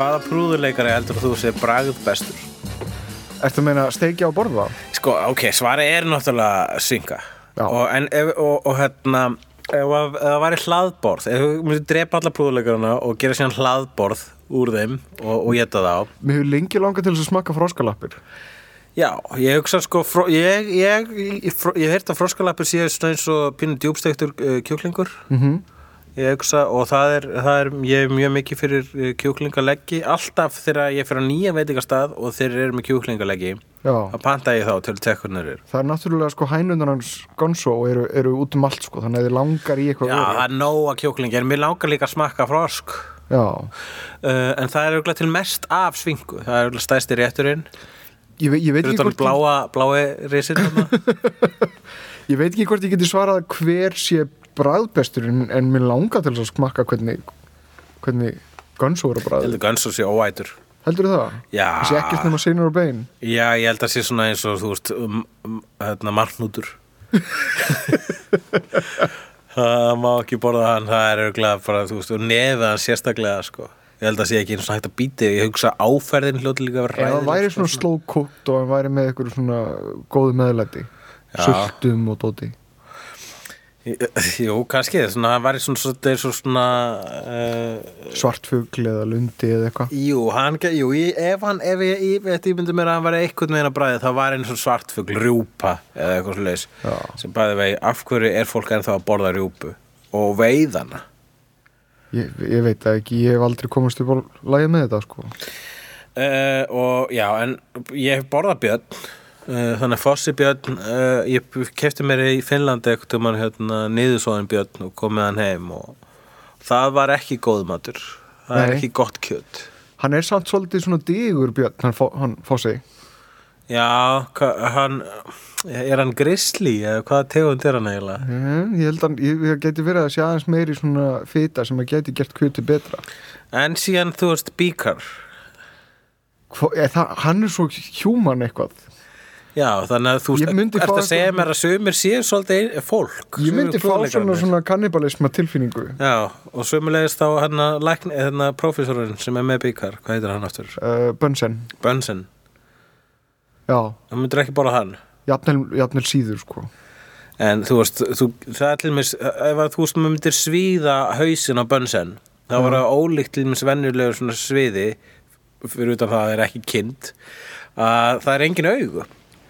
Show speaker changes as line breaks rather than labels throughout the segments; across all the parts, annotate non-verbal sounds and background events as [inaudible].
Hvaða prúðuleikari heldur þú sé bragð bestur?
Ertu að meina steikja á borða?
Sko, ok, svari er náttúrulega synga
Já.
og, en, ef, og, og hérna ef að- ef það væri hlaðborð ef þú myndir drepa alla prúðuleikarana og gera síðan hlaðborð úr þeim og, og geta það á
Mér hefur lengi langað til þess að smakka froskalappir
Já, ég hugsa sko fró, ég, ég, ég, fró- ég heirt að froskalappur séu svona eins og pínu djúbstektur uh, kjúklingur
Mhm.
ég hugsa og það er, það er ég er mjög mikið fyrir uh, kjúklingaleggi alltaf þegar ég fyrir á nýja veitingastað og þeir eru með kjúklingaleggi
Já,
að panta ég þá til að tekka hvernig þeir eru
það er náttúrulega sko hænundar hans Gonzo eru, eru út um allt sko þannig að þið langar í eitthvað
Já, það
vöru.
er nóga kjúklingi, en mér langar líka að smakka frosk
Já,
uh, en það er auðvitað til mest af svingu það er auðvitað stæsti rétturinn
ég, ve ég, veit
fyrir
ekki
utan
hvort ég,
bláa, blái risinn [laughs] þarna.
ég veit ekki hvort ég geti svarað hver sé bræðbestur en, en mér langar til þess að smakka hvernig, hvernig Gonzo eru
Ég
bræð
held að Guns og sé óætur
Heldur það?
Já.
Þessi ekkert nema seinur og bein
Já, ég held að sé svona eins og þú veist um, um, hérna,
[laughs]
marnútur Það má ekki borða hann það er auðvitað bara, þú veist, og nefið hann sérstaklega, sko Ég held að sé ekki eins og hægt að býti ég hugsa að áferðin hljóti líka að vera
Ef hann
hræðileg,
væri
sko.
svona slow cooked og hann væri með eitthvað svona góðu meðlæti
Já.
Sultum og dóti
Jú, kannski, svona, hann væri svona, svona, svona, svona uh,
Svartfugl eða lundi eða eitthvað
Jú, hann, ge- jú ég, ef hann, ef ég, ég, ég, ég myndi mér að hann væri eitthvað með hennar bræði, það var eins og svartfugl, rjúpa eða eitthvað svo leis
Já.
sem bæði vegi, af hverju er fólk ennþá að borða rjúpu og veiðana
Ég, ég veit það ekki, ég hef aldrei komast upp á lagið með þetta sko
uh, og já, en ég hef borðað björn uh, þannig að fossi björn uh, ég kefti mér í Finnlandi eitthvað um hann hérna, niðursóðin björn og komið hann heim og það var ekki góð matur það er
Nei.
ekki gott kjöt
Hann er samt svolítið svona digur björn, hann, fó- hann fósi
Já, hva- hann er hann grisli eða hvaða tegund er hann eiginlega?
mm, Ég held að ég, ég geti verið að sé aðeins meiri svona fita sem að geti gert kjöti betra
En síðan þú veist bíkar
Hvo, ég, það, Hann er svo human eitthvað
Já, þannig að þú
Ég myndi
ert
fá
að segja
eitthvað-
mér að sömur séu svolítið ein- fólk
Ég
sumir
myndi fá svona,
fróðleikarnir.
svona kannibalisma tilfinningu
Já, og sömulegist þá hann að lækni, hann að prófessorinn sem er með bíkar, hvað heitir hann aftur?
uh, Bönsen,
Bönsen,
já,
hann myndir ekki bara hann
jafnvel, jafnvel síður sko
En þú veist, þú, það er til mér ef að þú veist, maður myndir svíða hausin á Bönsen, þá var það ólíkt til mér venjulegu svona sviði fyrir utan það að það er ekki kind að það er engin augu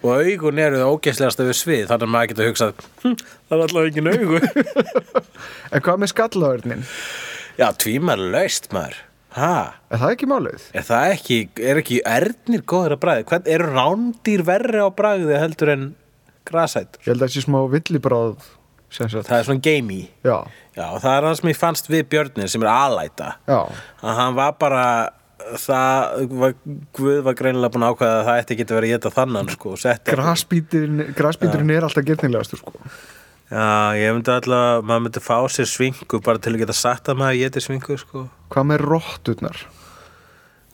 og augun eru það ógeðslegasta við svið þannig að maður getur hugsað hm, það er alltaf engin augu [laughs]
En hvað með skallaverðnin?
Já, tvímar laust maður Ha,
Er það ekki málið?
er það ekki, er ekki erðnir góður að bræði? Hvern, eru rándýr verri á bræði heldur en grasætur?
Ég held að það sé smá villibráð sem sagt.
Það er svona gamey
Já,
Já, það er það sem ég fannst við Björnin sem er alæta
já,
að hann var bara það, var, Guð var greinilega búin að ákveða að það ætti ekki að vera að geta þannan sko, og setti-
grasbíturinn, grasbíturinn er alltaf getnilegastur sko.
Já, ég myndi alltaf, maður myndi fá sér svingu bara til að geta sagt að maður geti svingu sko.
Hvað með rótturnar?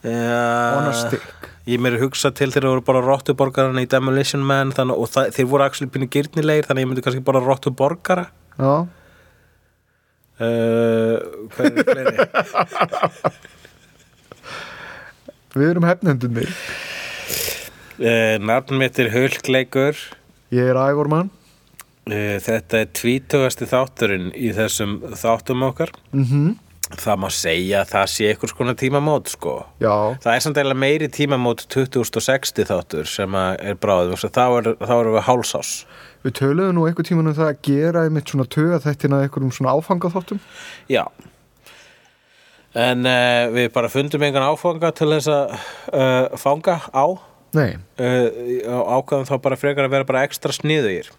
Já,
On a stick.
Ég mér hugsa til þegar voru bara rottuborgarana í Demolition Man þannig, og það, þeir voru axli pínu gyrnilegir þannig að ég myndi kannski bara rottuborgara
Já,
uh, Hvað er fleiri?
við erum hefnendunni.
uh, Nafn mitt er Hulkleikur
Ég er ægormann.
Eh, Þetta er tvítugasti þátturinn í þessum þáttum okkar.
Mm
Það má segja að það sé einhvers konar tímamót, sko.
Já,
Það er samt eiginlega meiri tímamót 2060 þáttur sem að er bráðið. vegna þess að Þá er- þá erum við hálsás.
við töluðum nú einhver tíman um það að gera einmitt svona töga þættina einhverjum svona áfangaþáttum.
Já. eh, En uh, við bara fundum engan áfanga til þess að uh, eh, fanga á
Nei,
uh, ákvæðum þá bara frekar að vera bara ekstra
[laughs]
sniðugir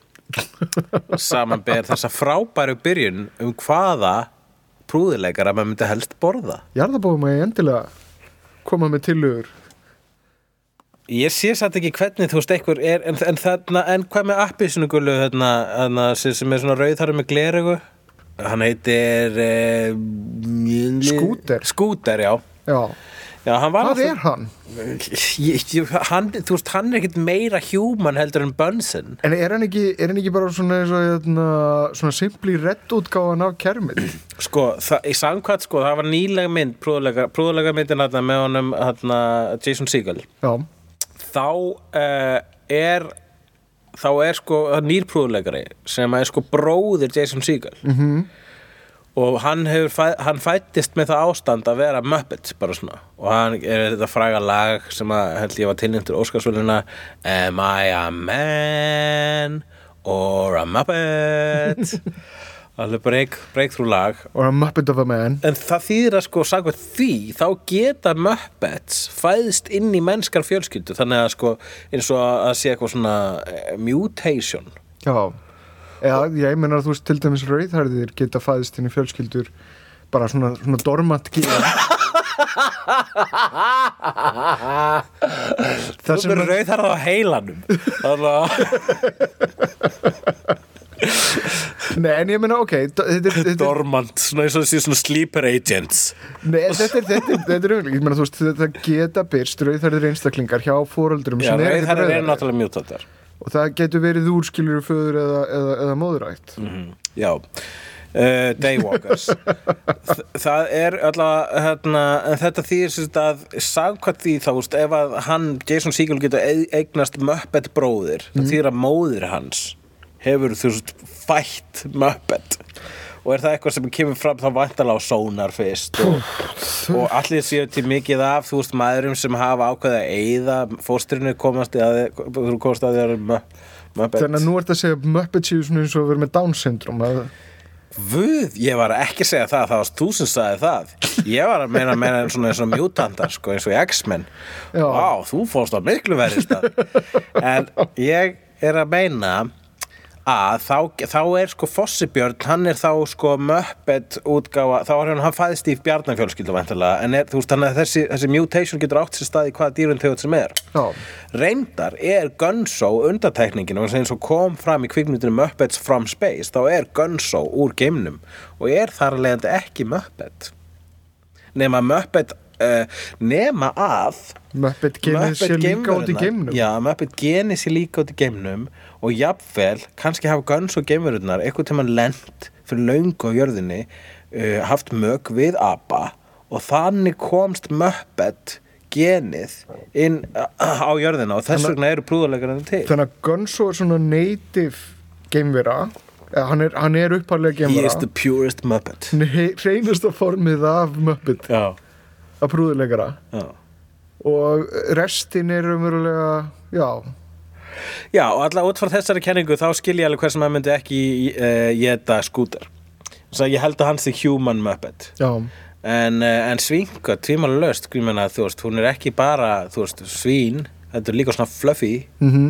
samanber þessa frábæru byrjun um hvaða prúðilegar að maður myndi helst borða
jarðabóðum að ég endilega koma með tillögur
ég sé satt ekki hvernig þú veist einhver er, en, en, þarna, en hvað með appi sinu gullu þarna, þarna, sem sem er svona rauðhæru með glerugu hann heitir eh,
Scooter.
Scooter, já,
Já,
já hann var
hvað
alltaf-
er hann?
[laughs] ég, ég, hann, þú veist, hann er ekkert meira human heldur en Bunsen
En er hann ekki, er hann ekki bara svona, eins og, hérna, svona simpli reddútgáðan af kermit?
Sko, það, í samkvæmt sko, það var nýlega mynd, prúðulega, prúðulega myndin hérna með honum hérna, Jason Segel.
Já,
Þá uh, er, þá er sko nýr prúðulegari sem er sko bróðir Jason Segel. -hmm. Og hann, hefur, fæ- hann fættist með það ástand að vera Muppet, bara svona. Og hann er þetta fræga lag sem að held ég var tilnýntur Óskarsvöluna Am I a man or a Muppet? Alveg break, breakthrough lag
og hann Muppet of a Man
En það þýðir að sko, sagði því, þá geta Muppets fæðst inn í mennskar fjölskyldu, þannig að sko, eins og að sé eitthvað svona eh, [laughs] mutation.
Já, eða ég meina að þú veist til dæmis rauðhærðir geta fæðist inn í fjölskyldur bara svona, svona dormant gíða
[laughs] Þú
Það sem
er
að-
rauð þar á heilanum. Þannig [laughs]
Nei, en ég meina, ok d- þetta
að
er, þetta er,
dormant, svona eins og þessi svona sleeper agents.
nei, en þetta er, þetta er, þetta er umlega, ég meina, þú veist, þetta geta byrst rauðhærðir einstaklingar hjá fóröldrum
Já,
sem eru
rauð
ekkert
þar er
rauðhærðir.
náttúrulega mutantar.
og það getur verið úrskilur föður eða, eða, eða móðurætt
Mm. Já. Uh, daywalkers Þ- það er allavega hérna, en þetta þýðir sem sagt að sagkvæmt því þá, veist, ef að hann Jason Segel getur ei- eignast Muppet bróðir
Mhm.
það þýðir að móðir hans hefur þú veist fætt Muppet og er það eitthvað sem kemur fram þá vantalega á sónar fyrst og, og allir séu til mikið af þú veist maðurum sem hafa ákveðið að eyða fóstrinu komast að, þú komast að því að Muppet
þannig að nú ert að segja að Muppet séu svona eins og að vera með Down syndrom að,
Vöð, ég var ekki að segja það, það varst þú sem sagði það. Ég var að meina, meina svona eins og mjútandar, sko, eins og í X-Men.
Já.
Vá, þú fórst á miklu verið stað. En ég er að meina að þá, þá er sko Fossibjörn, hann er þá sko Muppet útgáfa, þá er hann, hann fæðist í Bjarnarfjölskyldu væntanlega, en er, þú veist, þannig að þessi, þessi mutation getur átt sér stað í hvaða dýrun tegund sem er.
Já.
Reyndar er Gunsó undatekningin og eins og kom fram í kvikmyndinu Muppets from Space þá er Gunsó úr geimnum og er þar að leiðandi ekki Muppet nema Muppet uh, nema að
Muppet genið
Muppet hérna.
sér líka út í
geimverunar-
geimnum
Já, Muppet genið sér líka út í geimnum og jafnvel, kannski hafa Gunsó geimverurnar eitthvað tímann lent fyrir löngu á jörðinni uh, haft mög við apa og þannig komst Muppet genið inn uh, á jörðina og þess vegna eru prúðuleikarinn til
Þannig að Gonzo er svona native geimvera eða hann er, hann er upphæðlega
He is the
geimvera
purest Muppet
hann er reynasta formið af Muppet
Já,
af prúðuleikara
já.
og restin er umverulega já,
já og alltaf út frá þessari kenningu þá skil ég alveg hversum að myndi ekki uh, geta skútar Svo ég held að hans er human Muppet
já,
En, eh, en svinka, tvímála löst, grímina, þú veist, hún er ekki bara, þú veist, svín, þetta er líka svona fluffy
mhm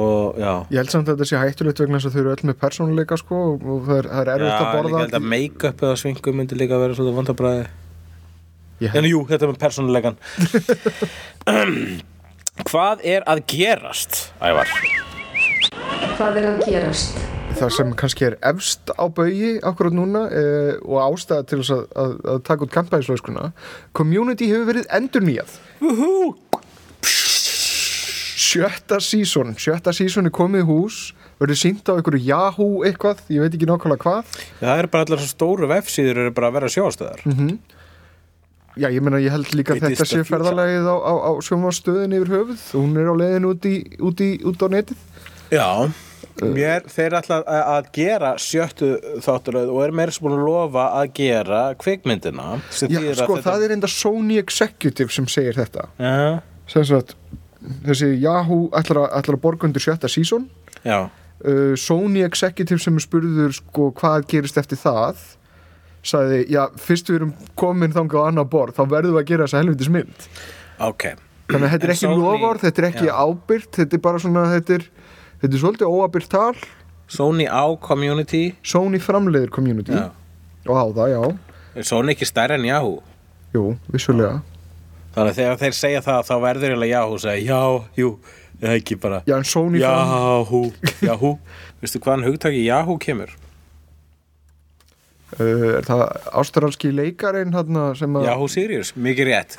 og já.
ég held samt að þetta sé hættulegt vegna þess að þau eru öll með persónuleika sko og- og það er, það er erfitt að
Já, líka
borða
þetta
allt í-
make-up eða svingu myndi líka vera svolítið vandabræði.
Ég
En jú, þetta er með
[laughs]
persónulegan. Hvað er að gerast, Ævar?
Hvað er að gerast?
það sem kannski er efst á baui akkurat núna eh, og ástæða til þess að, að, að taka út kampæðislöskuna community hefur verið endur nýjað sjötta sísón sjötta sísón er komið í hús verður sínt á einhverju Yahoo eitthvað ég veit ekki nákvæmlega hvað
Það eru bara allar svo stóru vefsíður eru bara að vera sjóastöðar.
Mhm. já ég meina ég held líka
It
að
is
þetta
the
sé
future.
ferðalagið á, á, á sjómanstöðin yfir höfuð hún er á leiðin út, í, út, í, út á netið
Já.
Uh.
Mér, þeir ætla að, að gera sjöttu þátturöð og er meira sem búin að lofa að gera kvikmyndina. sem
já,
þýðir að
sko
þetta-
það er enda Sony Executive sem segir þetta
Já,
sem sagt þessi Yahoo ætlar að, ætlar að borga undir sjötta sísón
já.
uh, Sony Executive sem er spurður sko hvað gerist eftir það sagði, já, fyrst við erum komin þangað á annað borð, þá verðum við að gera þessa helvitis mynd
Ok,
þannig að þetta er
En
ekki
Sony-
lofár, þetta er ekki
Já.
ábyrgt þetta er bara svona, þetta er þetta er svolítið óábyrgt tal
Sony á community
Sony framleiðir community
Já.
og á það, já,
Er Sony ekki stærri en Yahoo
jú, vissulega
Þannig að þegar þeir segja það þá verður eiginlega Yahoo að segja já, jú, eða ekki bara
já, en Sony fram-
Yahoo, Yahoo Veistu hvaðan hugtaki Yahoo kemur?
uh, er það ástralski leikarinn þarna sem að
Yahoo Sirius, mikið rétt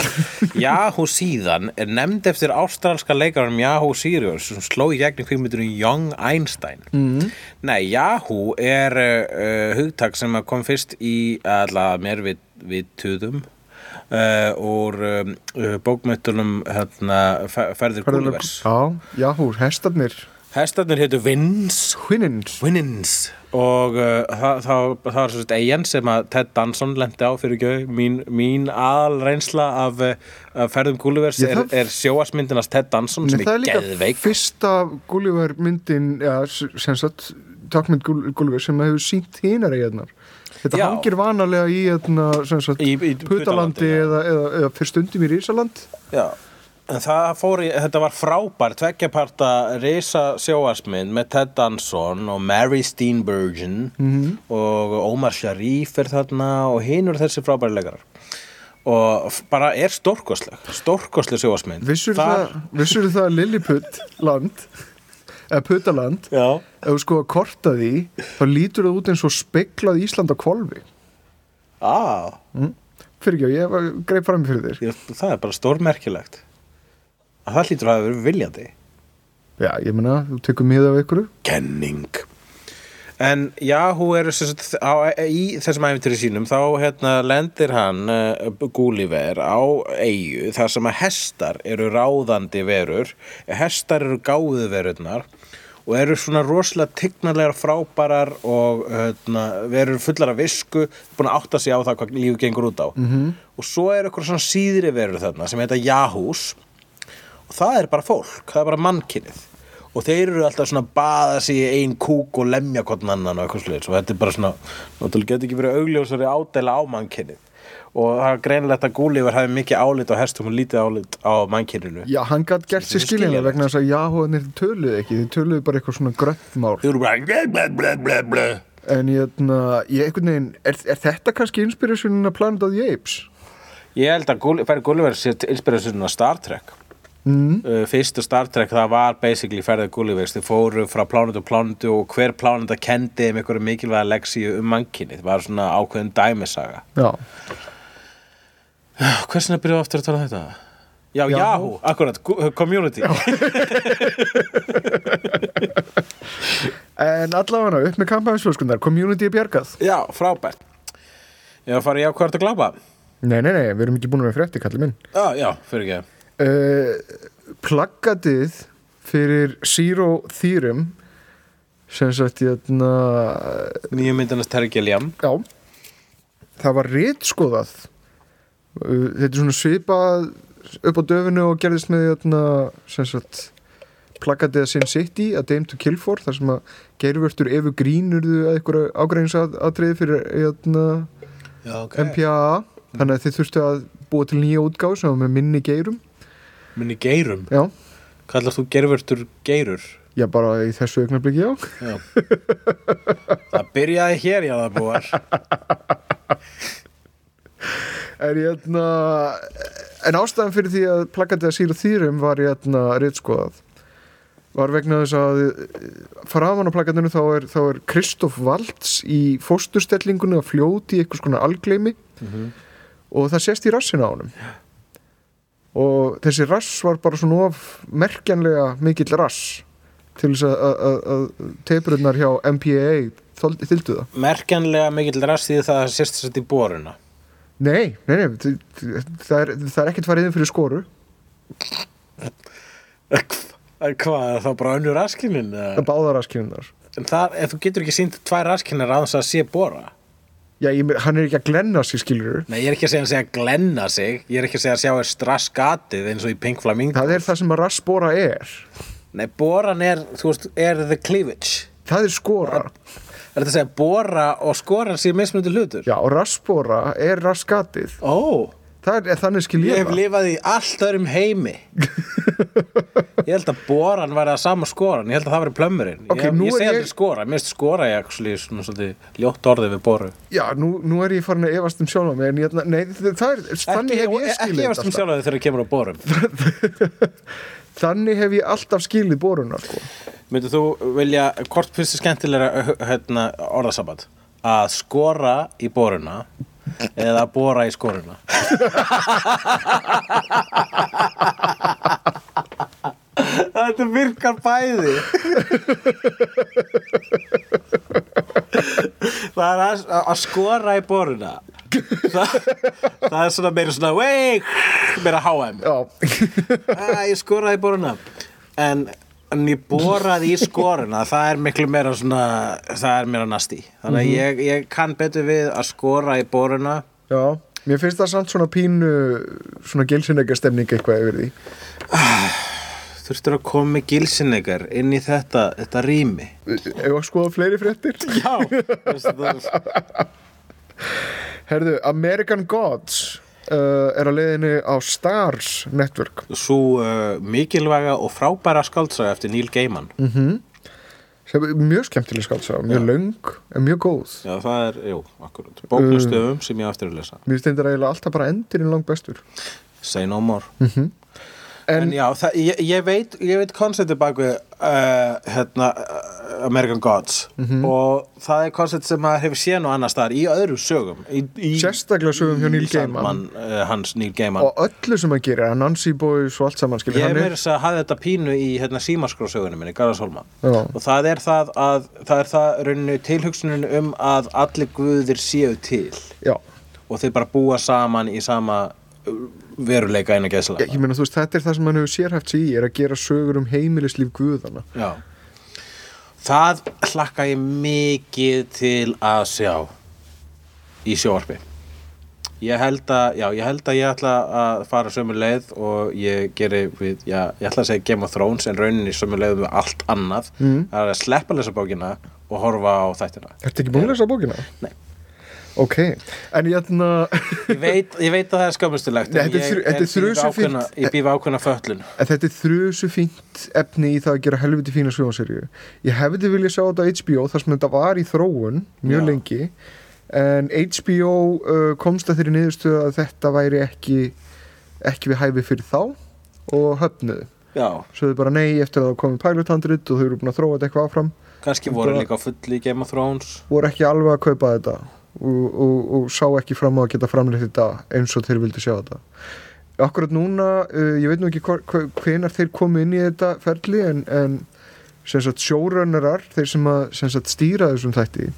Yahoo síðan er nefnd eftir ástralska leikarum Yahoo Sirius sem sló í gegn í kvikmyndunum Young Einstein mm. Nei, Yahoo er uh, hugtak sem að kom fyrst í alla mér við, við tuðum uh, úr um, uh, bókmyndunum hérna, Fe- ferðir Gullivers
já, Yahoo, hestarnir
Hestarnir hétu Vins
Quinnins
Winnins og uh, það, það, það var svo eigin sem að Ted Danson lendi á fyrir gau mín, mín aðalreynsla af, uh, af ferðum Gullivers
Ég
er,
þarf-
er sjóasmyndinast Ted Danson sem
Nei, það er
er
líka
geðveik
fyrsta Gulliver myndin ja, sem sagt, takmynd Gull- Gulliver sem hefur sínt hinar í hérna þetta
Já.
hangir vanalega í hérna sem sagt,
Í- í Putalandi,
putalandi
já.
eða, eða, eða fyrst undum í Rísaland
Já, en það fór í, þetta var frábær tveggjaparta risa sjóasmynd með Ted Danson og Mary Steenburgen
Mhm.
og Omar Sharif er þarna og hinn eru þessi frábæri leikarar og f- bara er stórkosleg stórkosleg sjóasmynd
vissur það, vissur það að Lilliput land eða putaland
Já
ef þú sko að korta því þá lítur það út eins og speklað Ísland á kvolfi
Ah,
fyrir ekki, ég var- greip fram í fyrir þér
ég, það er bara stórmerkilegt að það hlýtur að hafa verið viljandi
já, ég meina, þú tekur miða af ykkur
Kenning En Yahoo er sem sagt, á, í þessum æfintyri sínum þá hérna, lendir hann uh, Gulliver á eigu þar sem að hestar eru ráðandi verur hestar eru gáðu verurnar og eru svona rosalega tignarlegar frábærar og hérna, verur fullar af visku búin að átta sig á það hvað lífið gengur út á -hmm. og svo eru eitthvað svona síðri verur þarna sem heita Yahoos og það er bara fólk, það er bara mannkinnið og þeir eru alltaf svona að baða sig í ein kúk og lemja hvern annan og eitthvað sliðis og þetta er bara svona, náttúrulega getur ekki verið augljósari ádæla á mannkinnið og það er greinilegt að Gúlífur hafi mikið álít á hestum og lítið álít á mannkinninu
Já, hann gætt gert sér
er
skiljanlega
skiljanlegt.
vegna þess að Yahoo-nir töluðu ekki, þeir töluðu bara eitthvað svona gröntmál.
Þeir eru bara bleh, bleh, bleh, bleh, bleh.
En ég, na, ég einhvern veginn, er, er þetta kannski inspirasjónin að Planet of the Apes?
Ég held að Gúli- Ferði Gulliver sé inspirasjónin að Star Trek mm. Fyrstu Star Trek það var basically ferðið Gullivers Þið fóru frá plánetu og plánetu og hver pláneta kendi um einhverju mikilvæga leksíu um mannkinni Það var svona ákveðin dæmisaga
Já.
Hversna byrjuðu aftur að tala um þetta? Já,
Yahoo.
Yahoo, akkurat, gu- uh, community
En allavega upp með kampaðinsflöskundar, community er bjargað.
Já, frábært Ég var að fara í ákvært að glápa
Nei, nei, nei, við erum ekki búin að vera frétti, kallið minn.
Já, já, fyrir ekki
Uh, plaggatið fyrir Zero Theorem, sem sagt, hérna, ég, na,
Nýju myndinast Tergi Liam
Já Það var rítskoðað Uh, Þetta er svona svipað upp á döfinu og gerðist með þarna, sem sagt plakatið að Sin City, að Dame to Kill For þar sem að geirvörtur efu grínurðu að einhverju ágræðinsatriði fyrir hérna,
Já, ok
MPAA þannig að þið þurftu að búa til nýja útgáð sem var með minni geirum
Minni geirum,
Já,
kallar þú gerfurtur geirur?
já bara í þessu augnabliki já
Já. Það byrjaði hér, já það búar.
En hérna En ástæðan fyrir því að plakatið að síra þýrum var hérna réttskoðað var vegna þess að eh, framan á plakatinu þá er, þá er Kristoff Valds í fósturstellingunni að fljóti í einhvers konar algleimi og það sést í rassin á honum og þessi rass var bara svona of merkjanlega mikill rass til þess að, að, að- að teipurinnar hjá MPAA þoldi- þyldu það
Merkjanlega mikill rast því það sérst sett í boruna.
Nei, nei, nei, þ- þ- það er, það er ekkert farið inn fyrir skoru
Eh, Hvað, er það bara önnu raskinin?
að báða raskinunar
En það, ef þú getur ekki sínt tvær raskinar aðeins að sé bora.
Já, ég, meina, hann er ekki að glenna sig skilur
Nei, ég er ekki að segja að segja glenna sig, ég er ekki að segja að sjá er straskatið eins og í Pink Flamingo.
það er það sem að rassbora er
Nei, boran er, þú veist, er the cleavage.
það er skora
Er þetta að segja bora og skoran sé mismunandi hlutur?
já, og rassbora er rassgatið
Ó,
það er þannig skil
Ég
ég
hef lifað í allt öðrum heimi Ég held að boran væri að sama skoran Ég held að það væri plömmurinn
Ok,
Ég,
nú
ég
er
segi
ég-
aldrei skora, mér finnst skora ég actually, svona, svona, ljótt orðið við boru
já, nú, nú er ég farin að efast um sjálfa mig en ég, nei, það er,
Ekki,
þannig hef ég
ekki
skilið
efast um
þetta sko. alltaf.
sjálf þegar það kemur á borum
[laughs] þannig hef ég alltaf skilið boruna sko.
Myndir þú vilja, hvort finnst þið skemmtilega hérna, orðasabat að skora í boruna eða að bora í skoruna Þetta virkar bæði Það er að, að skora í boruna Það, það er svona meira svona "Wey!" meira HM
já, [laughs]
Æ, Ah, ég skoraði í boruna en, en ég boraði í skoruna það er miklu meira svona það er meira nasti þannig að ég, ég kann betur við að skora í boruna
já mér finnst það samt svona pínu svona gilsinlega stemning eitthvað yfir því
þurftur að koma með gilsinleikar inn í þetta, þetta rými
ef að skoða fleiri fréttir
já [laughs] veistu, það er-
herðu, American Gods uh, er á leiðinni á Stars Network
svo uh, mikilvæga og frábæra skaldsaga eftir Neil Gaiman
sem er mjög skemmtileg skaldsaga, mjög löng en mjög góð
já, það er, jú, akkurat bóknastöfum sem ég á eftir að lesa
mér finnst þetta eiginlega alltaf bara endurinn langt bestur
Say no more
Mhm. En-
en, já, það, ég, ég veit ég veit konceptið bak við uh, hérna, uh, American Gods
Mhm.
og það er koncept sem maður hefur séð nú annars staðar í öðrum sögum í, í,
sérstaklega sögum hjá Neil
í
Gaiman
Sandman, uh, hans Neil Gaiman
og öllu sem hann gerir, hann Nancy Boys og allt saman skilur
ég
hann
meira þess að hafa þetta pínu í hérna, símaskrósögunum minni, Garðarshólma
Já.
og það er það að það er það rauninu tilhugsunin um að allir guðir séu til
já,
og þeir bara búa saman í sama uh, veruleika einu gæsla
ég, ég meina þú veist, þetta er það sem hann hefur sérhæft sig í er að gera sögur um heimilislíf guðana
Já. Það hlakka ég mikið til að sjá í sjóarpi. Ég held að, já, ég held að ég ætla að fara sömu leið og ég geri við, já, ég ætla að segja Game of Thrones en rauninni sömu leið við allt annað. Mm. Það er að sleppa lesa bókina og horfa á þættina.
Ertu ekki búin að lesa bókina?
Nei.
Ok, en hérna- ég ætna
Ég veit, ég veit að það er skömmustulegt.
Nei, þetta er þru- þetta er þrusu fínt.
Ég býf ákveðna föllun.
En þetta er þrjusu fínt efni í það að gera helviti fína sjónseríu. Ég hefði viljað sjá þetta á HBO þar sem þetta var í þróun mjög
Já.
lengi en HBO uh, komst að þeirri niðurstöðu að þetta væri ekki ekki við hæfi fyrir þá og höfnuðu.
Já,
Svo þau bara nei eftir að það komið pilothandrit og þau eru búin að þróa þetta eitthvað áfram
kannski voru líka á fulli í Game of Thrones.
voru ekki alveg að kaupa þetta og, og, og sá ekki fram á að geta framleitt þetta eins og þeir vildu sjá þetta Akkurat núna, uh, ég veit nú ekki hvar- hve- hvenar þeir komu inn í þetta ferli en, en sem sagt showrunnerar, þeir sem að sem sagt stýra þessum þætti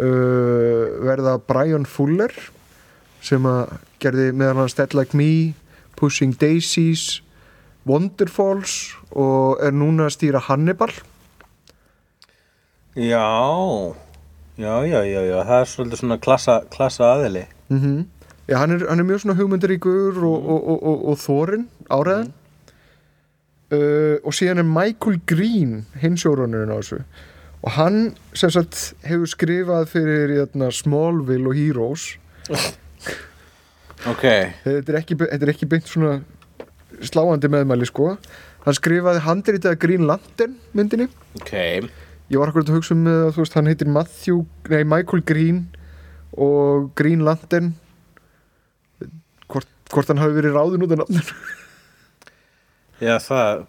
uh, verða Brian Fuller sem að gerði meðal hans Dead Like Me, Pushing Daisies Wonderfalls og er núna að stýra Hannibal
Já, já, já, já, já, það er svolítið svona klassa, klassa aðili.
mm Já, hann er, hann er mjög svona hugmyndaríkur og, og, og, og, og þorinn áræðan uh, og síðan er Michael Green hinsjórunurinn á þessu og hann sem sagt hefur skrifað fyrir jötna, Smallville og Heroes
Ok,
þetta er ekki, þetta er ekki beint svona sláandi meðmæli sko hann skrifaði handritaða Green Lantern myndinni
ok,
ég var akkur að hugsa um að þú veist hann heitir Matthew, nei Michael Green og Green Lantern hvort, hvort hann hafi verið ráðin út af nafninu
já, það,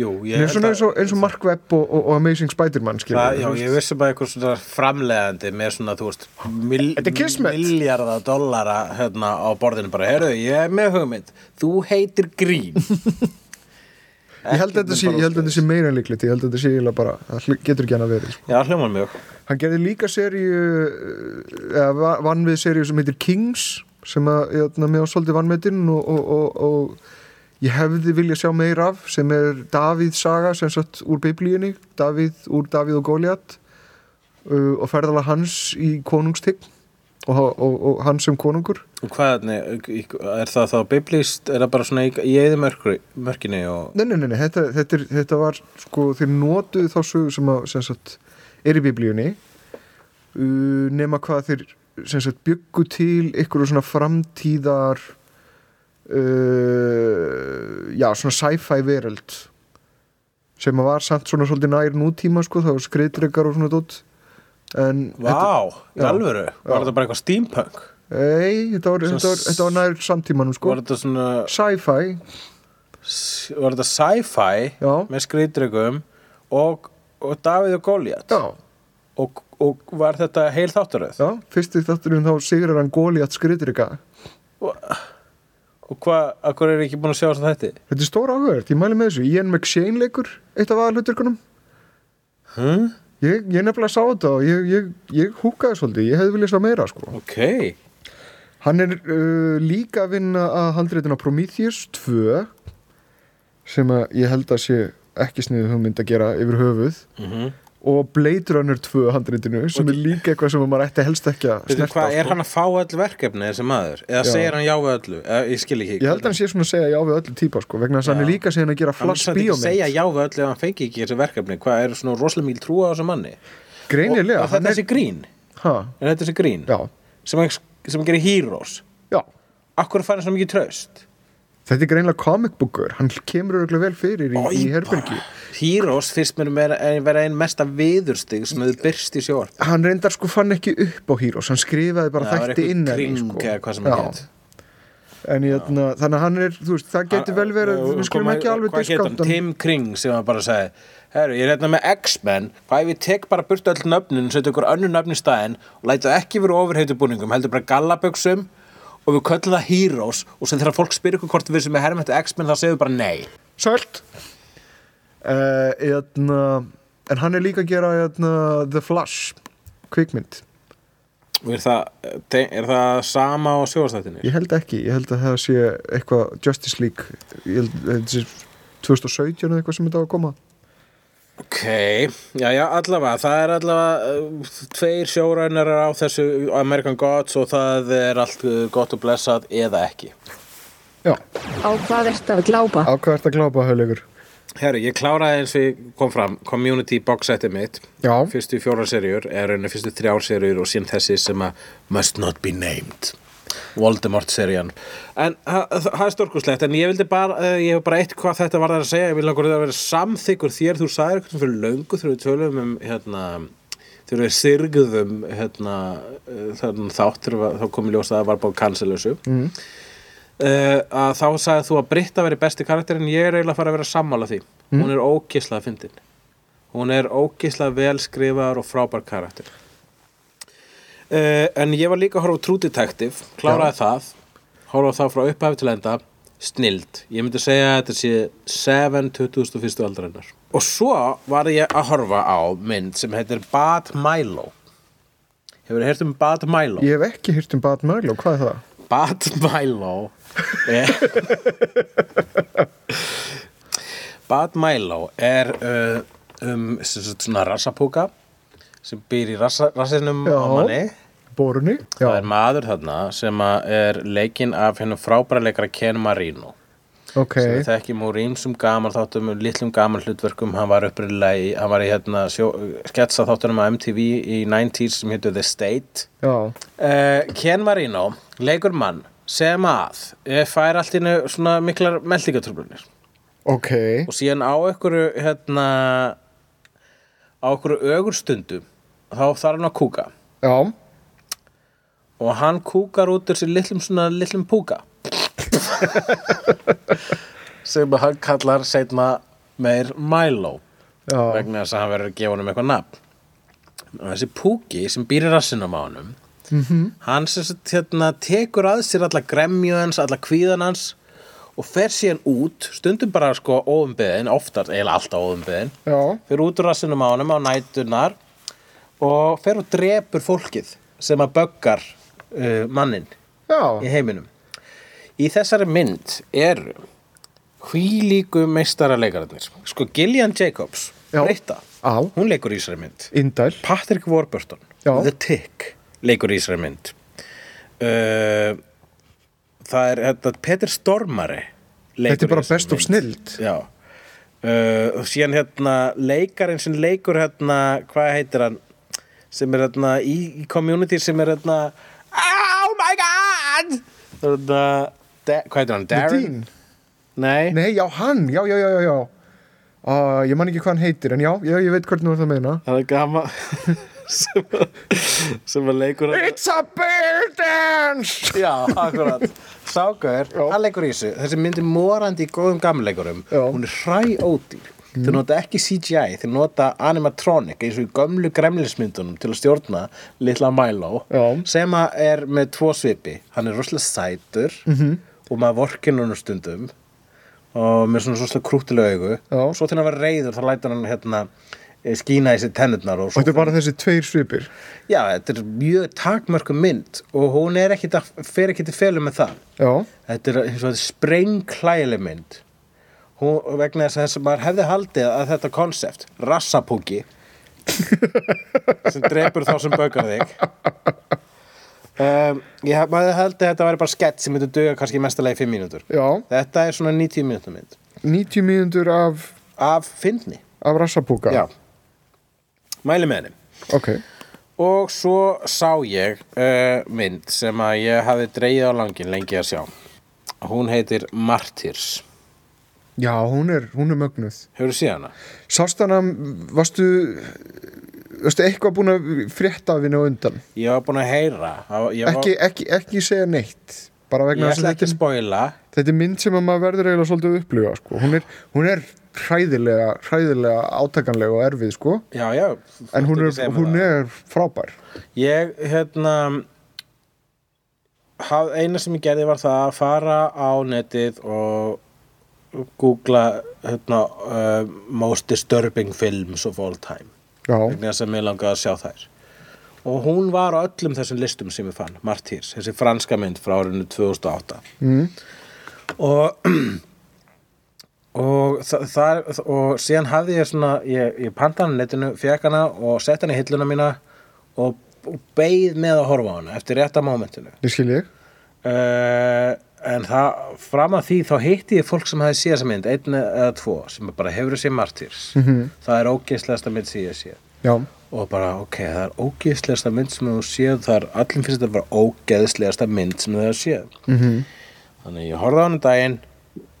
jú, ég...
Mér er svona eins og, eins og Mark Webb og, og, og Amazing Spider-Man skilur
Það,
við,
já,
þú veist.
ég vissi bara eitthvað svona framlegandi með svona, þú veist, mil,
Þetta er kismet.
miljarda dollara hérna á borðinu bara, heyrðu, ég er með hugmynd, þú heitir Grín.
ég held að þetta sé, ég held að þetta sé meira en líklegt ég held að þetta sé eiginlega bara, það hl- getur ekki hann að verið sko.
[laughs] Já, hljóman mjög.
hann gerði líka seríu eh, eða va- vann við seríu sem heitir Kings sem að, jötna, mér á svolítið vannmetinn og, og, og, og ég hefði vilja sjá meira af sem er Davíð saga sem sagt úr biblíunni Davíð, úr Davíð og Góliat uh, og ferðala hans í konungstign og, og, og hann sem konungur
Og hvað, nei, er það þá biblíst, er það bara svona í, í eðumörkinni og...
Nei, nei, nei, nei þetta, þetta, er, þetta var sko, þeir notuðu þá sögu sem, að, sem sagt, er í biblíunni uh, nema hvað þeir sem sagt byggu til ykkur svona framtíðar uh, já, svona sci-fi veröld sem að var samt svona svolítið nær nútíma sko, það var skriðdregar og svona dótt en
Vá, í
Já.
alvöru,
Já.
var þetta bara eitthvað steampunk?
ei, þetta var,
Svona
þetta var,
s-
þetta var nær samtímanum sko
Var þetta svona,
sci-fi,
var þetta sci-fi
já,
með skrýtryggum og, og Davíð og Góliat
já,
og, og var þetta heil þáttaröð
já fyrst í þátturinn þá sigrar hann góli að skriðdrega
og hvað, að hverju er ég ekki búin að sjá þess að þetta
Þetta er stóra áhverð, ég mæli með þessu Ian McShane leikur, eitt af aðalhuturkunum
huh?
ég, ég nefnilega sá þetta og ég, ég, ég húkaði svolítið, ég hefði viljað sá meira sko.
ok,
Hann er uh, líka að vinna að handreitina Prometheus 2 sem að ég held að sé ekki sniðið hugmynd að gera yfir höfuð
mm
og Blade Runner 2 handreitinu sem er líka eitthvað sem maður ætti helst ekki að
Veitu,
snerta
hvað,
á,
er
sko.
hann að fá öll verkefni þessi maður eða
Já.
segir hann já við öllu eða, ég skil ekki
Ég held að hann sé svona að segja já við öllu típa sko, vegna þess að hann er
Já.
líka segin að gera
Hann
flash
myndi ekki segja
bíómynd
já við öllu ef hann fengi ekki þessi verkefni hvað er svona rosalega mýl trúa á þessu manni
Greinilega
og, og þetta er
hann
þessi grín
Ha,
er þetta þessi grín
já,
sem, hann- sem hann gerir heroes
já
akkur fær hann svo mikið tröst
Þetta er greinilega comic booker, hann kemur örgulega vel fyrir í, í
Oj,
herbergi
bara. Heroes fyrst mér vera, eh, vera einn mesta viðurstig sem hefur byrst í sjóar
Hann reyndar sko fann ekki upp á Heroes, hann skrifaði bara
það var
þætti
eitthvað
innan í,
kring
sko.
eða hvað sem hann
Já.
hét.
En jötna, þannig að hann er, þú veist, það getur vel verið,
Hann-
við skulum
kom-
ekki alveg
sko, hvað hét hann?
diskant hann.
Tim Kring sem hann bara sagði Herru, ég er hérna með X-Men hvað ef ég tek bara burt öll nöfnin setja ykkur önnur nöfn í staðinn og læta það ekki verið ofurheitubúningum heldur bara gallaböksum og við köllum það Heroes og sem þegar fólk spyr ykkur hvort við sem er herrum þetta X-Men þá segðu bara nei
Söld! Uh, jötna, en hann er líka að gera jötna, The Flash, kvikmynd.
og er það, eh, er það sama á sjóastættinni?
Ég held ekki, ég held að það sé eitthvað Justice League, ég held að þetta sé 2017 eða eitthvað sem þetta á að koma.
Ok, já, já, allavega, það er allavega uh, tveir sjórænar á þessu American Gods og það er allt uh, gott og blessað eða ekki.
Já,
Á hvað ert að glápa?
á hvað ert að glápa, höflegur?
Herru, ég kláraði eins og ég kom fram, Community box setið mitt,
Já,
fyrstu fjórar serjur, er raunar fyrstu þrjár serjur og síðan þessi sem að must not be named, Voldemort serjan. En ha- þa- það er stórkuslegt, en ég vildi bara, uh, ég hef bara eitt hvað þetta var að segja, ég vil langur að vera samþykkur þér, þú sagðir eitthvað fyrir löngu þegar við tölum um, hérna, þegar við sirguðum, hérna, uh, þann þátt, þegar var- þá kom í ljós að það var búið kansalösu. Mm. Uh, að þá sagði þú að Britta veri besti karakter en ég er eiginlega að fara að vera sammála því hún er ógislega fyndin hún er ógislega vel skrifaðar og frábær karakter uh, en ég var líka að horfa á True Detective kláraði það, horfa á það frá upphafi til enda snild, ég myndi segja að þetta sé 7 2001. aldarinnar og svo var ég að horfa á mynd sem heitir Bad Milo hefur þið heyrt um Bad Milo?
ég hef ekki hýrt um Batman og hvað er það?
Bat Milo er Bat Milo er uh, um sem sagt svona rassapúka sem býr í rassa, rassinum
Já.
á manni
Borunni? Já,
það er maður þarna sem að er leikinn af hennum frábæraleikara Ken Marino
ok,
sem við þekkjum úr ímsum gamal þáttum litlum gamal hlutverkum, hann var uppriðlega í, hann var í hérna, sjó, sketsa þáttunum á MTV í 90s sem hétu The State
já.
uh, Ken Marino, leikur mann sem að eh, fær allt innu svona miklar meldingatröflunir
Ok,
og síðan á einhverju hérna á einhverju ögurstundu þá þarf hann að kúka
já,
og hann kúkar út þessi litlum svona litlum púka sem að hann kallar seinna meir Milo
já,
vegna þess að hann verður að gefa honum eitthvað nafn og þessi púki sem býr í rassinum á honum -hmm. hann sem sagt, hérna, tekur að sér alla gremju hans, alla kvíðan hans og fer síðan út stundum bara sko óumbeðin, oftar eiginlega alltaf óumbeðin
já,
fer út úr rassinum á honum á nætunar og fer og drepur fólkið sem að böggar uh, mannin
já,
í heiminum í þessari mynd eru hvílíku meistaralegararnir sko Gillian Jacobs
Já.
breyta,
Á.
hún leikur í þessari mynd
indæl,
Patrick Warburton,
Já.
The Tick leikur í þessari mynd uh, það er þetta, Peter Stormare leikur
Þetta er bara
í þessari
best of
mynd.
snilld.
já Uh, og síðan hérna leikarinn sem leikur hérna, hvað heitir hann sem er þarna í, í community sem er þarna Oh my god Það er þarna Da- Hvað heitir hann? Darren?
Dean?
Nei,
Nei, já, hann, já, já, já, já, já. Uh, ég man ekki hvað hann heitir, en já, já ég veit hvernig þú ert að meina.
það er gama sem, að- [laughs] sem að leikur hérna. að
It's a bear dance!
Já, akkurat Sákaður,
Já.
hann leikur í þessu Þessi myndi morandi í góðum gamleikurum
Já. Mm.
Hún er hræ ódýr Þau nota ekki CGI, þau nota animatronic eins og í gömlu gremlinsmyndunum til að stjórna litla Milo
Já.
sem að er með tvo svipi hann er rosalega sætur
Mhm.
-hmm. og maður vorkin hann stundum og með svona rosalega krúttilega augu
Já.
svo til hann var reyður þá lætur hann hérna eh, skína í sér tennurnar og
Og
svo
þetta er bara þessi tveir svipir.
Já, þetta er mjög takmörku mynd og hún er ekkit að, fer ekkit í felum með það.
Já,
Þetta er eins og þetta sprengklægileg mynd. Hún, vegna þess að þess að maður hefði haldið að þetta konsept, rassapúki, sem drepur þá sem bögar þig. Um, ég hef- maður hefði haldið að þetta væri bara skett sem myndi duga kannski mestalega í 5 mínútur.
já,
Þetta er svona 90 mínútur mynd.
90 mínútur af,
Af fyndni.
af rassapúka.
Já. Mæli með henni.
Ok,
Og svo sá ég uh, mynd sem að ég hafi dreigið á langin lengi að sjá. Hún heitir Martyrs.
já, hún er, hún er mögnuð.
Hefurðu séð hana?
Sástana, varstu, varstu eitthvað búin að frétta af henni á undan?
Ég var búin að heyra. að- Ég, var,
Ekki, ekki, ekki segja neitt, bara
ég
vegna þess að
ætla
þetta
ekki
er
að spoila.
þetta er mynd sem að maður verður eiginlega svolítið að upplifa sko. hún, er, hún er hræðilega hræðilega átakanlega og erfið sko.
Já, já.
en hún
þarftu ekki
er,
að segja mér
hún
það.
er frábær
Ég, hérna, haf, eina sem ég gerði var það að fara á netið og googla hérna, uh, most disturbing films of all time.
já,
vegna þess að mér langaði að sjá þær og hún var á öllum þessum listum sem ég fann, Martyrs, þessi franska mynd frá árinu 2008 mm. og [clears throat] og, þa- þar, og síðan hafði ég svona ég, ég panta hann netinu, fekk hana og sett hann í hilluna mína og, og beið með að horfa á hana eftir rétta momentinu
ég skil ég
uh, en það, fram að því þá hitti ég fólk sem hafi séð þessa mynd einn eða tvo, sem bara hefur séð Martyrs
Mhm.
-hmm. það er ógeislegasta mynd sem ég hef séð
já,
og bara ok, það er ógeðslegasta mynd sem þú séð, það er allir finnst þetta bara ógeðslegasta mynd sem það er séð mm
Mhm,
-hmm. þannig ég horfði á hann daginn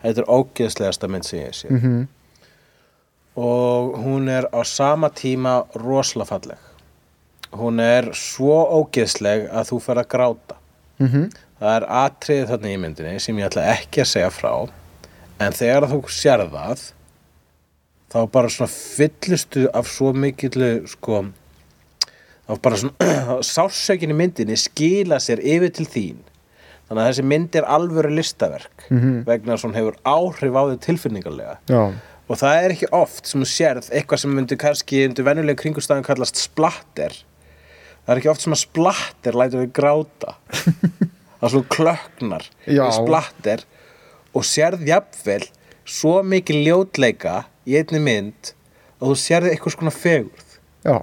þetta er ógeðslegasta mynd sem ég séð mm
mhm,
-hmm. og hún er á sama tíma rosalega falleg hún er svo ógeðsleg að þú fer að gráta mm
mhm,
-hmm. það er atriðið þarna í myndinni sem ég ætla ekki að segja frá en þegar þú sér það þá bara svona fyllistu af svo mikillu sko þá bara svona [clears throat] sársökin í myndinni skila sér yfir til þín þannig að þessi mynd er alvöru listaverk -hmm. vegna að svona hefur áhrif á þau tilfinningarlega
já,
og það er ekki oft sem þú sérð eitthvað sem myndi kannski undir venjulega kringustæðan kallast splatter það er ekki oft sem að splatter lætur við gráta það er svona klöknar
Já.
við splatter og sérð jafnvel svo mikið ljótleika í einni mynd að þú sérð eitthvað svona fegurð
já,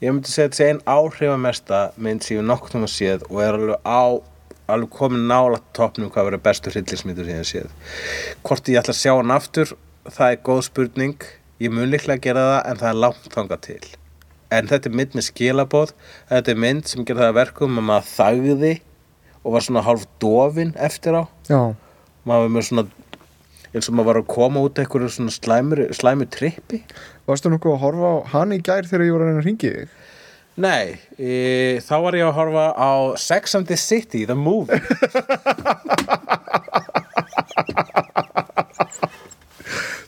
ég myndi segja að þetta sé einn áhrifamesta mynd sem ég nokkuð um að séð og er alveg á alveg komin nála toppnum hvað verður bestu hryllismyndur sem ég hef séð hvort ég ætla að sjá hann aftur það er góð spurning ég mun líklega að gera það en það er langt þangað til en þetta er mynd með skilabóð þetta er mynd sem gerði það að verkum að maður þagði og var svona hálf dofin eftir á
já
maður var með svona eins og maður var að koma út eitthvað svona slæmur, slæmur trippi
varstu nokkuð að horfa á hann í gær þegar ég var að reyna að ringi þig
Nei, e, þá var ég að horfa á Sex and the City, the movie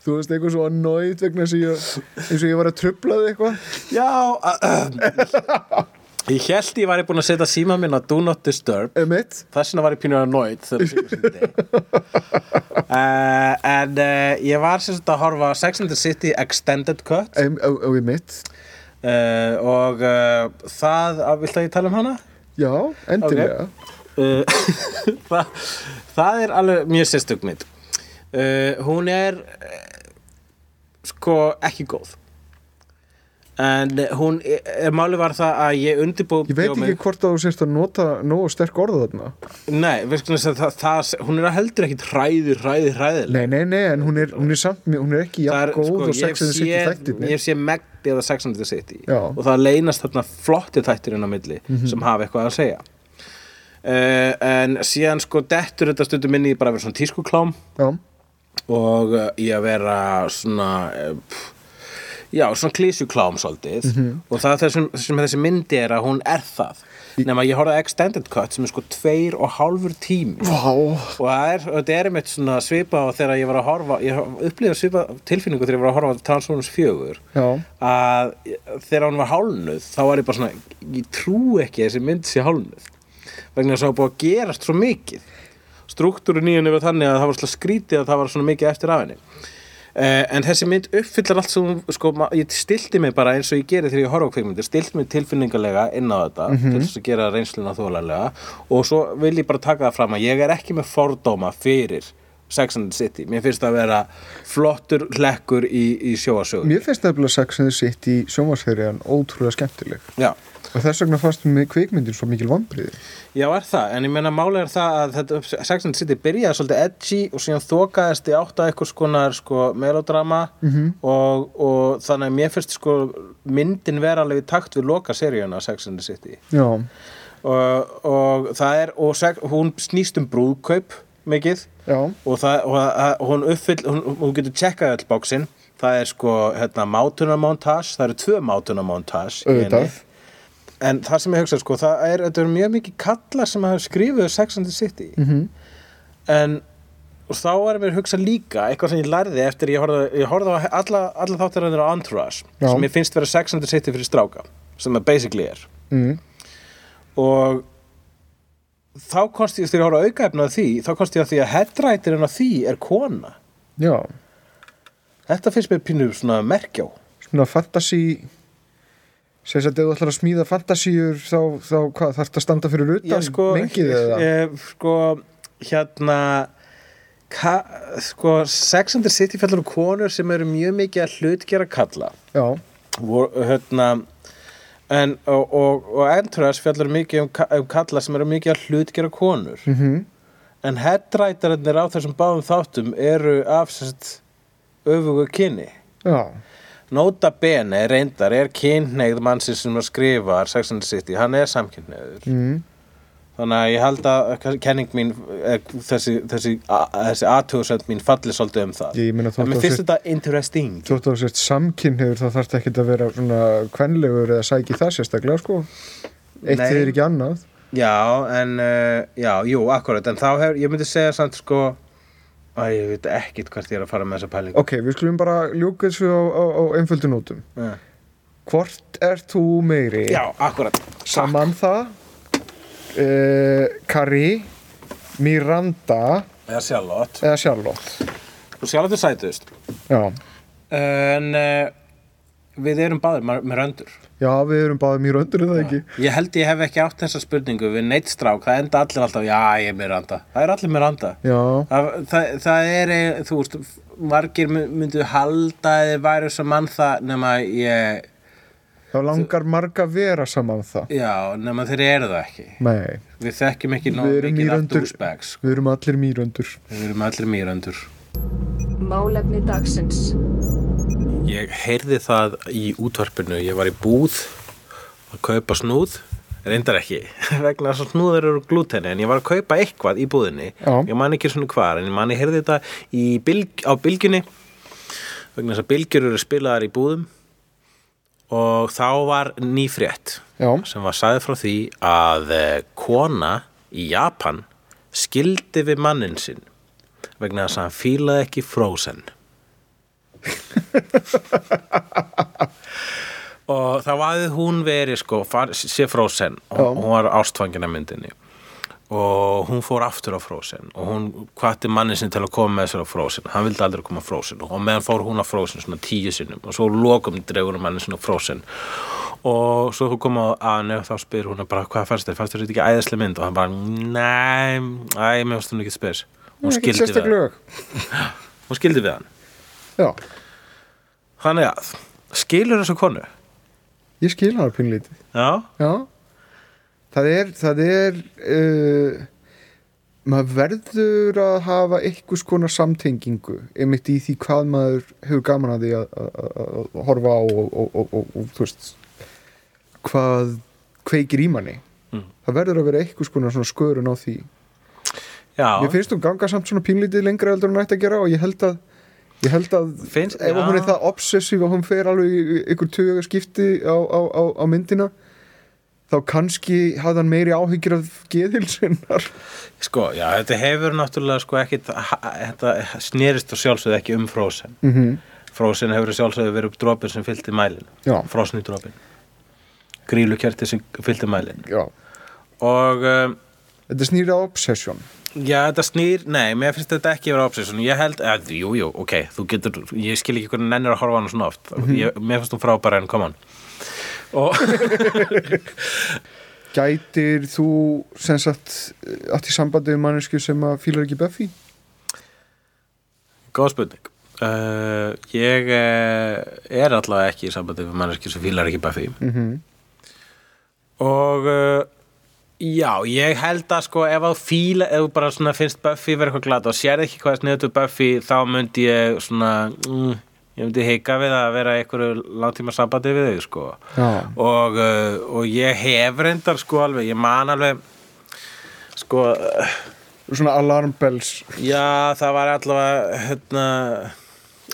þú veist eitthvað svo annoyed vegna þess að ég, eins og ég var að trubla þig eitthvað
Já Ég held ég væri búin að setja síma minn á Do Not Disturb
emitt,
Þess vegna var ég pínur að nóið uh, E, En uh, ég var sem sagt að horfa á Sex and the City Extended Cut
em, ó, ó, emitt
uh, Og uh, það, að- viltu að ég tala um hana?
já, endilega
Uh, [laughs] það, það er alveg mjög sérstök mynd Eh, uh, hún er uh, sko ekki góð en hún, eh, máli var það að ég undirbúið
Ég veit ekki hvort að þú sérst að nota nógu sterk orða þarna
Nei, við skulum segja það, það, hún er heldur ekkit hræði, hræði, hræðileg
Nei, nei, nei, en hún er, hún er samt mjög, hún er ekki
Það
jafn
er,
góð
sko,
og
ég
sex eða sitt í
sé-
þættinni
Ég sé Megdi eða Sex and the City
Já. Mhm.
og það leynast þarna flotti þættirinn á milli sem hafa eitthvað að segja uh, en síðan sko dettur þetta stundum inn í bara að vera svona tískuklám
Já,
og uh, í að vera svona eh, pff, já, svona klísuklám svolítið og það er það sem, sem þessi myndi er að hún er það nema ég horfði að extended cut sem er sko tveir og hálfur tími
vá
og það er, þetta er einmitt svona svipa á þegar ég var að horfa, ég upplifa svipa tilfinningu þegar ég var að horfa á Transformers 4
Já.
að þegar hún var hálnuð þá var ég bara svona, ég trú ekki að þessi mynd sé hálnuð vegna þess að það var búið að gerast svo mikið struktúrin í henni var þannig að það var svona skrítið að það var svona mikið eftir af henni Uh, en þessi mynd uppfyllar allt sem hún- sko, ma- ég stilti mig bara eins og ég geri þegar ég horfa á kveikmyndir, stilti mig tilfinningalega inn á þetta, til þess að gera reynsluna þólanlega og svo vil ég bara taka það fram að ég er ekki með fordóma fyrir Sex and the City, mér finnst það að vera flottur hlekkur í, í sjóasögur
Mér finnst nefnilega sex eða sitt í sjónvarsherjan ótrúlega skemmtileg
Já,
og þess vegna fannst mér kvikmyndin svo mikil vambriði
já er það, en ég meina máli er það að þetta, Sex and the City byrjaði svolítið edgy og síðan þokaðist í átt að eitthvað skonar sko, melodrama -hmm. og, og þannig að mér finnst sko, myndin vera alveg í takt við loka seríuna Sex and the City
Já,
og, og það er og seg, hún snýst um brúðkaup mikið
já,
og, það, og að, hún uppfyll hún, hún getur tjekkað all bóksin það er sko hérna, mátunarmontage það eru tvö mátunarmontage í henni.
auðvitað
en það sem ég hugsa sko það er, þetta er mjög mikið kallar sem hafa skrifuð Sex and the City
Mhm.
en og þá er mér að hugsa líka eitthvað sem ég lærði eftir ég horfði, ég horfði á alla, alla þáttaröndir á Entourage
Já.
sem ég finnst vera Sex and the City fyrir stráka sem það basically er
mm.
og þá komst ég þegar ég horfði á aukaefna af því þá komst ég að því að headwriterinn af því er kona
Já,
þetta finnst mér pínu svona merkjá
svona fantasy sem sagt, ef þú ætlar að smíða fantasíur þá, þá hvað, þarf að standa fyrir utan mengið eða
sko, ég, sko hérna ka, sko Sex and the City fjallar um konur sem eru mjög mikið að hlutgera kalla
Já,
vor, hérna en, og, og, og Entourage fjallar mikið um, ka- um kalla sem eru mikið að hlutgera konur
mm
en headwriterarnir á þessum báðum þáttum eru af sérst öfugu kyni
já,
Nota bene reyndar er kynneigð mannsins sem að skrifa Sex and the City, hann er samkynneigður
mm.
þannig að ég held að kenning mín, eh, þessi, þessi, a- þessi aðtjóðsönd mín falli svolítið um það
Ég- ég meina þótt
en mér
að
finnst
sér-
þetta interesting
Þú ætti að þú sért samkynniður þá þarf ekki að vera svona kvenlegur eða sæki það sérstaklega sko Eitt
Nei.
þýðir ekki annað
Já, en uh, já, jú, akkurat en þá hefur, ég myndi segja samt sko að ég veit ekkit hvert ég er að fara með þessa pælingu
Ok, við skulum bara ljúka þessu á, á, á einföldun útum
Já.
Hvort ert þú meiri?
Já, akkurat
Samantha uh, Carrie Miranda
Eða sjálfot
eða Charlotte
Þú sjálfot er sætust
Já,
En uh, við erum báðir mar- með röndur
Já við erum báðum í röndur en það ekki
Ég held ég hef ekki átt þessa spurningu við neitt strák, það enda allir alltaf já, ég er Miranda, það er allir Miranda
Já,
það, það, það er, eh, þú veist margir my- myndu halda eða væri svo mann það nema ég,
þá langar marga að vera Samantha
já, nema þeir eru það ekki
Nei,
við þekkjum ekki nóg
Við erum
mikið af
Mirandur.
douchebags sko.
við erum allir mýröndur
við erum allir Mirandur
Málefni dagsins.
Ég heyrði það í útvarpinu, ég var í búð að kaupa snúð, reyndar ekki, [laughs] vegna þess að snúður eru úr glúteni, en ég var að kaupa eitthvað í búðinni,
Já.
ég man ekki svona hvar, en ég man ég heyrði þetta í bylg, á bylgjunni, vegna þess að bylgjur eru spilaðar í búðum og þá var ný frétt
Já.
sem var sagði frá því að eh, kona í Japan skildi við mannin sinn vegna þess að hann fílaði ekki Frozen. og þá hafði hún verið sko, far, sé Frozen
Já.
og hún var ástfangin af myndinni og hún fór aftur á Frozen og hún kvatti mannin sinn til að koma með sér á Frozen hann vildi aldrei koma á Frozen og meðan fór hún á Frozen svona tíu sinnum og svo lokum dregur hún mannin sinn á Frozen og svo þú kom á Anu og þá spyr hún bara hvað fannst þér, fannst þér þetta ekki æðislega mynd og hann bara, nei, æ, mér fannst hún ekki spes hún
Ekkert
skildi við hann
sérstaklega.
hún skildi við hann
Já,
Þannig að, skilur þessu konu
ég skil hana pínlítið
Já,
Já Það er, það er uh, maður verður að hafa einhvers konar samtengingu einmitt í því hvað maður hefur gaman að því að, að, að, að horfa á og, og, og, og, og þú veist hvað kveikir í manni
Mm.
það verður að vera einhvers konar svona skörun á því
já,
mér finnst hún ganga samt svona pínlítið lengra heldur en hún ætti að gera og ég held að ég held að
Finnst-
ef hún
já.
er það obsessív og hún fer alveg í- í- ykkur tuga skipti á, á, á, á myndina þá kannski hafði hann meiri áhyggjur af geðhilsinnar
sko, já, þetta hefur náttúrulega sko ekkit, ha- þetta snerist og sjálfsögð ekki um frósen
mm -hmm.
frósen hefur sjálfsögð verið upp dropin sem fyllti mælin
já,
frósni dropin grílukerti sem fyllti mælin
já
og um,
þetta snýra obsession
Já, þetta snýr, nei, mér finnst þetta ekki vera obsession, ég held, að, jú, jú, ok þú getur, ég skil ekki hvernig nennir að horfa á hana svona oft, ég, mér finnst hún frábæra en koma hann og
gætir þú sem sagt allt í sambandi við mannesku sem að fílar ekki Buffy
góð spurning uh, ég uh, er allavega ekki í sambandi við manneski sem fílar ekki Buffy
mm -hmm.
og uh, já, ég held að sko ef að fíla, ef þú bara svona finnst Buffy verið eitthvað glata og sérð ekki hvað er sniðutu Buffy þá myndi ég svona mm, ég myndi heika við að vera í einhverju langtíma sambandi við þau sko
já,
og, uh, og ég hef reyndar sko alveg, ég man alveg sko uh,
svona alarm bells
já það var allavega hérna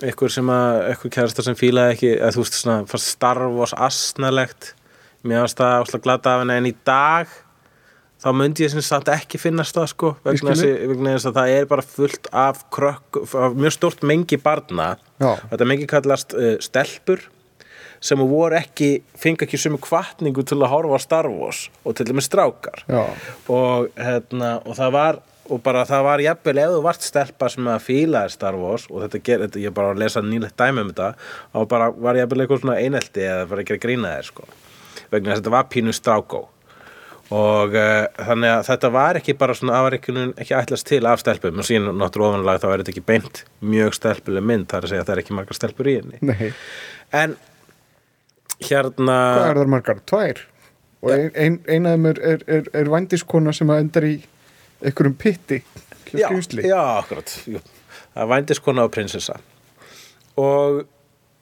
einhver sem að, einhver kærasta sem fílaði ekki að þú veist svona, fannst Star Wars asnalegt, mér varst það ásla glata af henni en í dag þá myndi ég sem sagt ekki finnast það sko vegna
Ég skil
þess, vegna þess að það er bara fullt af krökk, af mjög stort mengi barna
já,
þetta mengi kallast uh, stelpur sem voru ekki, fengi ekki sumu kvatningu til að horfa á Star Wars og til dæmis strákar
já,
og, hérna, og það var og bara það var jafnvel ef þú vart stelpa sem að fílaði Star Wars og þetta ger, þetta, ég er bara að lesa nýlegt dæmi um þetta og bara var jafnvel eitthvað svona einelti eða bara ekki að grína þér sko vegna þess að þetta var pínu strákó og uh, þannig að þetta var ekki bara svona afreikunum ekki ætlast til af stelpum og síðan náttúrulega ofanlega þá er þetta ekki beint mjög stelpuleg mynd þar að segja að það er ekki margar stelpur í henni
nei
en hérna
hvað er þar margar? Tvær og ein, ein, eina af þeim er, er, er, er vandiskona sem að endar í einhverjum pitti hjá
já,
skrýmsli.
já, akkurat jú. það er vændiskona og prinsessa og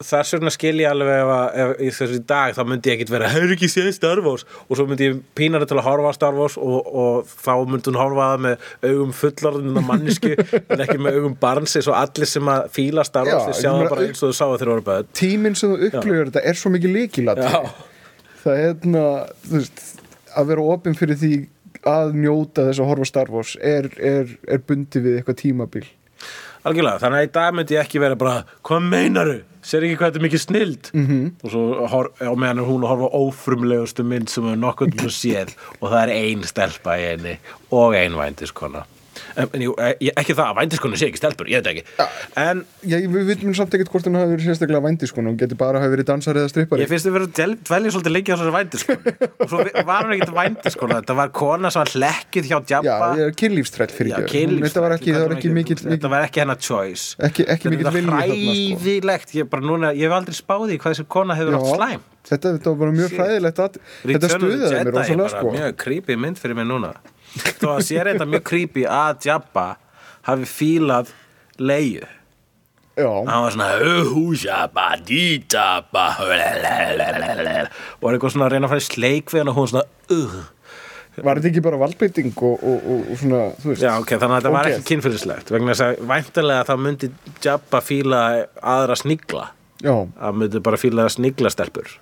þess vegna skil ég alveg ef, að- ef í þessu dag þá myndi ég ekkit vera hefur ekki séð Star Wars og svo myndi ég pína hana til að horfa á Star Wars og, og þá myndi hún horfa á það með augum fullorðin og mannisku en ekki með augum barns eins og allir sem að fíla Star Wars
Já,
þeir
ég
sjá það
meina-
bara eins og þau sáu þegar þau voru bæðið
tíminn sem þú upplifur þetta er svo mikið líkilat
Já,
það er þarna, þú veist, að vera opinn fyrir því að njóta þess að horfa á Star Wars er, er, er bundi við eitthvað tímabil
algjörlega, þannig að í dag myndi ég ekki vera bara hvað meinaru, sér ekki hvað þetta er mikið snild
Mhm.
-hmm. og svo hor, á meðan er hún að horfa á ófrumlegustu mynd sem hefur nokkuð til séð og það er ein stelpa í henni og ein vændiskona en, en jú, e- ég- ekki það að vændiskona sé ekki stelpur, ég veit ekki en
Já, ég- við vitum samt ekkert hvort hann hafi verið sérstaklega vændi sko, hún geti bara hafi verið dansar eða strippari
ég finnst þið verið að del- dvelja svolítið lengi á þessari vændiskona og svo vi- var hún ekkert vændiskona þetta var kona sem var hlekkið hjá
Já,
Jabba
ég er kynlífstræll fyrir
Já,
ekki
kynlífsrækli,
Þetta var ekki,
hvað
það var
hún
ekki
heitir?
mikill
Þetta var ekki hennar choice
Ekki- ekki mikill
Þetta er
vilji þarna, sko.
Hræðilegt, ég, bara núna, ég hef aldrei spáði hvað þessi kona hefur átt
Já,
slæm
þetta, þetta var bara mjög
Shit.
hræðilegt að, Þetta
Return of the
stuðaði
Jedi
mér rosalega
er bara
sko
mjög creepy mynd fyrir mig núna Þó að sér þetta mjög creepy að Jabba hafi fílað leiðu
Já,
Hann var svona Uhu Jabba, di Jabba lalalalalala. Og er eitthvað svona að reyna að fara í sleik við hann og hún svona uh.
var þetta ekki bara valdbytting og, og, og, og svona, þú veist
Já, ok, þannig að þetta var
ógeð?
ekki kynfylislegt vegna þess að væntanlega þá myndi Jabba fíla aðra snigla
Já,
að myndi bara fíla snigla stelpur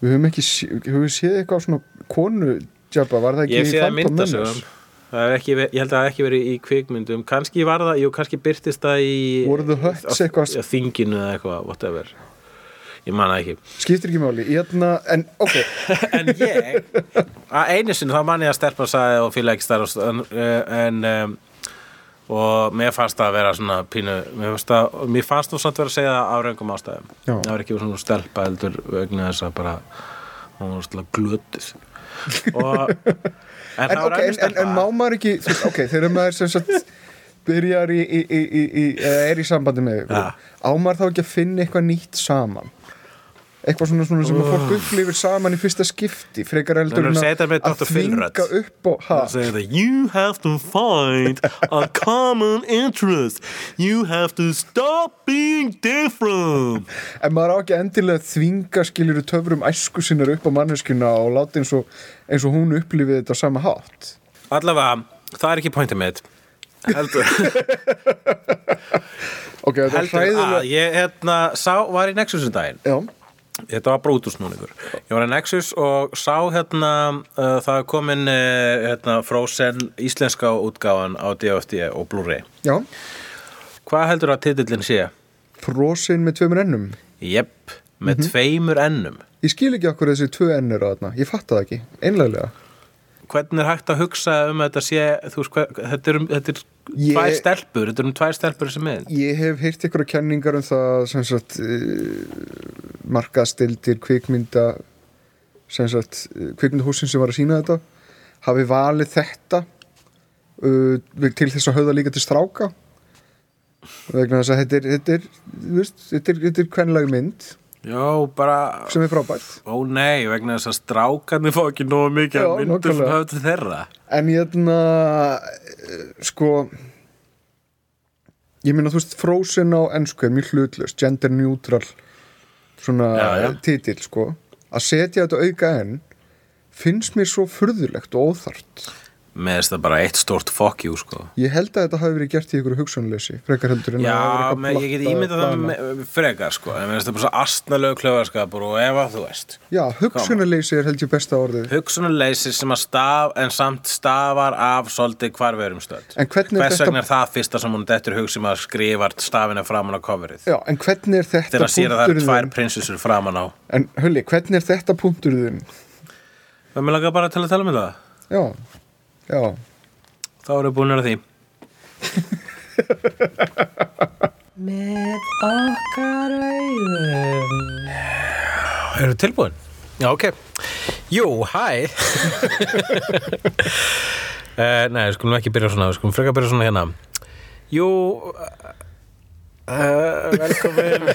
við höfum ekki, sé- höfum við séð eitthvað svona konu Jabba, var það ekki
ég sé það
Phantom
myndasögum
Menace?
Það hef ekki, ver- ég held að það hef ekki verið í kvikmyndum kannski var það, jú, kannski byrtist það í
Voru The Huts
á-
eitthvað-
á þinginu eða eitthvað, whatever ég man það ekki
Skiptir ekki máli, ég ætna, en ok,
[laughs] en ég, að einu sinni þá man ég að stelpa sagði og fíla ekki starf en, en um, og mér fannst það að vera svona pínu mér fannst það, og mér fannst þú samt vera að segja það af raungum ástæðum
Já.
það var ekki svona stelpa heldur vegna þess að bara hún var svona glötuð
[laughs]
og en,
en, ok, en, en, en má maður ekki, þú veist, ok, þegar maður sem sagt byrjar í, í, í, í, í eða er í sambandi með ykkur,
Ja.
á maður þá ekki að finna eitthvað nýtt saman eitthvað svona, svona sem að fólk upplifir saman í fyrsta skipti frekar
Þú
eldur
erum
en
að segja
að,
þetta með
að
Dr. Finnrödd.
þvinga upp og ha,
Það segir þetta You have to find a common interest You have to stop being different
en maður á ekki endilega að þvinga skiljuru töfrum æsku sinnar upp á manneskuna og láta eins og, eins og hún upplifið þetta á sama hátt
Allavega, það er ekki pointið mitt Heldur,
ok, þetta er
heldur að
hræðilega
ég hérna, sá, var í Nexus um daginn
já,
Þetta var brótusnúningur Ég var í Nexus og sá hérna uh, það er komin uh, hérna, Frozen íslenska útgáfan á DFD og Blu-ray
já,
Hvað heldur að titillin sé?
prosin með tveimur ennum
Jepp, með
Mhm.
tveimur ennum
ég skil ekki okkur þessi tvö ennur á þarna, ég fatta það ekki, einlega
hvernig er hægt að hugsa um að þetta sé þú veist, hver, þetta er, um, þetta er
Ég-
tvær stelpur, þetta er um tvær stelpur sem er
Ég hef heyrt ykkur kenningar um það sem sagt markaðstildir kvikmynda sem sagt eh, kvikmyndahúsin sem var að sína þetta hafi valið þetta uh, til þess að höfða líka til stráka vegna þess að þetta er þetta er, þú veist, þetta er, þetta er kvenlega mynd
já, bara,
sem er frábært
ó nei vegna þess að strákarnir fá ekki nógu mikið
Já,
að myndum
nákvæmlega.
sem höfðu til þeirra
En ég hérna sko ég meina þú veist Frozen á ennsku er mjög hlutlust, gender neutral svona
Já, já.
titill sko, að setja þetta auka enn finnst mér svo furðulegt og óþart.
með þess það bara eitt stórt fuck you sko
Ég held að þetta hafi verið gert í ykkur hugsunleysi, frekar heldur en að
já,
hafi verið
með, ég
eitthvað
get
plattað
ímyndað það
plana.
með, frekar sko en með þess það bara svo astnalög klöfarskapur og ef að þú veist
Já, hugsunleysi er held ég besta orðið.
hugsunarleysi sem að staf en samt stafar af svolítið hvar við erum stöld
En hvernig er
hvers
þetta-
vegna er það fyrsta sem hún dettur hug sem að skrifar stafina framan á coverið
Já, en hvernig er þetta
þegar að sér að það eru
punkturinn
tvær
þinn?
prinsessur framan á
En Hulli, hvernig er þetta punktur þinn?
Við mér langar bara til að tala um það
Já, já.
Þá erum við búin að því
[laughs] Með okkar auðum.
Erum við tilbúin?
Já, ok. Jú,
[laughs]
hæ.
Uh, nei, við skulum ekki byrja svona, við skulum frekar byrja svona hérna Jú uh, Velkomin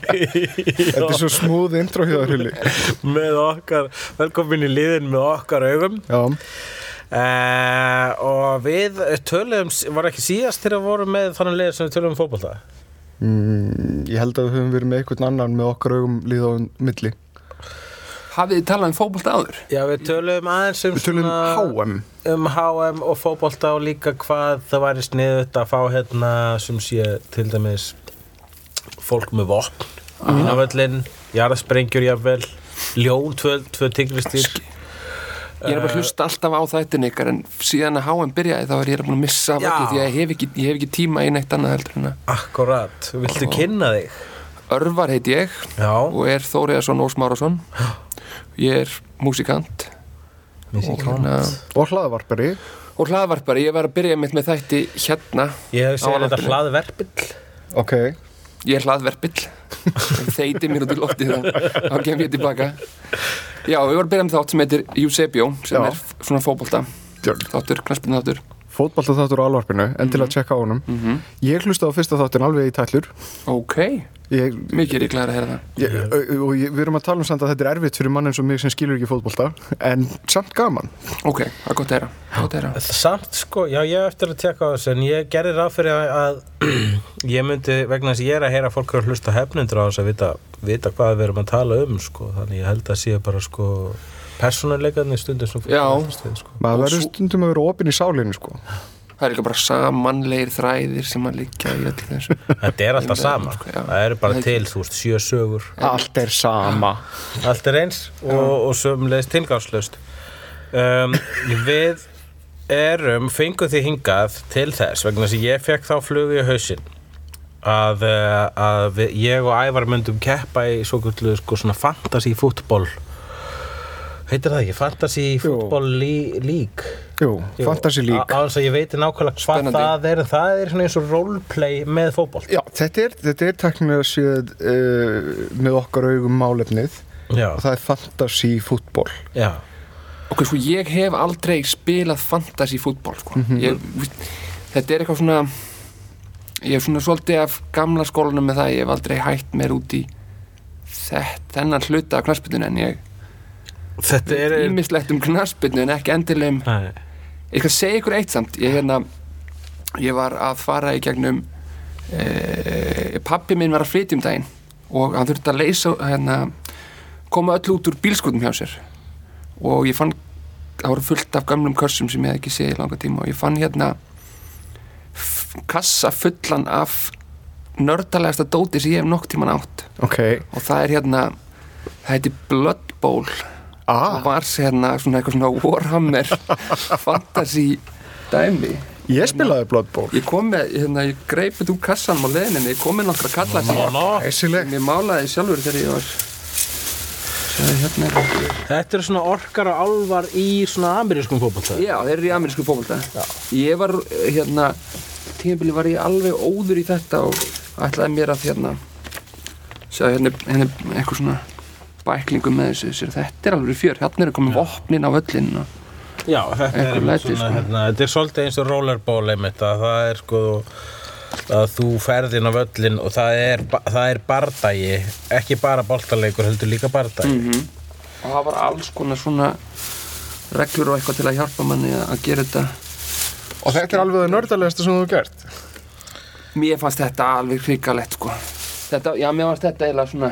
Þetta er svo smúð intro hjá þér, Hulli.
[laughs] með okkar Velkomin í liðin með okkar augum
Já.
uh, Og við tölum Var ekki síðast þegar við vorum með þannig lið sem við tölum um fótbolta
Mm, ég held að við höfum verið með einhvern annan með okkar augum líð á milli.
Hafið þið talað um fótbolta áður?
Já, við tölum aðeins um
Við tölum um HM.
um HM og fótbolta og líka hvað það væri sniðut að fá hérna sem sé til dæmis fólk með vopn innavöllin, jarðsprengjur jafnvel, ljón, tvö, tvö tigristýr
Ég er bara að hlusta alltaf á þættin ykkar en síðan að HM byrjaði þá er ég búin að missa af
Já.
öllu því að ég hef ekki, ég hef ekki tíma í neitt annað heldur en að
Akkurat, viltu kynna þig?
Örvar heit ég
Já,
og er Þóriðarsson Ós Márásson Ég er músikant og, hérna,
Og hlaðvarpari.
og hlaðvarpari, ég var að byrja mitt með þætti hérna
ég hef
Á
segið þetta
lappinu.
hlaðverpill
Ok.
Ég er hlaðverpill Þeiti mér út í loftið þá, þá kem ég tilbaka Já, við varum að byrja með þátt sem heitir Eusebio sem
Já.
er f- svona fótbolta þáttur, knaspinu þáttur
Fótballta þáttur á alvarpinu, endilega að tjekka á honum. Ég hlusta á fyrsta þáttin alveg í tællur.
Ok,
Ég,
mikið ríklega að heyra það
ég, og ég, við erum að tala um samt að þetta er erfitt fyrir mann eins og mig sem skilur ekki fótballta, en samt gaman.
Ok, það er gott að heyra, gott að heyra.
Samt sko, já ég hef eftir að tjekka á þessu en ég gerði ráð fyrir að að [clears throat] ég myndi, vegna þess að ég er að heyra fólk eru að hlusta hefnundur á þess að vita, vita hvað við erum að tala um sko, þannig ég held að sé bara sko persónuleikarnir stundum sem fólk
Já.
er að hlusta við, sko.
Maður verður stundum að vera opinn í sálinni, sko.
Það er líka bara samanleir þræðir sem að liggja í öllu þessu
Þetta er alltaf sama,
Sko, já.
það eru bara til þú veist, sjö sögur,
Allt er sama.
allt er eins og, og sömulegis tilgangslust um, Við erum, fengum því hingað til þess, vegna þess að ég fekk þá flugu í hausinn að, eh, að við, ég og Ævar myndum keppa í svo kvöldu sko, svona fantasy fútbol heitir það ekki, fantasy fútbol lík
Jú, fantasy lík.
Alls að ég veit nákvæmlega hvað
Spennandi.
það er það er svona eins og roleplay með fótbol
Já, þetta er, þetta er teknilega séð uh, með okkar augum málefnið
Já,
og það er fantasy fútból.
já,
[laughs] Ok, sko, ég hef aldrei spilað fantasy fútbol, sko ég, Þetta er eitthvað svona Ég er svona svolítið af gamla skólanum með það Ég hef aldrei hætt mér út í sett þennan hluta af knarsbyrnu en ég
Þetta er
ímislegt um knarsbyrnu en ekki um endilegum
Nei.
ég skal segja ykkur eitt samt ég, hérna, ég var að fara í gegnum e, pappi minn var að flytja um daginn og hann þurfti að leysa hérna, koma öll út úr bílskotum hjá sér og ég fann það voru fullt af gamlum körsum sem ég hef ekki séð í langa tíma og ég fann hérna f- kassa fullan af nördalegasta dóti sem ég hef nokk tíman átt
ok
og það er hérna það heiti Blood Bowl og
ah,
var hérna svona eitthvað svona Warhammer fantasy dæmi
Ég spilaði Blood Bowl
ég kom með, hérna, ég greipið úr kassanum á leðinni, ég kom með nokkra kalla sem
Nó,
Æsilegt
ég málaði sjálfur þegar ég var Sjáðu, hérna er-
Þetta er svona orkar og álvar í svona amerískum fótbolta
já, þeir eru í amerísku fólkvölda ég var, eh, hérna tímabili var ég alveg óður í þetta og ætlaði mér að hérna sjá, hérna, er- hérna er eitthvað svona bæklingum með þessu, sér, þetta er alveg fjör hérna eru komið vopnin á völlin og
Já, þetta er
Einhver
einmitt
læti,
svona,
sko.
hérna, þetta er svolítið eins og rollerball einmitt að það er sko að þú ferð inn á völlin og það er, ba- það er bardagi ekki bara boltaleikur heldur líka bardagi
Mm. og það var alls konar svona reglur og eitthvað til að hjálpa manni að að gera þetta
Og þetta er alveg það nördalegasta sem þú hefur gert
mér fannst þetta alveg hrikalegt sko þetta, já mér fannst þetta eiginlega svona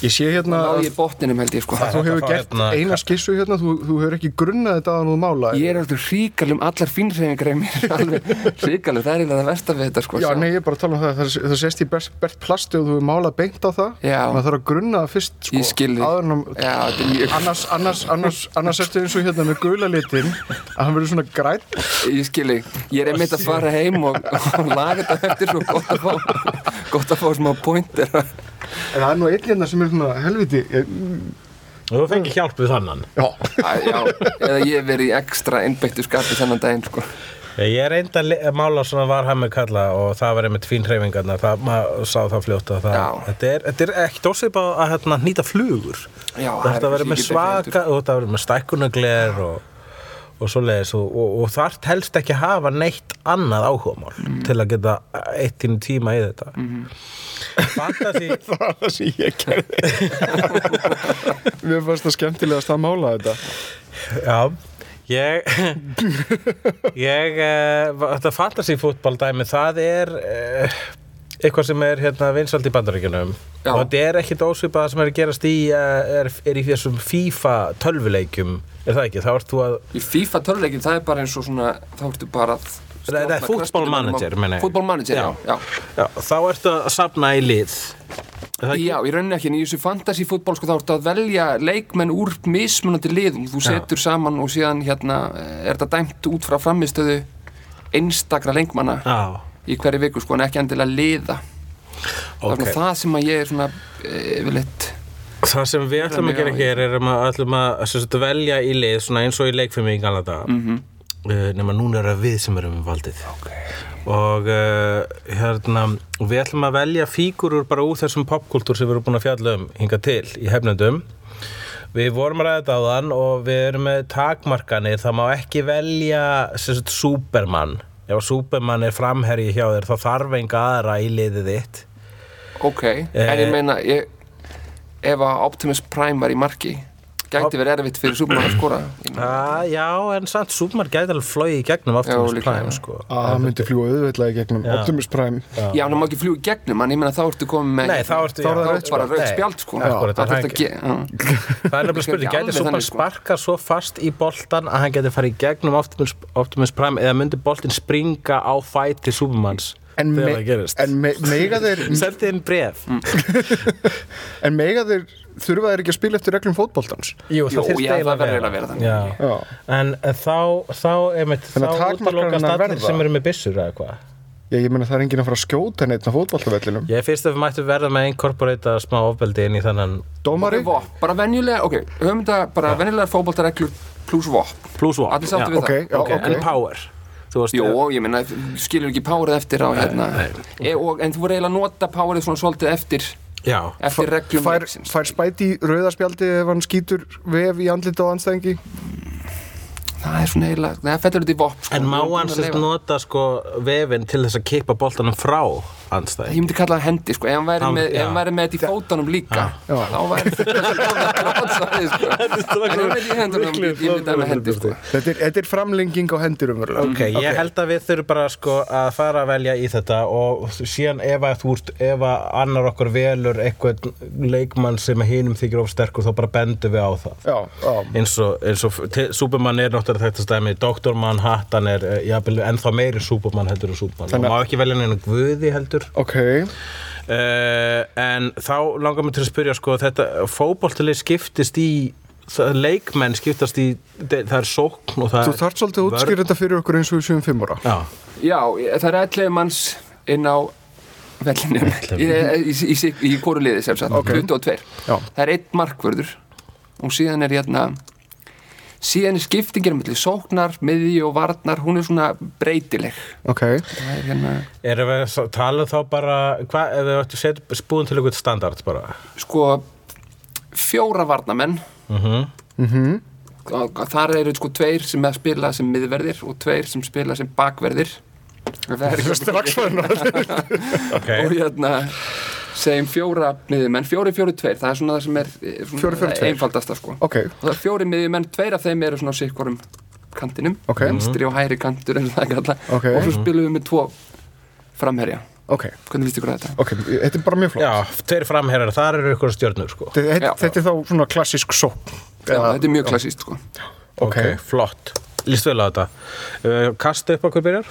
Ég sé hérna
ná
að
í botninum held ég sko
þú hefur
Þetta var
gert
hérna-
eina skissu hérna Þú, þú hefur ekki grunnað þetta að þú mála
ég er alltaf hrikaleg um allar fínræfingar í mér [laughs] alveg hrikaleg, það er eiginlega það versta við þetta sko
Já,
sjá.
nei, ég er bara að tala um það Það, það sést í bert, bert plasti og þú hefur málað beint á það
Já.
Maður þarf að grunna það fyrst sko,
Ég skil þig.
áður en að-
já, þetta er mjög
annars, annars, annars, annars ertu eins og hérna með gula litin að hann verður svona græn
[laughs] ég skil þig, ég er einmitt að fara heim og, og laga þetta eftir svo gott að fá gott að fá smá pointer
en það er nú einn hérna sem er svona helviti ég, [laughs]
og þú fengir hjálp við þannan
já,
Æ, já, eða ég hef verið í ekstra einbeittu skapi þennan daginn sko
Ég er reynd að li- að mála svona varhammi kalla og það var einmitt fín hreyfingarna það, maður sá það fljótt að það
Já.
þetta er, þetta er ekkert ósvip að að, hérna, nýta flugur
Já,
þú ætti að vera
ég
með
get ekki heldur.
svaka þú ætti að vera með stækkunagler og, og svo leiðis og, og, og þar helst ekki að hafa neitt annað áhugamál
Mm.
til að geta eitt tíma, tíma í þetta mm.
Mhm.
Fantasí
það var það sem ég gerði [laughs] mér fannst það skemmtilegast að mála þetta
Já, ég ég eh, va- þetta fantasy fútbol dæmi það er eh, eitthvað sem er hérna vinsald í bandaríkjunum
Já.
og þetta er ekkit ósvipað það sem er að gerast í eh, er, er í þessum FIFA tölvuleikjum er það ekki, þá ert þú að
Í FIFA töluleikin það er bara eins og svona þá ertu bara að
Nei, nei, football manager, meina ég.
Football manager, já, já.
já, þá ertu að safna í lið Er það
Já,
ekki?
ég raunin ekki, en í þessu fantasy fútbol sko, þá ertu að velja leikmenn úr mismunandi liðum, þú setur saman og síðan hérna er þetta dæmt út frá framistöðu einstakra leikmanna
Já,
í hverju viku, sko, en ekki endilega liða Það er
ok
svona það sem að ég er svona eh, yfirleitt
Það sem við ætlum að
Þannig,
gera
já,
hér er um að maður ætlum að sem sagt, velja í lið svona eins og í leikfimi í gamla daga mm -hmm. nema núna er það við sem erum með valdið okay. og uh, hérna og við ætlum að velja fígurur bara úr þessum popkultúr sem við erum búin að fjalla um hinga til í hefnendum Við vorum að ræða þetta á þann og við erum með takmarkanir, það má ekki velja sem sagt Superman ef Superman er framherji hjá þér þá þarf enga aðra í liðið þitt
ok, en ég meina ég, ef að Optimus Prime var í marki gæti verið erfitt fyrir Superman að skora
Ah, já, en samt Superman gæti alveg flóið í gegnum Optimus
líklega,
Prime,
já. Ah.
sko.
að hann myndi fljúa auðveitlega í gegnum Optimus Prime
Já, en það má ekki fljúi gegnum hann, ég meina þá ertu komið með
Nei, þá ertu... já,
Þá er það
bara
rautt
rauð
Nei,
spjald sko
akkúrat, það
Það er
er
þetta ekki
Það er nefnilega
Kannski
spurning,
ekki
gæti
alveg
Superman
þannig, sko.
sparkað svo fast í boltan að hann gæti farið í gegnum Optimus, Optimus Prime eða myndi boltin springa á fæti Supermans
en, me,
þegar það gerist?
en me, mega þeir
[laughs]
Mm.
Sendi inn bref.
en mega þeir þurfa þeir ekki að spila eftir reglum fótboltans
Jú,
Jú,
þyrfti
já, það
eiginlega
verður eiginlega að vera þannig.
Já.
já,
En eh, þá, þá, einmitt, þá
Þannig að takmarkanirnar
útilokast allir
verða.
sem eru með byssur eða hvað.
ég, ég meina það er enginn að fara að skjóta neitt á fótboltavellinum
Ég finnst að við mættum verða með að inkorporata smá ofbeldi inn í þannan
dómari,
Vop, bara venjulega, ok, höfum þetta bara venjulegar fótboltareglur pluss vop
plus one.
Allir sáttu við
ok, já,
það
ok.
En power. Þú veist,
Jú, og ég meina, skilur ekki párið eftir á hérna e, og, En þú voru eiginlega að nota párið svona svolítið eftir
Já,
eftir reglum
fær,
leiksins.
fær spæti rauðarspjaldi ef hann skýtur vef í andlita á anstæðingi
Það er svona eiginlega, það fellur þetta í vop sko.
En má
Við
hann
erum búin að
sérst
leyfa-
nota sko vefinn til þess að kippa boltanum frá
ég
andstæði
myndi kalla það hendi sko, ef hann væri
Hann-
með,
já.
ef hann væri með þetta í fótunum líka
Já.
þá væri [laughs] þetta
[laughs]
brotsvæði sko. en ef hann er í hendunum ég myndi það með hendi sko.
þetta, er, þetta er framlenging á hendur um umverulega
Ok, ég held að við þurfum bara sko að fara að velja í þetta og síðan ef að þú ert, ef að annar okkur velur eitthvað leikmann sem hinum þykir of sterkur þá bara bendum við á það
Já, já,
eins og, eins og te- Superman er náttúrulega þetta stæmi Doktormann, Hattan er eh, jafnvel ennþá meiri Superman heldur en Superman
Þannig
Þannig...
að-
og má ekki velja neina guði heldur
ok
uh, en þá langar mér til að spyrja sko þetta fótboltileg skiptist í það, leikmenn skiptast í de- það er sókn og það
Þú þarft svolítið að útskýra þetta fyrir okkur eins og við séum fimm ára
Já,
já, ég- það er 11 manns inn á vellinum í, í, í, í, í hvoru liði sem sagt,
Ok.
22
Já,
það er einn markvörður og síðan er hérna síðan er skiptingir mellir sóknar, miði og varnar hún er svona breytileg
ok
það er hérna,
erum við að tala þá bara hvað, ef við ættum set, spúin til eitthvað standard bara
sko fjóra varnamenn
mm
Mhm.
og þar eru sko tveir sem að spila sem miðverðir og tveir sem spila sem bakverðir það er sko-
Strax farin að
og
ok,
hérna segjum fjóra miðjumenn, fjóri, fjóri, tveir það er svona það sem er eh, svona
Fjórir, fjórir, tveir.
einfaldasta sko
Ok,
og það er fjóri miðjumenn, tveir af þeim eru svona á sikkorum kantinum,
Ok.
venstri og hæri kantur eins og það kalla,
Ok.
og svo spilum við með tvo framherja,
ok,
hvernig líst ykkur að þetta?
ok Þetta er bara mjög
[laughs]
flott
já, tveir framherjar þar eru ykkur stjörnur sko
Þetta, þetta,
Já.
þetta er þá svona klassísk sókn
Já, þetta er mjög klassíst sko
Ok, flott Lýst vel á þetta uh, Kasta upp okkur byrjar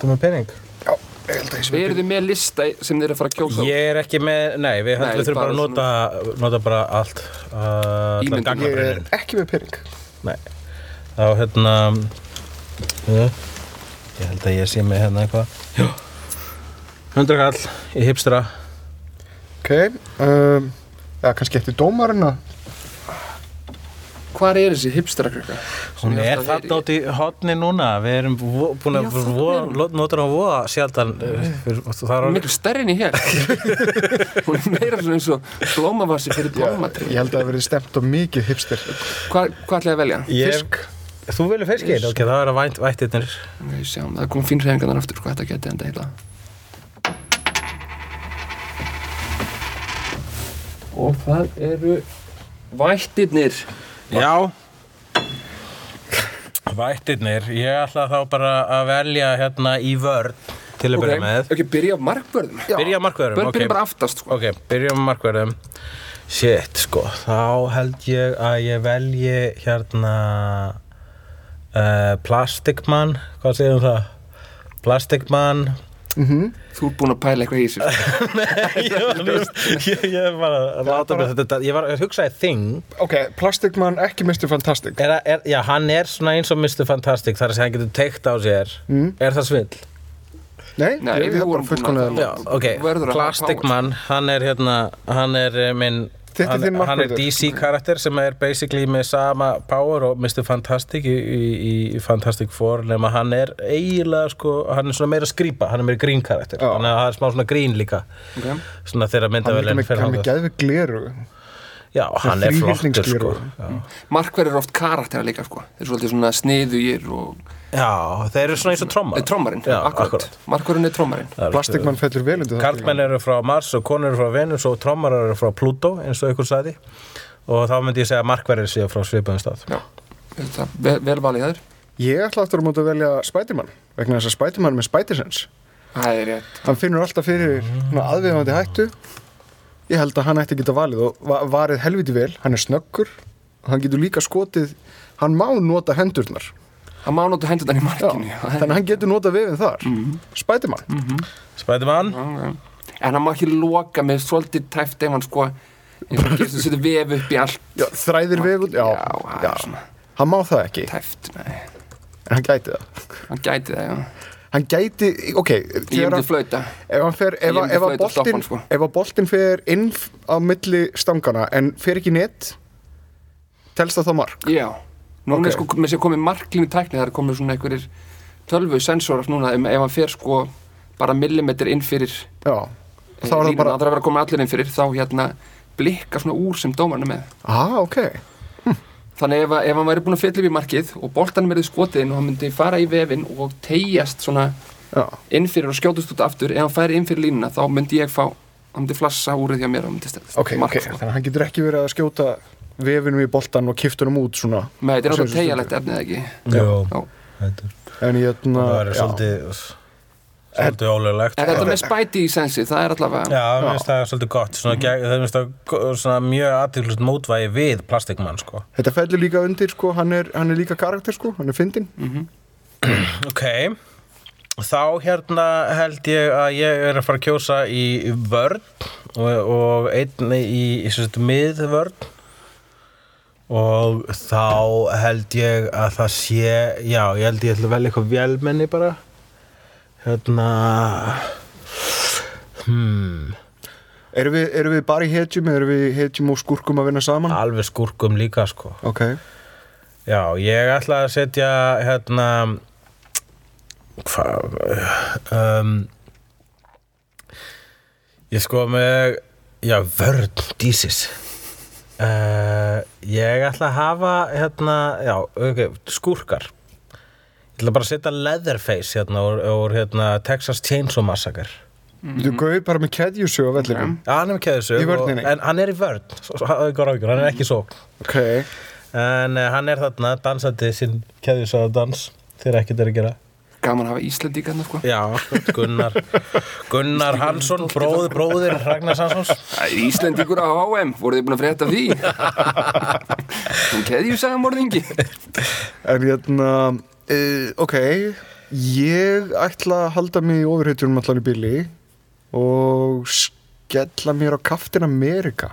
Þú með pening?
Já, ég held að ég sé
Við erum með lista sem þeir eru að fara að kjósa um. á.
Ég er ekki með, nei, við höllum
Nei,
við þurfum bara að
bara
nota, nota bara allt uh,
Ímyndum.
Ég er
gangabrennin
ekki með pening
Nei, þá hérna uh, Ég held að ég sé með hérna eitthvað Já 100 kall í hipstera
Ok, um, eða kannski eftir dómarina
Hvar er þessi hipsterakrökka?
Hún er þarna út í hotni núna Við erum vo- búin að vo- nota hún að voða sjaldan uh, fyrir- Það er
Miklu stærri en ég
[laughs]
hér Hún er meira svona eins og blómavassi fyrir blómatri
Ég held að það verið stemt og mikið hipster
Hvað hva ætla ég að velja?
Ég-
Fisk
Þú vilja fiskir? Ok, það er að vænt, vættirnir
Ég sjáum, það kom fín reyfingarnar aftur hvað þetta geti enda heila Og það eru vættirnir
Já Vættirnir, ég ætla þá bara að velja hérna í vörn til að byrja með
ok, byrja á markvörðum
Byrja á markvörðum,
Börn
ok.
byrja bara aftast sko.
Ok, byrjum með markverðum Shit, sko, þá held ég að ég velji hérna uh, Plastikmann, hvað segir um það? Plastikmann
Þú ert búin að pæla eitthvað í þessu sko.
[laughs] Ég var víst- [laughs] ég- ég var að láta mig þetta Ég var að hugsa í þing
Ok, Plastikmann ekki Mr. Fantastic
er, að- er, Já, hann er svona eins og Mr. Fantastic þar að segja hann getur teikt á sér Er það svill?
Nei,
Nei,
ég-
við
þetta er
vorum
bara fullkomlega-
búin
Já, ok,
Þú verður að hafa
Plastic
power.
Man, hann er hérna, hann er eh, minn,
Þetta er
hann,
þinn
hann er
markvörður.
DC karakter sem er basically með sama power og Mr. Fantastic í, í, í Fantastic Four, nema hann er eiginlega sko, hann er svona meira skrýpa, hann er meira grín karakter,
Já.
þannig að það er smá svona grín líka,
Ok.
svona þegar
Hann er ekki
myndavelin
með- hann er með geðvig gleru
Já, hann er flottur
þríhyrningsgleru.
sko. Já.
Markverðir eru oft karakterar líka sko. Þeir eru svolítið svona sniðugir og
Já, þeir eru svona eins og trommar.
Nei, trommarinn,
Já,
akkurat
akkurat.
Markverðin er trommarinn
Það er-
Plastikmann fellur vel undir það
Karlmenn eru frá Mars og konur eru frá Venus og trommarar eru frá Pluto eins og ykkur sagði og þá myndi ég segja að markverðir séu frá svipaðum stað
Já, þetta, vel, vel valið þær
Ég ætla aftur á móti að velja Spiderman vegna þess að Spiderman er með Spidersense
Það er rétt
Hann finnur alltaf fyrir mm. aðviðandi hættu Ég held að hann ætti að geta valið og va- varið helviti vel, hann er snöggur hann getur líka skotið hann má nota hendurnar
Hann má nota hendur þannig í
Já,
markinu
þannig að hann getur nota vefin þar mm.
Mhm.
Spiderman
Spiderman,
hann... En hann má ekki loka með svolítið tæft ef hann sko eins og gerist að setja vef upp í allt
já, þræðir vefun já,
Já, það er
já.
svona
hann má það ekki
tæft Nei,
en hann gæti það
hann gæti það, já
hann gæti, ok
Ég
þegar
myndi
hann-
flauta
ef hann fer, ef,
Ég
ef,
myndi
að
flauta og stoppa
boltinn-
hann, sko.
ef að boltin fer inn f- á milli stangana en fer ekki í net telst það þá mark
Já Núna
Ok.
er sko með sér komið marklínu tækni Það er komið svona einhverjir tölvu sensorar núna ef, ef hann fer sko bara millimetr inn fyrir eh,
já, þá er það bara
Það er að vera komið allir inn fyrir þá hérna blikka svona úr sem dómarna með
ah, ok,
Þannig ef, að- ef hann væri búin að fylla upp í markið og boltanum verið skotið inn og hann myndi fara í vefinn og tegjast svona
já,
inn fyrir og skjótust út aftur ef hann færi inn fyrir línuna þá myndi ég fá hann myndi flassa úrið hjá mér og myndi sko. stelast
ok, ok þannig að hann getur ekki verið að skjóta vefinum í boltan og kiftunum út svona
með þetta er
Sjálfsagt
alltaf tegjalegt efnið ekki
Jú,
Já.
þetta er-
en hérna,
það er
já.
svolítið svolítið ólöglegt
en þetta með spæti í sensi, það er allavega
Já, mér finnst það svolítið gott
Mhm.
svona, gegn, það finnst það go- svona mjög aðtíklust mótvægi við plastikmann sko.
þetta fellur líka undir sko, hann er, hann er líka karakter sko, hann er fyndin
Ok Þá hérna held ég að ég er að fara að kjósa í vörn og, og einn í, í sérst, miðvörn og þá held ég að það sé já, ég held ég ætla að velja eitthvað vélmenni bara hérna hmm
erum við, erum við bara í hetjum eða erum við hetjum og skurkum að vinna saman
alveg skúrkum líka sko
ok,
Já, ég ætla að setja hérna hvað um, ég sko með já, vörn dísis uh, ég ætla að hafa hérna, já, ok, skúrkar ég ætla bara að setja Leatherface hérna úr, úr hérna, Texas Chainsaw Massacre
Mhm.
þú gauði bara með keðjusjó á vellinum
Já, hann er með
Í
keðisug
vörninni?
en hann er í vörn, svo, svo, hafðu ykkur áhyggjur, hann er ekki sókn
ok,
En uh, hann er þarna dansandi sinn keðjusaða dans þegar ekkert er að gera.
gaman að hafa Íslandíkarna sko
Já, Gunnar, Gunnar Hansson, bróð, bróðir Ragnars Hanssons.
Æ, Íslandíkur á HM, voruð þið búin að frétta af því
[laughs]
hún keði ju sagði morðingi
en hérna uh, ok ég ætla að halda mig í ofurhetjunum allan í bíli og skella mér á Captain America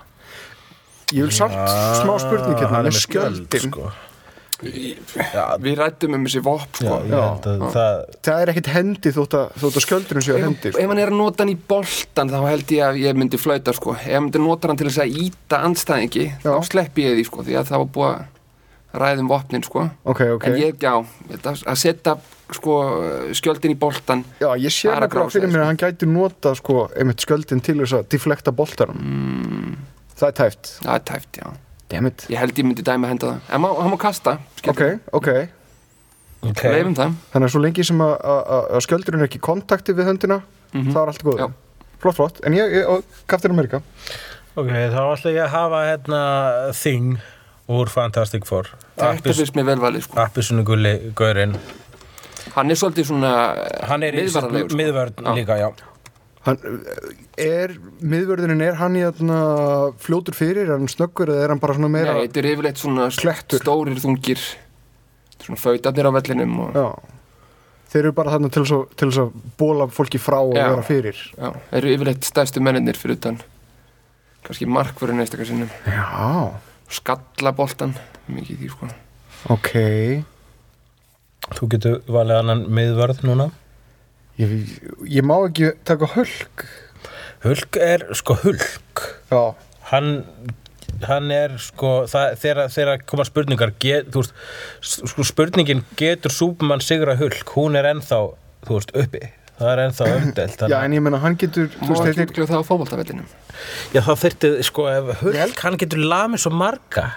ég vil samt smá spurning hérna
hann er
með skjöldin
sko.
við rættum um þessi vopn
Já,
sko
ég held að það,
það er ekkit hendi þótt að, þótt að skjöldurinn séu hendi sko.
ef ef hann er að nota hann í boltan þá held ég að ég myndi flauta sko ef hann myndi nota hann til þess að íta andstæðingi
Já.
þá sleppi ég því sko því að það var búið að ræðum vopnin sko
ok, ok
en ég, já, þetta- að setja sko skjöldin í boltan
Já, ég sé
Bara
nefnilega
grása,
fyrir mér
sko.
að hann gæti nota sko, einmitt skjöldin til þess að deflekta boltarum
Mm.
Það er tæft
það er tæft, já,
Dammit
ég held ég myndi dæmi að henda það en má- hann má kasta,
Ok, ok
ok,
leifum það
Þannig að svo lengi sem að- að að- að skjöldurinn er ekki í kontakti við höndina Það er allt góð
Mhm. Já.
Flott, flott En ég, ég og Captain America
ok, þá ætla ég að hafa hérna Thing úr Fantastic Four.
þetta
Appis-
finnst mér vel valið sko
Appelsinu gulli gaurinn.
hann er svolítið svona
Hann er í
miðvarðarlegur, sko.
miðvörn
Já.
líka, já.
hann, Er, miðvörðurinn er hann í þarna fljótur fyrir, er hann snöggur eða er hann bara svona meira
Nei, þetta er yfirleitt svona
Klettur.
stórir þungir svona fautarnir á vellinum og,
Já Þeir eru bara þarna til þess að- til þess að bóla fólki frá og
Já.
vera fyrir
Já, eru yfirleitt stærstu menninir fyrir utan kannski markvörun einstakar sinnum
Já,
skallaboltan, mikið í því sko
ok
Þú getur valið annan miðvörð núna.
Ég, ég má ekki taka hölk
Hulk er, sko, Hulk.
Já,
hann hann er sko það, þegar, þegar koma spurningar get, þú veist, s- sko, spurningin getur Superman sigra hulk, hún er ennþá þú veist, uppi, það er ennþá umdelt
já en
þannig,
ég menna hann getur þú veist,
Má ekki
þetta er,
útglega það á fótboltavellinum
já þá þyrfti sko ef hulk,
Vel-
hann getur lamið svo marga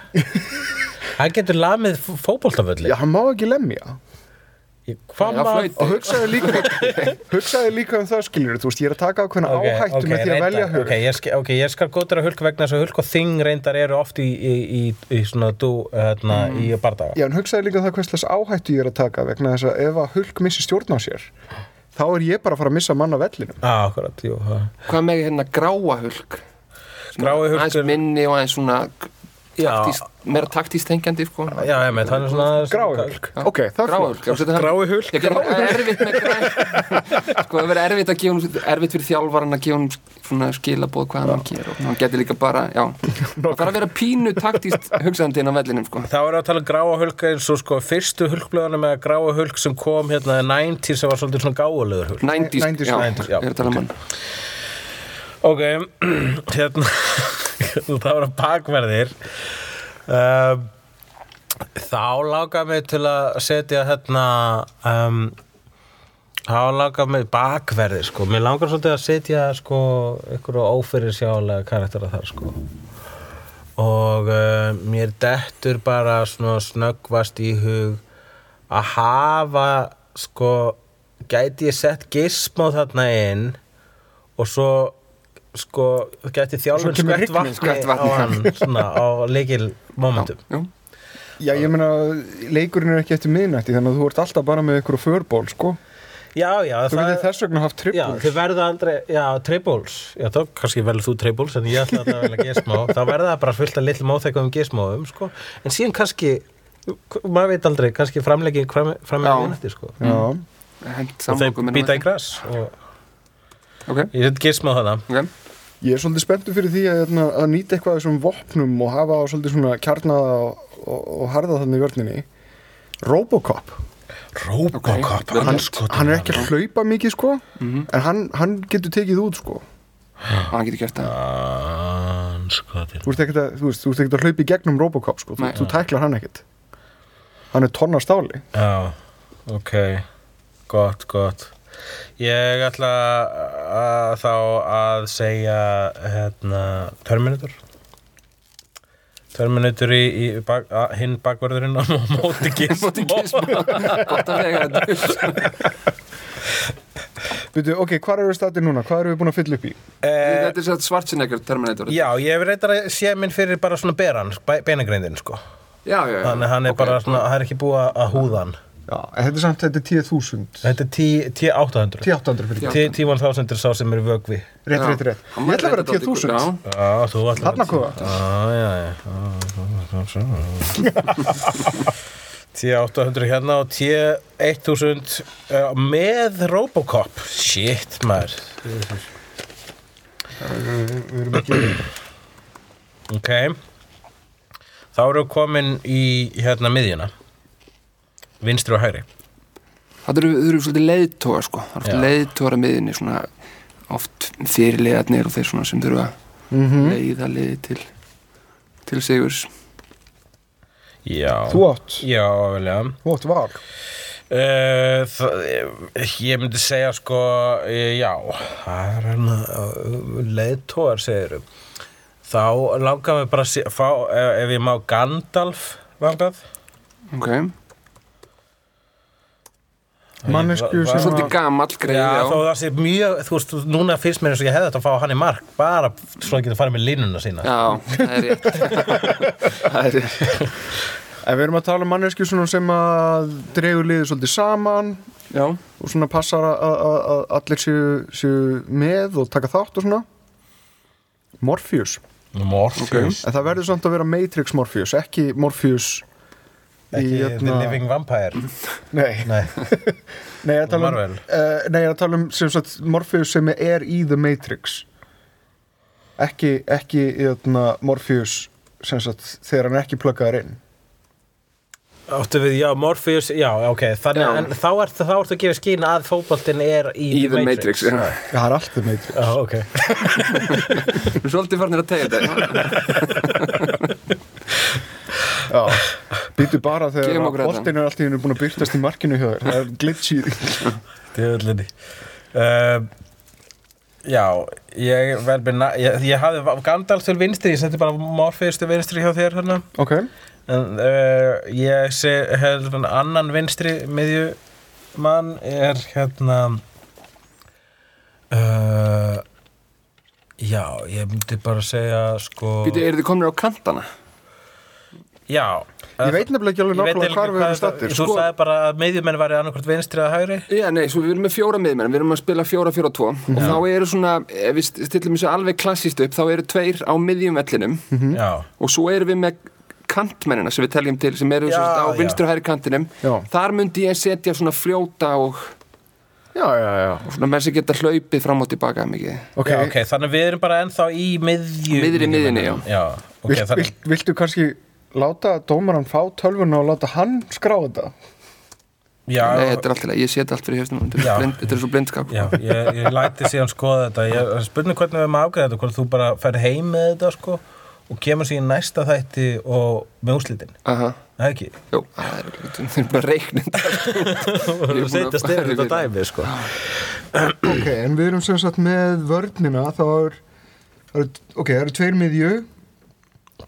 hann getur lamið f- fótboltavölli
já, hann má ekki lemja
Ég- hvað
Já,
maður
flautu.
og hugsaði líka um hugsaði líka um það skilur þú veist, ég er að taka ákveðna
Ok,
áhættu
ok,
með því að
reyndar,
velja hug
ok, ég, sk ok, ég skal gótara hulk vegna þess að hulk og þing reyndar eru oft í, í, í, í svona dú hérna, í bardaga
Mm. já, en hugsaði líka um það hverslega áhættu ég er að taka vegna þess að ef að hug missi stjórn á sér þá er ég bara að fara að missa mann af vellinum
ah, akkurat, jú, það-
Hvað með hérna gráa hulk? Sem
Grái Hulk
Aðeins
er-
minni og aðeins svona
Já.
taktíst, meira taktíst tengjandi sko
já, ég með, hann er svona
grái hug, ok, það er
Gráa
flott
hulk, já, setja það-
Grái hulk.
Ég gerði erfitt með græn [laughs] Sko það verið erfitt að gefa hún erfitt fyrir þjálfaran að gefa hún svona skilabóð hvað hann gerir og hann getur líka bara, já
[laughs]
það þarf að vera pínu taktíst hugsaðandi inn á vellinum sko
Þá erum við að tala um gráa hulka eins og sko fyrstu hulkblöðuna með gráa hulk sem kom hérna í 90 sem var svolítið svona gáulegur hulk.
90s,
90s,
já,
90s, já.
ég er að tala um hann
Ok, [clears throat] hérna, [laughs] þú það voru bakverðir. Um, þá lákaði mig til að setja hérna, um, þá lákaði mig bakverðir sko. Mér langar svolítið að setja sko einhverju ófyrir sjálega karaktera þar sko. og uh, mér dettur bara svona snöggvast í hug að hafa sko
gæti ég sett gizmo þarna inn og svo sko, gæti þjálfun
kemur
skvett
rigning,
vatni,
skvett
á
vatni,
hann svona, á leikil momentum
já,
Já, ég meina, leikurinn er ekki eftir miðnætti þannig að þú ert alltaf bara með ykkur og förból, sko
já, já,
Þú getur þess vegna haft
já,
trippul
þið verða aldrei, já, treyból já, þá kannski velur þú treyból en ég ætla að velja gizmo
[laughs]
þá verða það bara fullt af litlum óþægum gizmoum sko. en síðan kannski maður veit aldrei, kannski framlegging fram,
Já.
framlegging eftir sko
Já,
hent
og þau
samlokum
býta í græs og
ok,
ég set gizmo þarna
ok,
ég er svolítið spenntur fyrir því að, hérna, að nýta eitthvað af þessum vopnum og hafa á svolítið svona kjarnaða og, og, og harða þannig í vörninni Robocop
Robocop, Ok.
hann, hérna. hann er ekki að hlaupa mikið, sko
Mhm.
en hann, hann getur tekið út, sko
hann getur
[laughs]
gert það
Þú ert ekkert að, þú veist, þú ert ekkert að hlaupa í gegnum Robocop, sko Þú,
Nei.
þú tæklar hann ekkert Hann er tonna stáli
Já, ok Gott, gott Ég ætla að, þá að segja hérna, Terminator Terminator í, í bak, að, hinn bakvörðurinn á [laughs] móti gist
Móti Gizmo. gott að vega þetta upp.
[laughs]
Byrju, ok, hvað eru við statið núna? Hvað eru við búin að fylla upp í?
þetta er satt Schwarzenegger Terminator
Eh, Já, ég hef reyndar að sé minn fyrir bara svona beran, benagreindin sko
já, já, já.
Þannig að hann er
Ok.
bara svona, hann er ekki búið að- að húða hann
Já, en þetta er samt, þetta er 10.000
Þetta er 10.800
10.800 fyrir ekki
10.000 er sá sem er í vögvi
Rétt,
Já.
rétt, rétt
Hann
Ég
var
ætla að vera
reyndar dálítið-
10.000
já.
Já, þú ætla
Þarna kofa.
Já, já, já T800 hérna og T1000 uh, með Robocop Shit, maður
Við við erum ekki
Ok Þá eru komin í hérna miðjuna Vinstri og hægri
Það eru, það eru svolítið leiðtóa sko, það eru
Já.
svolítið leiðtóar að miðinni svona oft fyrirliðarnir og þeir svona sem þurfa
Mhm.
leiða liði til til sigurs
Já
Þú átt,
Já, velja
þú átt val
Uh, eh, ég myndi segja sko eh, já það er hann eh, leiðtógar segir þá langar mig bara að sé- fá ef, ef ég má Gandalf langað
ok,
Mannesku
var-
sem
svolítið
að
gamall
já,
greið já,
þó það sé mjög þú veist, núna finnst mér eins og ég hefði þetta að fá hann í mark bara svo að geta farið með línuna sína
já, það er rétt
[laughs]
það er rétt
En við erum að tala um mannesku svona sem að dregur liðið svolítið saman
já,
og svona passar að- að að- að allir séu, séu með og taka þátt og svona Morpheus
Morpheus
En það verður samt að vera Matrix Morpheus, ekki Morpheus í
ekki The
hérna-
Living Vampire
Nei,
nei,
nei, ég er að tala um,
Marvel.
uh, nei, ég er að tala um sem sagt, Morpheus sem er í The Matrix Ekki, ekki hérna, Morpheus sem sagt, þegar hann er ekki pluggaður inn
áttu við, já, Morpheus já, ok, þannig,
Já.
en þá ertu, þá ertu að gefa skín að fótboltinn er í,
í The Matrix já.
Já, það er allt The Matrix
Já, ok
Við erum svolítið farnir að tegja þetta
[laughs] Já, býtu bara
Gefum
þegar
okkur þetta.
boltin er allt í hennu búin að byrtast í markinu hjá þér Það er glitchið
Djöðlinni uh, Já, ég vel með na- ég, ég hafði Gandalf til vinstri, ég seti bara Morpheus til vinstri hjá þér hérna
Ok,
en uh, ég sé hérna, annan vinstri miðju mann er hérna uh, Já, ég myndi bara segja sko
býtu, eru þið komnir á kantana
Já
ég veit nefnilega ekki alveg
Ég veit ekki
nákvæmlega hvar við erum sko.
hvað-
stattir
Þú sagði bara að miðjumenn væri annarkvort vinstri eða hægri
Já, nei, svo við erum með fjóra miðmenn, við erum að spila fjóra, fjóra, tvo og þá eru svona, ef við stillum þessu alveg klassist upp, þá eru tveir á miðjum vellinum
Já,
og svo erum við með kantmennina sem við teljum til sem eru
Já,
já, á
já.
vinstri og hæri kantinum
Já.
þar myndi ég setja svona fljóta og,
Já, já, já
og svona menn sem geta hlaupið fram og tilbaka mikið
Ok,
Já, ok, þannig að við erum bara ennþá í miðju hérna.
Miðri miðjunni, já.
Já, ok,
Vilt,
þannig
vilt, viltu kannski láta dómaran fá tölvuna og láta hann skrá þetta?
Já,
Nei, þetta er alltaf, ég set allt fyrir hefstum þetta,
Já.
er blind, þetta er svo blindskap
já ég, ég læti síðan skoða þetta Ég er spurning hvernig við erum að afgreða þetta Hvort þú bara fer heim með þetta, sko Og kemur sér í næsta þætti og með úslitin
Aha,
Það ekki
jú, það er [laughs] það er bara reiknind
Þú setjast yfir þetta dæmi, sko
Ok, en við erum sem sagt með vörnina þá er, það eru- ok, það eru tveir miðju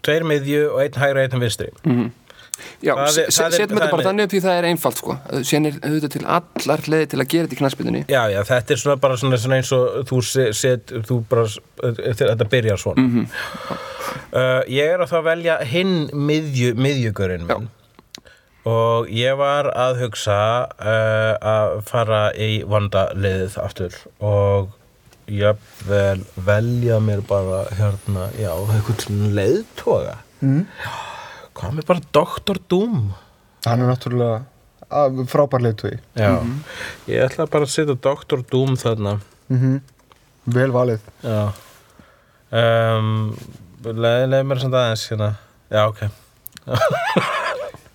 Tveir miðju og einn hægri og einn vinstri
Mhm. Já,
Það er-
se-
það er-
setjum
það
þetta
er
bara
mitt.
þannig upp því það er einfalt sko Sérna er auðvitað til allar leði til að gera þetta í knassbytunni
Já, já, þetta er svona bara svona, svona eins og þú se- set, þú bara, þetta byrjar svona. uh, ég er að þá velja hinn miðju, miðjugurinn minn. Og ég var að hugsa uh, að fara í vandaliðið aftur og jafnvel velja mér bara hérna, já, einhvern leiðtoga. Mm. Já, hvað með bara Dr. Doom?
Hann er náttúrulega að, frábær leiðtogi
Já, ég ætla bara að setja Dr. Doom þarna.
Vel valið
Já um, leið, leið mér samt aðeins hérna Já, ok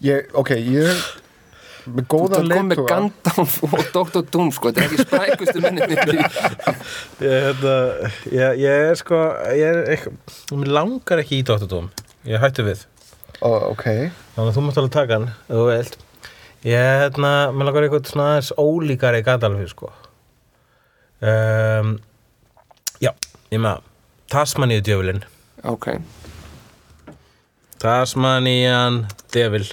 ég, Ok, ég Með
Þú
góðan
kom með
leiðtoga
Gandalf [laughs] og Dr. Doom sko Þetta er ekki sprækustu menninni
[laughs]
Ég, hérna, ég, ég er sko ég er eitthvað, mér langar ekki í Dr. Doom Ég hættu við
Ó, Ok,
Þannig að þú mátt alveg taka hann, ef þú veilt Ég, hérna, mér langar eitthvað svona aðeins ólíkari Gandalfi, sko um, Já, ég með Tasmaníu djöfulinn
Ok,
Tasmanían djöful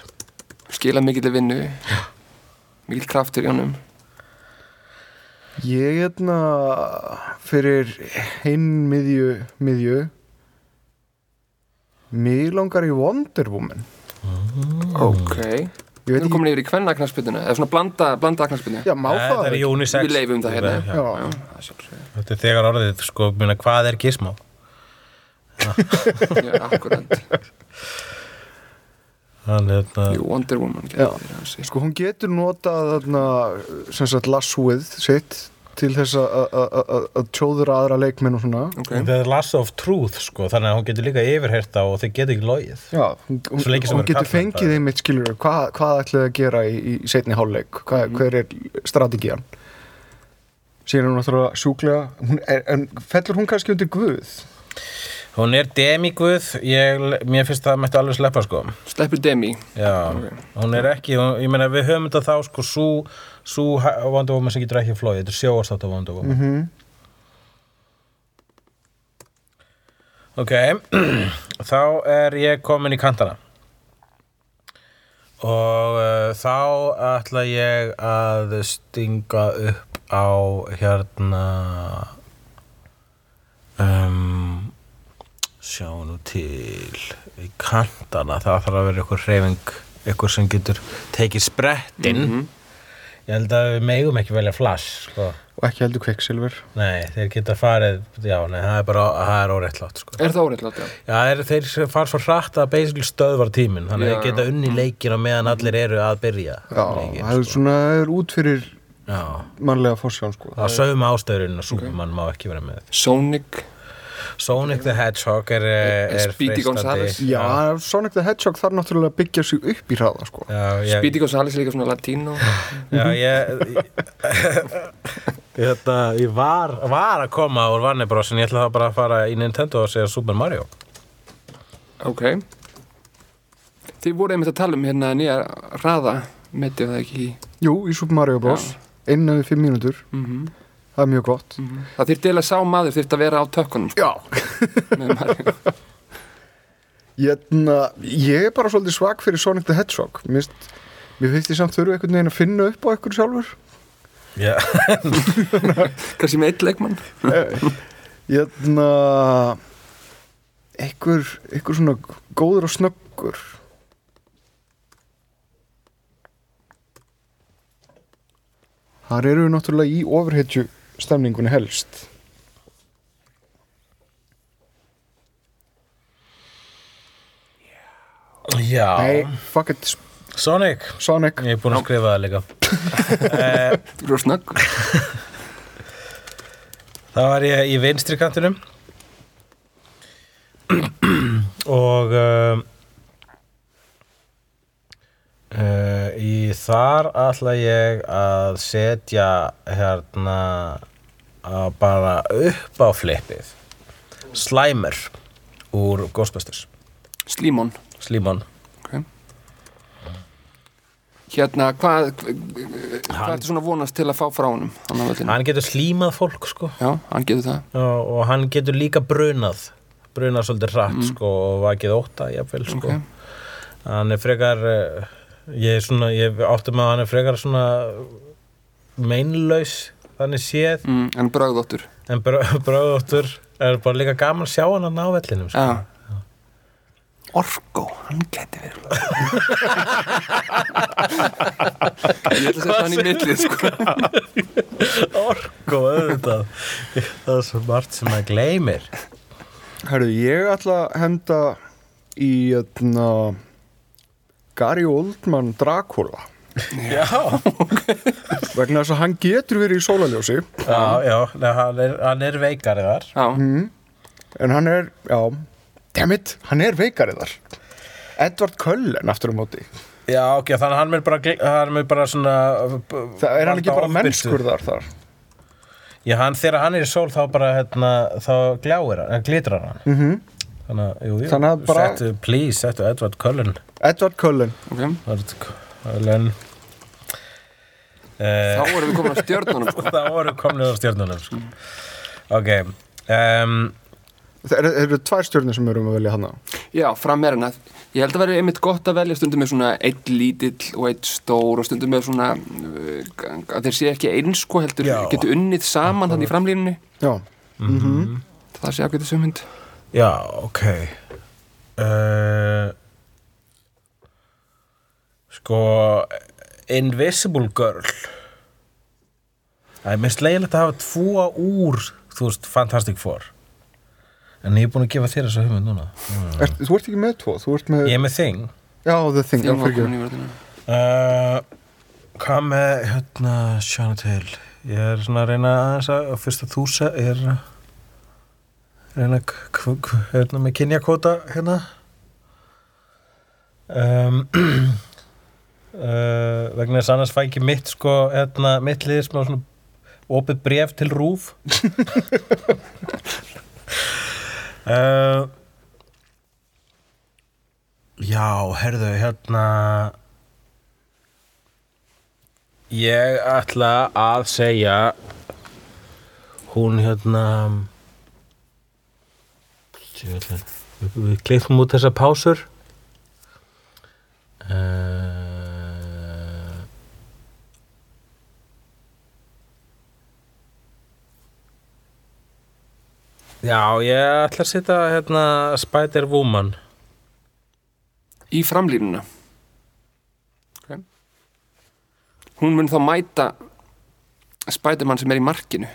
skila mikill vinnu Mikill kraftur í honum
ég
hérna fyrir hinn miðju miðju mér langar í Wonder Woman
Ok
ég
Við
veit
erum
ekki,
komin yfir í kvenna knassbytuna Eða svona blanda, blanda knassbytuna
já má það
Þetta er
ekki?
Unisex
Við leifum það hérna.
já,
Já.
Já, það er sjálfsögðu.
Þetta er þegar orðið, sko, minna, hvað er gizmo?
Já, akkurat
Hann, hérna,
Jú, Wonder Woman
Já.
getur verið ansi.
sko hún getur notað þarna sem sagt lassuð sitt til þess að- að- að að- að tjóðra aðra leikmenn og svona
Ok,
þetta er last of truth, sko, þannig að hún getur líka yfirheyrt það og þið getur ekki logið.
Já, hún, hún,
Svo lengi sem
hún
það eru
getur
karlmenn,
fengið
það er-
einmitt skilur hvað, hvað ætlaði að gera í, í setni hálfleik hvað, hver er strategían
Síðan er hún náttúrulega sjúklega hún er, En fellur hún kannski undir guð?
Hún er demiguð, ég, mér finnst það mætti alveg sleppa, sko.
sleppur Demi
Já, hún er ekki, hún, ég meina, við höfum þetta þá, sko, svo, svo Wonder Woman sem getur ekki flóið, þetta er sjóastátt af Wonder Woman. Ok, [clears throat] þá er ég komin í kantana og uh, þá ætla ég að stinga upp á hérna um, sjá nú til í kantana, það þarf að vera eitthvað hreyfing, eitthvað sem getur tekið sprettinn
Mhm.
ég held að við megum ekki velja flash sko.
Og ekki heldur kveiksilver
nei, þeir geta farið já, nei, það er bara, það er óréttlátt sko.
Er það óreittlátt, já
Já, þeir, þeir sem fara svo hratt að basically stöðvar tíminn þannig að
Já,
þeir geta unni leikin á meðan allir eru að byrja
Já,
leikinn,
það er
sko.
svona er út fyrir
Já,
mannlega fórsjón sko
það sögum ástöðurinn og Superman má ekki vera með
Sonic
Sonic the Hedgehog er, eh, er,
Er Eh, Speedy Gonzales?
Já, Sonic the Hedgehog þarf náttúrulega að byggja sig upp í hraða sko
Já, ég,
Speedy Gonzales er líka svona latín
[laughs]
og
já, ég, ég, þetta, ég var, var að koma úr Vanni Bros en ég ætla það bara að fara í Nintendo og segja Super Mario
Ok Þið voru einmitt að tala um hérna nýja raða metið það ekki í
Jú, í Super Mario Bros Innan við fimm mínútur
mm
Það er mjög gott
Það þyrfti eiginlega sá maður þyrfti að vera á tökkunum sko,
Já
með [laughs] Mario.
Jæna, ég er bara svolítið svag fyrir Sonic the Hedgehog Mist, Mér finnst ég samt þurfu einhvern veginn að finna upp á einhverju sjálfur
Já,
Kannski með eitt leikmann
Eh, Jæna, hérna, einhver, einhver svona góður og snöggur Þar eru við náttúrulega í ofurhetju stemningunni helst Nei,
já.
fuck it,
Sonic
Sonic
Ég er búin að skrifa það líka
Þú eru snögg
Það var ég í vinstri kantinum [clears throat] og uh, uh, í þar ætla ég að setja hérna að bara upp á flippið Slimer úr Ghostbusters
Slímon
Slimon
okay. Hérna, hvað hvað ertu svona að vonast til að fá frá honum hann á völlinu?
Hann getur slímað fólk sko
Já, hann getur það
Já, og hann Mm. getur líka brunað brunað svolítið hratt sko og vakið óta jafnvel sko
Ok.
hann er frekar eh, ég er svona, ég átti með að hann er frekar svona meinlaus þannig séð
mm, en brögðóttur
en [laughs] bröðóttur er bara líka gaman að sjá hann að ná vellinum sko. [laughs]
Já. Orko, hann geti [laughs] verið Ég ætla að setja hann í millið sko.
orku auðvitað það er svo margt sem maður gleymir
Herru, ég ætla að henda í jötna, Gary Oldman Dracula
já,
vegna þess að hann getur verið í sólaljósi
já, já nei, hann, er, hann er veikari þar
Já,
en hann er, já dammit, hann er veikari þar Edvard Cullen aftur á móti
já, ok, þannig að hann er bara, gl- hann er bara svona
það er hann ekki
valda
bara
ofbirtu.
mennskur þar þar
já, hann, þegar hann er í sól þá bara hérna, þá gláir hann, glitrar hann mm -hmm. þannig að, jú, jú,
Mhm. Þannig að bara-
settu, please, settu Edward Cullen
Edvard Cullen,
ok
Edward Cullen
Þá
eh,
erum við komin að stjörnunum
[laughs]
sko.
það voru komnið á stjörnunum sko. ok um,
það eru er tvær stjórnir sem erum að velja hana
Já, fram er hann að Ég held að vera einmitt gott að velja stundum með svona eitt lítill og eitt stór og stundum með svona uh, að þeir sé ekki eins sko heldur
Já.
getur unnið saman þannig í framlínunni
já,
Það sé ágætið sömhund
Já, ok Eh, uh, Sko Invisible Girl Það er mér slegilegt að hafa tvo úr þú veist, Fantastic Four En ég er búin að gefa þér þessa hugmynd núna
er, þú ert ekki með tvo þú ert með,
Ég er með Thing
já, The Thing já,
Þegar var
fyrirgefðu.
komin í verðinu
uh, Hvað með hérna Sjána til Ég er svona að reyna aðeins að fyrst að þú se- ég er að reyna að k- k- k- hérna með kynjakóta hérna [clears throat] um, uh, vegna þess að annars fæ ekki mitt sko hérna mitt liðið sem var svona opið bref til rúf uh, Já, herðu, hérna Ég ætla að segja hún hérna Djöfullinn. við við klippum út þessa pásur Eh, uh, Já, ég ætla að setja hérna Spider-Woman
Í framlínuna okay. Hún mun þá mæta Spiderman sem er í markinu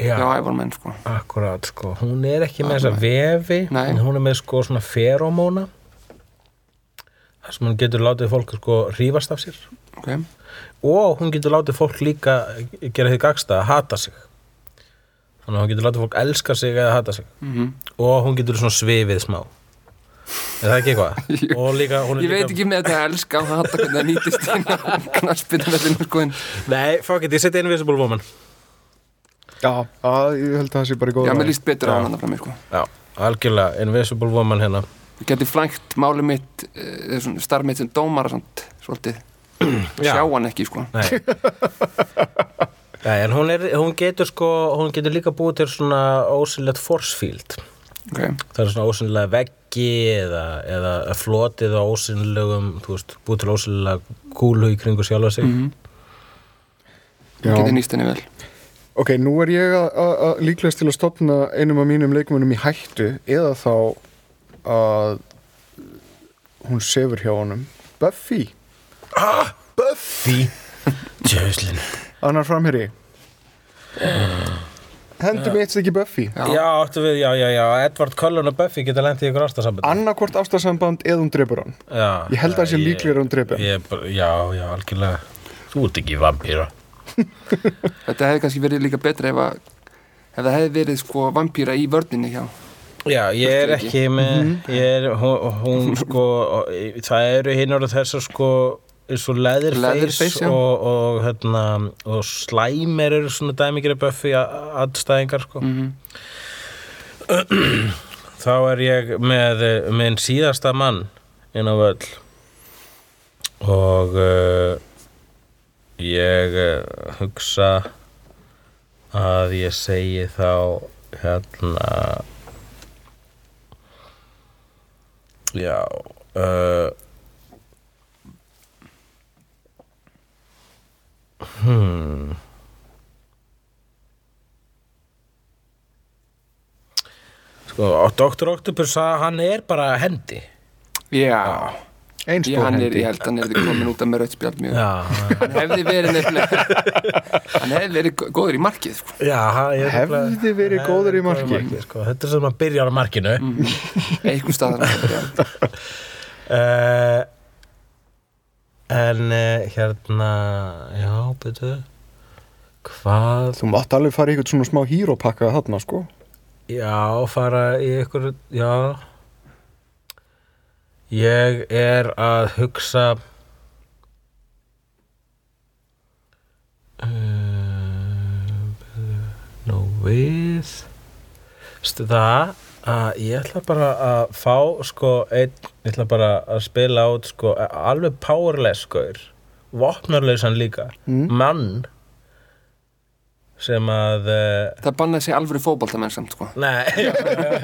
Já, ævarmenn sko
Akkurát, sko, hún er ekki með þessa vefi,
Ah, Nei.
en hún er með sko svona feromóna þar sem hún getur látið fólk sko rífast af sér
okay.
og hún getur látið fólk líka gera því gagsta að hata sig þannig að hún getur látið fólk elska sig eða hata sig
Mhm.
-hmm. og hún getur svona svifið smá er það ekki eitthvað? og líka, hún er
[laughs] Ég
líka
veit ekki með þetta að elska og hata hvernig það nýtist inn á
[laughs]
knaspinavellinu sko en
Nei, fuck it, ég seti Invisible Woman
já, að, ég held að það sé bara góð
Já, mér
val.
líst betur á hann að framir sko
Sko- Já, algjörlega, Invisible Woman hérna
Ég geti flækt máli mitt eh, eða svona starf mitt sem dómar samt, svolítið,
Já.
sjá hann ekki sko
Nei Nei, en hún, er, hún getur sko hún getur líka búið til svona ósynlegt force field
okay.
það er svona ósynlega veggi eða, eða flotið á ósynlegum þú veist, búið til ósynlega kúlu í kringu sjálfa sig
Mhm.
Ég geti nýst henni vel
ok, nú er ég að- að að líklegast til að stopna einum af mínum leikmönnum í hættu eða þá að hún sefur hjá honum Buffy,
Fí Tjöðslin
annar framherri hendur mitt ekki Buffy
já. áttu við, já, já, já, Edward Cullen og Buffy geta lent í ykkur ástasamband
annarkvort ástasamband eða hún drefur hann
Já,
ég held að það sé um líklegir að hún drefi hann
ég, er bara- Já, já, algjörlega Þú ert ekki vampýra
Þetta hefði kannski verið líka betra ef að ef það hefði verið sko vampýra í vörninni hjá
Já, ég er
ekki.
ekki með, ég er, hún, hún sko, það eru hinn orðið þessar sko, eins og
Leatherface,
leðirfeis
já.
og, og, hérna, og slæmer eru svona dæmikir að buffi aðstæðingar sko.
Mhm.
[clears throat] Þá er ég með eh, minn síðasta mann inn á völl og uh, ég uh, hugsa að ég segi þá hérna já uh, hmm. sko, Dr. Octopus að hann er bara hendi
Já, ég, hann er, ég held hann er komin út af með rauðspjald mjög
já,
Hann hefði verið nefnilega Hann hefði verið gó- góður í markið sko.
já, hann- ég
Hefði
nefnilega-
verið góður í Mm.
góður
marki.
sko. þetta er sem að byrja á markinu
Eitthvað
[laughs]
staðar hann hefði verið.
uh, En uh, hérna Já, betur Hvað
Þú mátt alveg fara í eitthvað svona smá hýrópakka þarna sko
Já, fara í ykkur Já Ég er að hugsa Um, Nú við Stu það að ég ætla bara að fá sko einn, ég ætla bara að spila át sko alveg powerless skoir vopnarlausan líka mann sem að uh,
Það bannaði sig alvöru fótboltamenn samt sko.
Nei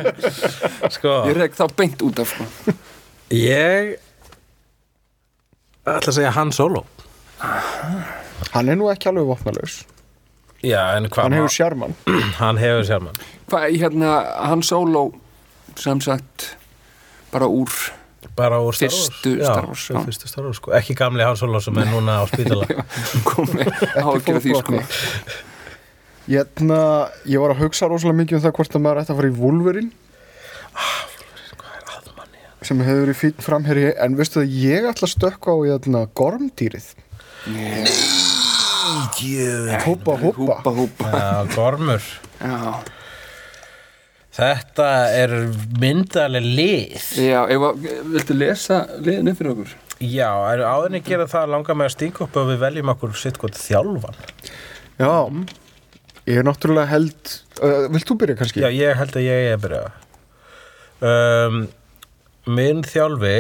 [laughs] Sko
Ég reyk þá beint út af sko.
Ég ætla að segja hann solo
Hann er nú ekki alveg vopnalaus
Já, en hvað
Hann hefur sjarman
[clears throat] Hann hefur sjálfman
Hvað, hérna, hann sóló sem sagt bara [laughs] úr
Bara úr Star Wars
Fyrstu
Já,
Star Wars, já.
Fyrstu Star Wars, sko Ekki gamli hann solo sem er núna á
[laughs]
spítala
komið ágjör því sko.
Jæna, hérna, Ég var að hugsa rosalega mikið um það hvort að maður ætti að fara í Wolverine sem hefur verið fýtt framherji en veistu það, ég ætla að stökka á jæna, gormdýrið Húpa, húpa
Húpa, húpa
Já, Gormur
Já,
Þetta er myndaleg lið
já ef, að- viltu lesa liðinu fyrir okkur?
Já, en áður en ég gera það langar mig að stinga upp að við veljum okkur sitt gott þjálfan
Já, ég er náttúrulega held uh, Vilt þú byrja kannski?
Já, ég held að ég er að byrja um, Minn þjálfi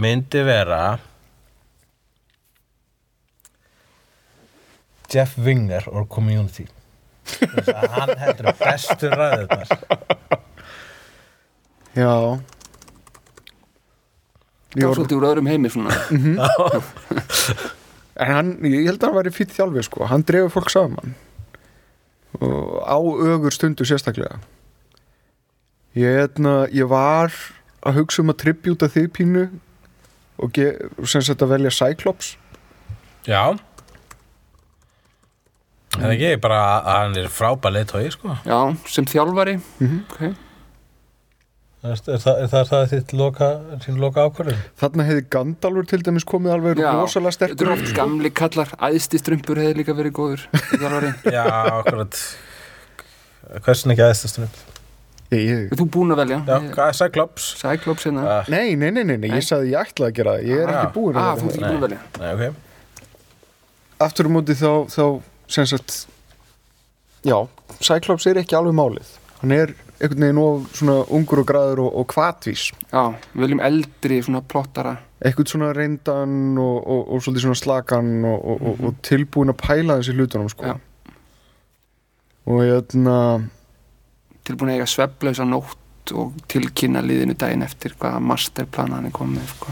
myndi vera Jeff Winger or Community Þess að hann heldur bestu ræðurnar
Já.
Það
Ég
var
Var,
svolítið úr öðrum heimi svona
en hann, ég held að hann væri fýtt þjálfi sko, hann drefur fólk saman og á ögur stundu sérstaklega ég, eitna, ég var að hugsa um að tribjúta þig pínu og ge, sem sagt að velja Cyclops
Já En ekki bara að hann er frábæð leitói sko
Já, sem þjálfari okay.
Er, er, það, er það, það þitt loka, þín loka ákvörðun?
þarna hefði Gandalfur til dæmis komið alveg
Já,
rosalega
þetta
sterkur
eru oft gamli kallar æðsti strumpur hefði líka verið góður [laughs] þjálfari
Já, akkurat Hversin ekki aðeins
ég, ég,
Þú búin að velja
Já, hvað- Cyclops
Cyclops hérna
Ah,
nei, nei, nei, nei, nei, ég sagði ég ætlaði að gera það ég er
Ah,
ekki búin
Ah,
að
þú
vera
ert
það
ekki búin að velja
Nei, ok
aftur á móti þá, þá sem sagt já, Cyclops er ekki alveg málið hann er einhvern veginn of svona ungur og græður og, og kvatvís
Já, við viljum eldri svona plottara
eitthvað svona reyndan og, og, og svolítið svona slakan og, og, og, og tilbúin að pæla þessi hlutunum sko
Já.
og hérna
tilbúin að eiga sveflausa nótt og tilkynna liðinu daginn eftir hvaða masterplan hann er komið sko.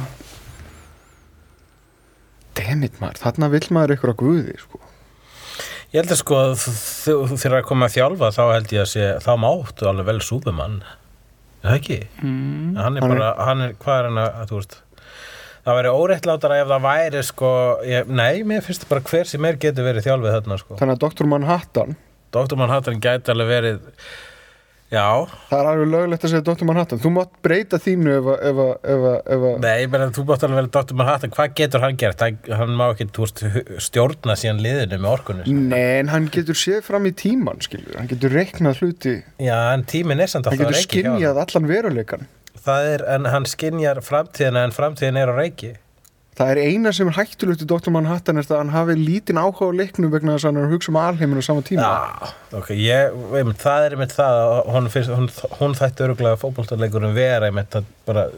dammit maður, þarna vill maður eitthvað að guði sko
Ég held að sko að þú- þú- þegar að koma að þjálfa þá held ég að sé, þá máttu alveg vel Superman Er það ekki? Mm. Hann er
Hann er-
bara, hann er, hvað er hann að, þú veist Það væri óréttlátara ef það væri sko, ég, nei, mér finnst bara hver sem er getur verið þjálfið þarna sko
þannig að Dr. Manhattan,
Dr. Manhattan gæti alveg verið, já,
það er alveg löglegt að segja Dr. Manhattan, þú mátt breyta þínu ef að- ef að ef að- ef að-
nei, ég meina þú mátt alveg verið Dr. Manhattan, hvað getur hann gert? Hann, hann má ekki, þú veist, hu- stjórna síðan liðinu með orkunni sko.
Nei, en hann getur séð fram í tíman, skilur, hann getur reiknað hluti,
Já, en tíminn er samt
hann
alltaf
getur
að reiki hjá honum.
skinjað allan veruleikan.
Það er, en hann skinjar framtíðina en framtíðin er á reiki
Það er eina sem er hættulegt í Dr. Manhattan er það að hann hafi lítinn áhuga á leiknum vegna þess að hann er að hugsa um alheiminu á sama tíma.
Já, ok, ég, einmitt, það er einmitt það að hún, fyrst, hún, hún þætti öruglega fótboltarleikurum vera einmitt að bara,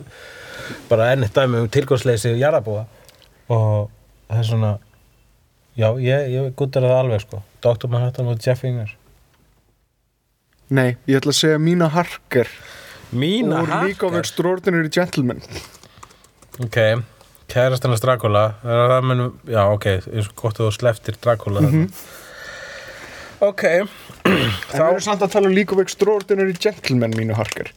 bara enn eitt dæmi um tilgangsleysi jarðabúa og það er svona já, ég, ég guttar það alveg sko Dr. Manhattan og Jeff Inger
Nei, ég ætla að segja Mina Harker
Mína
úr League of Extraordinary Gentlemen
Ok, kærast hennar Dracula Er það mun, Já, ok, eins og gott að þú sleftir Dracula mm Ok
En við erum samt að tala um League of Extraordinary Gentlemen mínu harkar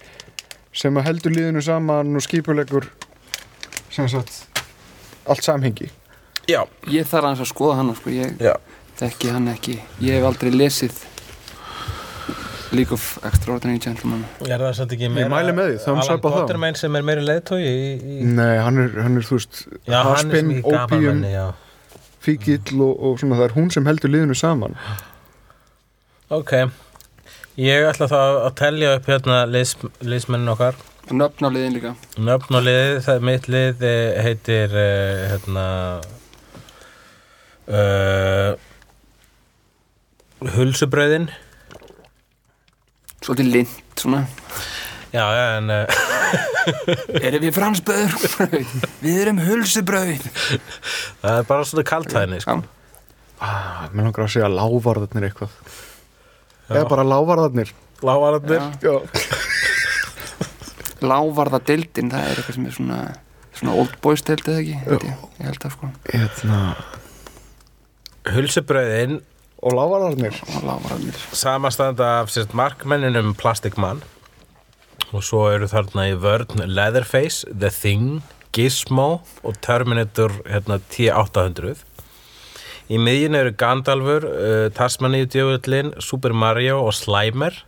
sem að heldur liðinu saman og skipulegur sem sagt allt samhengi
Já,
Ég þarf aðeins að skoða hann sko. Ég
já
þekki hann ekki Ég hef aldrei lesið League of Extraordinary Gentlemen
Er það satt ekki meira
mæli með því, thumbs
Alan
up á það.
Potterman sem er meiri leiðtói í, í...
Nei, hann er, hann er þú veist
Mm. Já, hann er
haspinn,
sem í
opium,
gamanmenni, já
fíkill og, og svona það er hún sem heldur liðinu saman
Ok Ég ætla þá að telja upp hérna liðs, liðsmennin okkar
og nöfn á liðin líka
Nöfn og lið, það, mitt lið eh, heitir uh, hérna uh, Hulsubröðin
svolítið lind svona
Já, já, en uh,
erum við [laughs] fransbröður við erum hulsubröð
[laughs] það er bara svona kaltæðinni sko.
ah, Mér langar að segja lávarðarnir eitthvað Eða bara lávarðarnir
Lávarðarnir
Já,
lávarða deildin það er eitthvað sem er svona svona old boys deild eða ekki held ég, ég held að sko
hérna
Hulsubröðin
Og lávarðarnir
og lávarðanir
samastanda af sérst markmenninum Plastic Man og svo eru þarna í vörn Leatherface, The Thing, Gizmo og Terminator hérna, 10800 í miðjun eru Gandalfur uh, Tasmaníu djöfullin, Super Mario og Slimer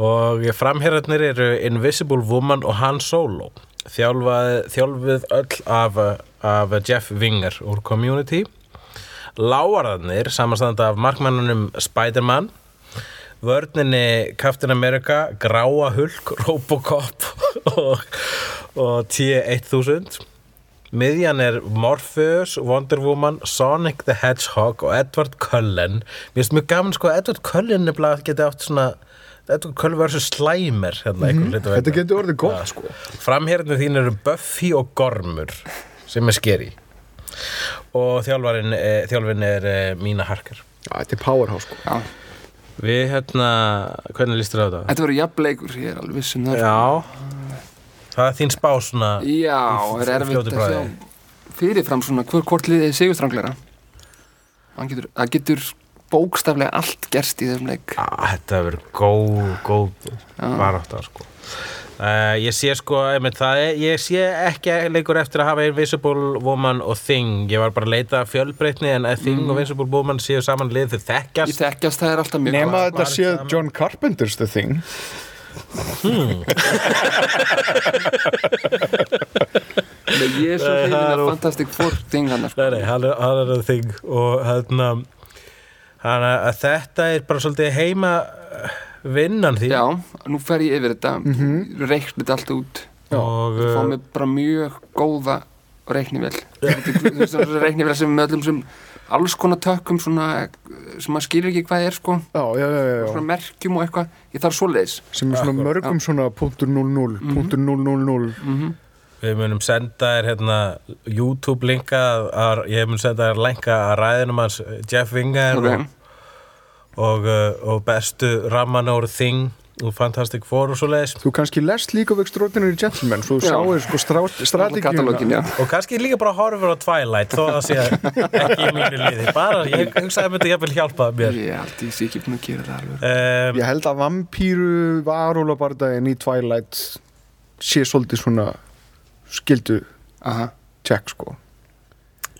og framherjarnir eru Invisible Woman og Han Solo þjálfað, þjálfuð öll af, af Jeff Winger úr Community Lávarðarnir samastanda af markmannunum Spider-Man vörninni Captain America Gráa Hulk, Robocop og, og T-1000 miðjan er Morpheus, Wonder Woman Sonic the Hedgehog og Edward Cullen mér finnst mjög gaman sko að Edward Cullen nefnilega geti átt svona Edward Cullen versus Slimer hérna, mm -hmm.
Þetta getur orðið gott sko
Framherðinu þín eru Buffy og Gormur sem er skeri og þjálfarin, e, þjálfin er e, Mína Harker
Já, Þetta er powerhouse sko
Já.
Við hérna, hvernig lístur það á þetta?
þetta verður jafnleikur ég er alveg viss um það sko.
Já Það er þín spá svona
já
Í
er erfitt
fljótu
að
bragði.
sjá fyrirfram svona hver hvort liðið er sigurstrangleira það getur, það getur bókstaflega allt gerst í þessum leik
Á, Þetta verður góð, góð barátta sko Uh, ég sé sko, einmitt, það er, ég sé ekki leikur eftir að hafa Invisible Woman og Thing, ég var bara að leita að fjölbreytni en að
Mhm.
Thing og Invisible Woman séu saman lið þau
í
þekkjast
þekkjast það er alltaf mjög
Nema
gott.
þetta sé John Carpenter's The Thing
Nei, ég er svo
Nei,
hrifin
það er
að
of-
Fantastic Four þing hann sko.
Nei, nei, hann er, hann er að þing og hérna hann er að þetta er bara svolítið heima eh, vinnan því
já, nú fer ég yfir þetta mm -hmm. þetta allt út
og
fá
uh,
mig bara mjög góða reiknivél þessi reiknivél sem með öllum sem alls konar tökum svona, sem maður skilur ekki hvað er sko
Já, já, já, já, já.
svona merkjum og eitthvað, ég þarf svoleiðis
sem er svona mörgum svona .00, .000
Mhm.
við munum senda þér hérna YouTube linka að, að, ég mun senda þér linka að ræðinum hans eh, Jeff Winger
Ok.
og, og, eh, og bestu ramman úr þing og Fantastic Four og svo leiðis
Þú kannski lest líka of Extraordinary Gentlemen svo þú
Já.
sáir sko strá-
katalógin, já
strategíuna
og kannski líka bara horfur á Twilight þó að það sé ekki í mínu liði bara, ég hugsaði að myndi jafnvel hjálpa
[laughs]
mér
ég held ég sé ekki búin að gera það alveg
um,
Ég held að vampíru varólabardaginn í Twilight sé svolítið svona skildu
Aha.
tjekk sko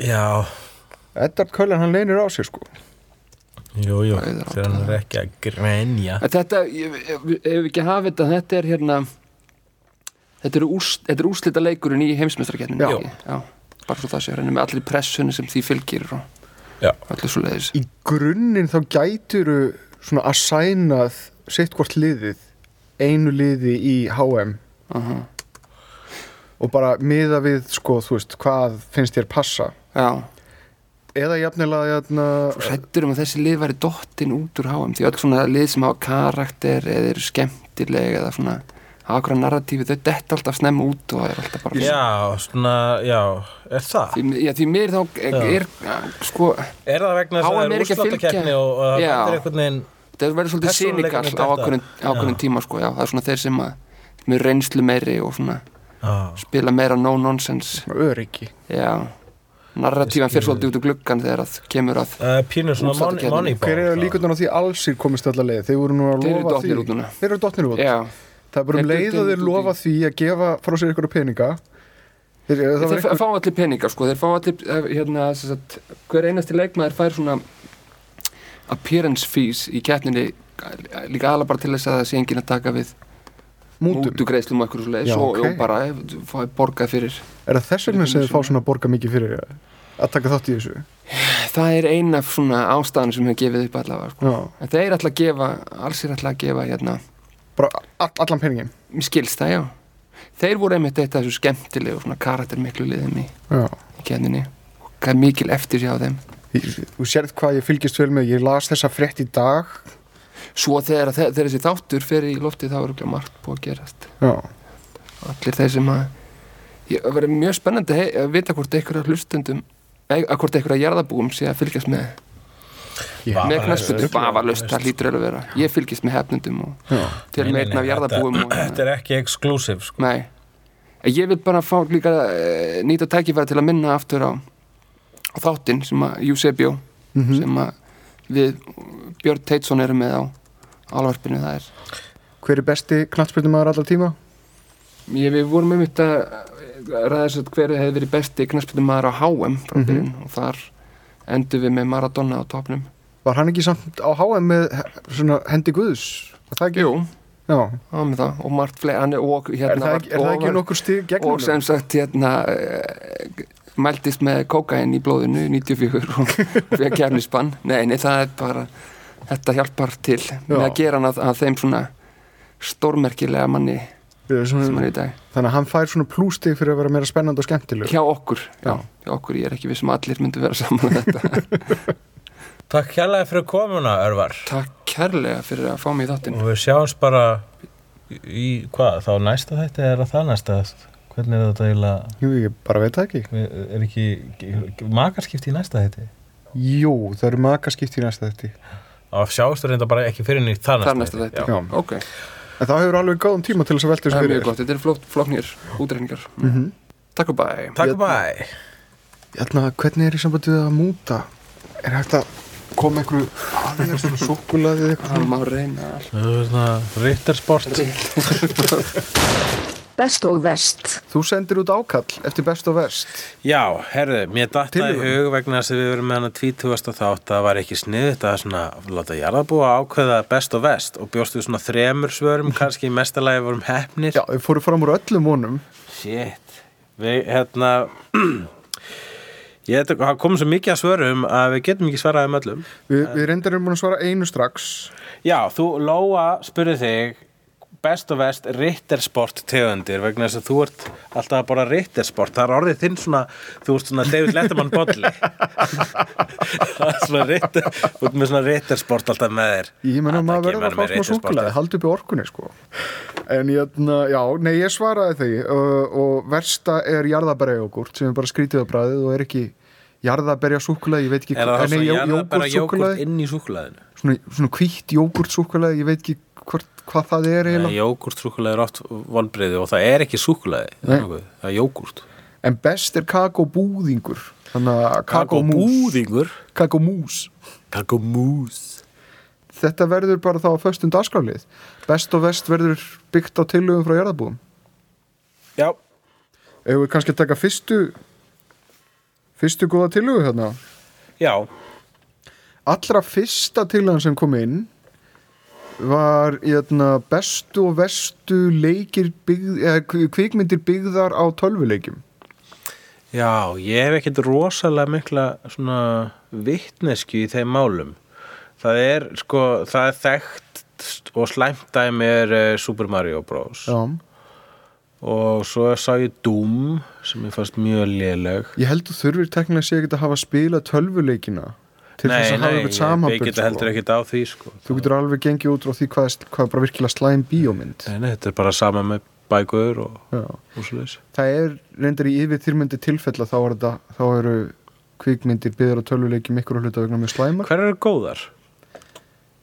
já,
Edvard Cullen hann leynir á sér sko
Jú, jú,
Rauður á
þegar hann er ekki að grenja
En þetta, ég- ef ef við ekki hafa þetta þetta er hérna þetta er, ús, þetta er úslita leikurinn í heimsmeistarkeppninni,
Já.
ekki? já bara svo það sé, hérna með allir pressunni sem því fylgir og
Já.
öllu svo leiðis
Í grunninn þá gætiru svona að sænað sitt hvort liðið einu liði í HM og bara miða við sko þú veist hvað finnst þér passa
já,
eða hérna, jafnilega jafna,
hrættur um að þessi lið væri dottin út úr HM því öll svona lið sem hafa karakter eða eru skemmtileg eða svona hafa okkur að narratífi, þau dett alltaf snemma út og það er alltaf bara
Já, svona, já, er það?
Því, já, því mér þá er, er sko,
Er það vegna þess að
HM
það
er
er
ekki að fylgja-
úrsláttakefni og og það
Já.
er einhvern veginn
það verður svolítið
Persónuleikinn
sínikall
er
á
þetta.
ákveðin, ákveðin tíma sko, já, það er svona þeir sem að með reynslu meiri og svona
ah.
spila meira no-nonsense
öryggi
já, narratífan fyrir svolítið út úr gluggan þegar að kemur að
uh, Pínu svona
Útsatt
money,
gerðin.
money
hver eru líkurnar á því allsir komist alla leið þeir voru nú að
Þeir eru
lofa
dottnir út núna.
því þeir eru dotnir út
já,
það er bara um
Þeir
leið
duttu
að þeir
út í-
lofa því að gefa frá sér ykkur peninga þeir, það
þeir
var
einhver...
einhver
fá allir peninga sko, þeir fá allir eh, hérna, sem sagt, hver einasti leikmaður fær svona appearance fees í keppninni eh, líka aðla bara til þess að það sé enginn að taka við
mútum
mútugreislum og eitthvað svo leiðis
Já,
og,
ok.
og bara eh, fá borgað fyrir
er það þess vegna sem þeir fá svona borga mikið fyrir að taka þátt í þessu
það er ein af svona ástæðan sem hefur gefið upp allavega sko.
Já,
en þeir ætla að gefa, alls er ætla að gefa hérna,
bara all, allan peningin
mér skilst það já þeir voru einmitt eitt af þessu skemmtilegu svona karaktermiklu liðum í,
Já.
í keppninni og hvað er mikil eftir sér á þeim
Ég- þú sérð hvað ég fylgist vel með ég las þessa frétt í dag
svo þegar, þegar, þegar þessi þáttur fer í loftið þá er ekki margt búið að gerast
Já.
allir þeir sem að Ég- það verður mjög spennandi hei, að vita hvort einhverja hlustundum nei, að hvort einhverja jarðabúum sé að fylgjast með með knastbundur vafalaust, það lítur alveg að vera ég fylgist með hefnundum og
Já.
til
Nei, nei,
með einn
nei,
af jarðabúum og,
Þetta er ekki exclusive sko.
nei, En ég vil bara fá líka eh, nýta tækifæri til að minna aftur á, á þáttinn sem að Eusebio
Mhm.
sem að við Björn Teitsson erum með á alvarpinu það er
hver er besti knattspyrnumæður allra tíma
Ég, við vorum um þetta ræða þess að hverju hefði verið besti knarspildum maður á HM
Mhm.
frá byrjun og þar endur við með Maradona á topnum.
var hann ekki samt á HM með he- svona hendi guðs var það ekki?
Jú,
Já.
það með það og margt fleiri, hann er og hérna
er það ekki, er það ekki
og,
nokkur stig gegnum
og sem sagt hérna eh, mæltist með kókain í blóðinu í 94 og við að kefni spann. Nei, nei, það er bara þetta hjálpar til með
Já.
að gera hann að, að þeim svona stórmerkilega manni sem hann
svona,
er í dag.
þannig að hann fær svona plústig fyrir að vera meira spennandi og skemmtileg
Hjá okkur, já,
Mm. Já.
hjá okkur, ég er ekki vissum að allir myndu vera saman að þetta.
Takk hérlega fyrir komuna, Örvar
Takk kærlega fyrir að fá mig í þáttinn.
Og við sjáumst bara í, í hvað, þá næsta þetta eða það næsta Hvernig er þetta eiginlega
Jú, ég bara veit það ekki
Við- er ekki makarskipti í næsta þetta
Jú, það eru makaskipti í næsta þetta
og sjáumst þú reynda bara ekki fyrir henni þar
Þar
næsta
næsta þetta.
Já.
Ok,
en það hefur alveg góðum tíma til þess að velta þessu
það er
fyrir
mjög
þér.
gott. Þetta er flott, flóknir útreiningar. Takk og bæ.
Takk og bæ
Jæna, Hérna, hvernig er í sambandi við að múta? Er hægt að koma einhverju aðeins svona súkkulaði eða eitthvað?
Það má reyna allt.
Rittersport
Best og verst.
Þú sendir út ákall eftir best og verst
Já, herðu, mér datta í
Tillögur.
hug vegna þess að við verum með hana tvítugasta þátt að það var ekki sniðut að svona láta jarðabúa ákveða best og vest og bjóstu svona þremur svörum, kannski í mestalagi vorum hefnir.
Já, við fórum fram úr öllum honum
Shit, við, hérna, [clears throat] ég, þetta- það kom svo mikið að svörum að við getum ekki svarað um öllum.
Við, við reyndar erum búin að svara einu strax
Já, þú, Lóa, spurði þig best og vest rittersport tegundir vegna þess að þú ert alltaf að bora rittersport það er orðið þinn svona, þú ert svona David Letterman
[laughs]
bolli það er svona ritter þú ert með svona rittersport alltaf með þér
Ég menna
Þetta
maður
kemur með
verður að fá smá
rittersporti.
súkkulaði, haldi uppi orkunni sko En ég, já, nei, ég svaraði því og, og versta er jarðabærajógurt sem er bara skrítið að bræðið og er ekki jarðabæra súkkulaði, ég veit ekki
er það
nei,
svona
jó-
jarðabæra jógurt
jógúrtsúkkulaði,
inn í súkulaðinu
svona, svona hvítt jógurtsúkkulaði, ég veit ekki hvort, hvað það er eiginlega
jógurt súkulaði er oft vonbreiði og það er ekki súkulaði
Nei.
það er jógurt
En best er kakóbúðingur Þannig að kakómús
kakobúðingur
Kakómús
kakobús
Þetta verður bara þá að föstum dagskrálið Best og vest verður byggt á tillögum frá jarðabúum
já,
Ef við kannski að taka fyrstu Fyrstu góða tillögu hérna
já,
Allra fyrsta tillögan sem kom inn var jötna, bestu og vestu leikir byggð, eða, kvi- kvikmyndir byggðar á tölvuleikjum
já ég hef ekkert rosalega mikla svona vittnesku í þeim málum það er sko, það er þekkt og slæmt dæmi er eh, Super Mario Bros
Já.
og svo sá ég Doom sem ég fannst mjög léleg
Ég held þú þurfir teknilega sé ekki að hafa spilað tölvuleikina til þess að hafa
nei,
eitthvað
nei, ég
samanbyrg
geta heldur ekkert á því sko
Þú getur alveg gengið út frá því hvað, er- hvað er bara virkilega slæm bíómynd.
nei, nei, þetta er bara sama með bækur og,
Já.
og svoleiðis
Það er reyndar í yfir þýrmyndi tilfella þá, er þetta, þá eru kvikmyndir byggðar á tölvuleikjum ykkur og hluta vegna mjög slæmar.
hver eru góðar?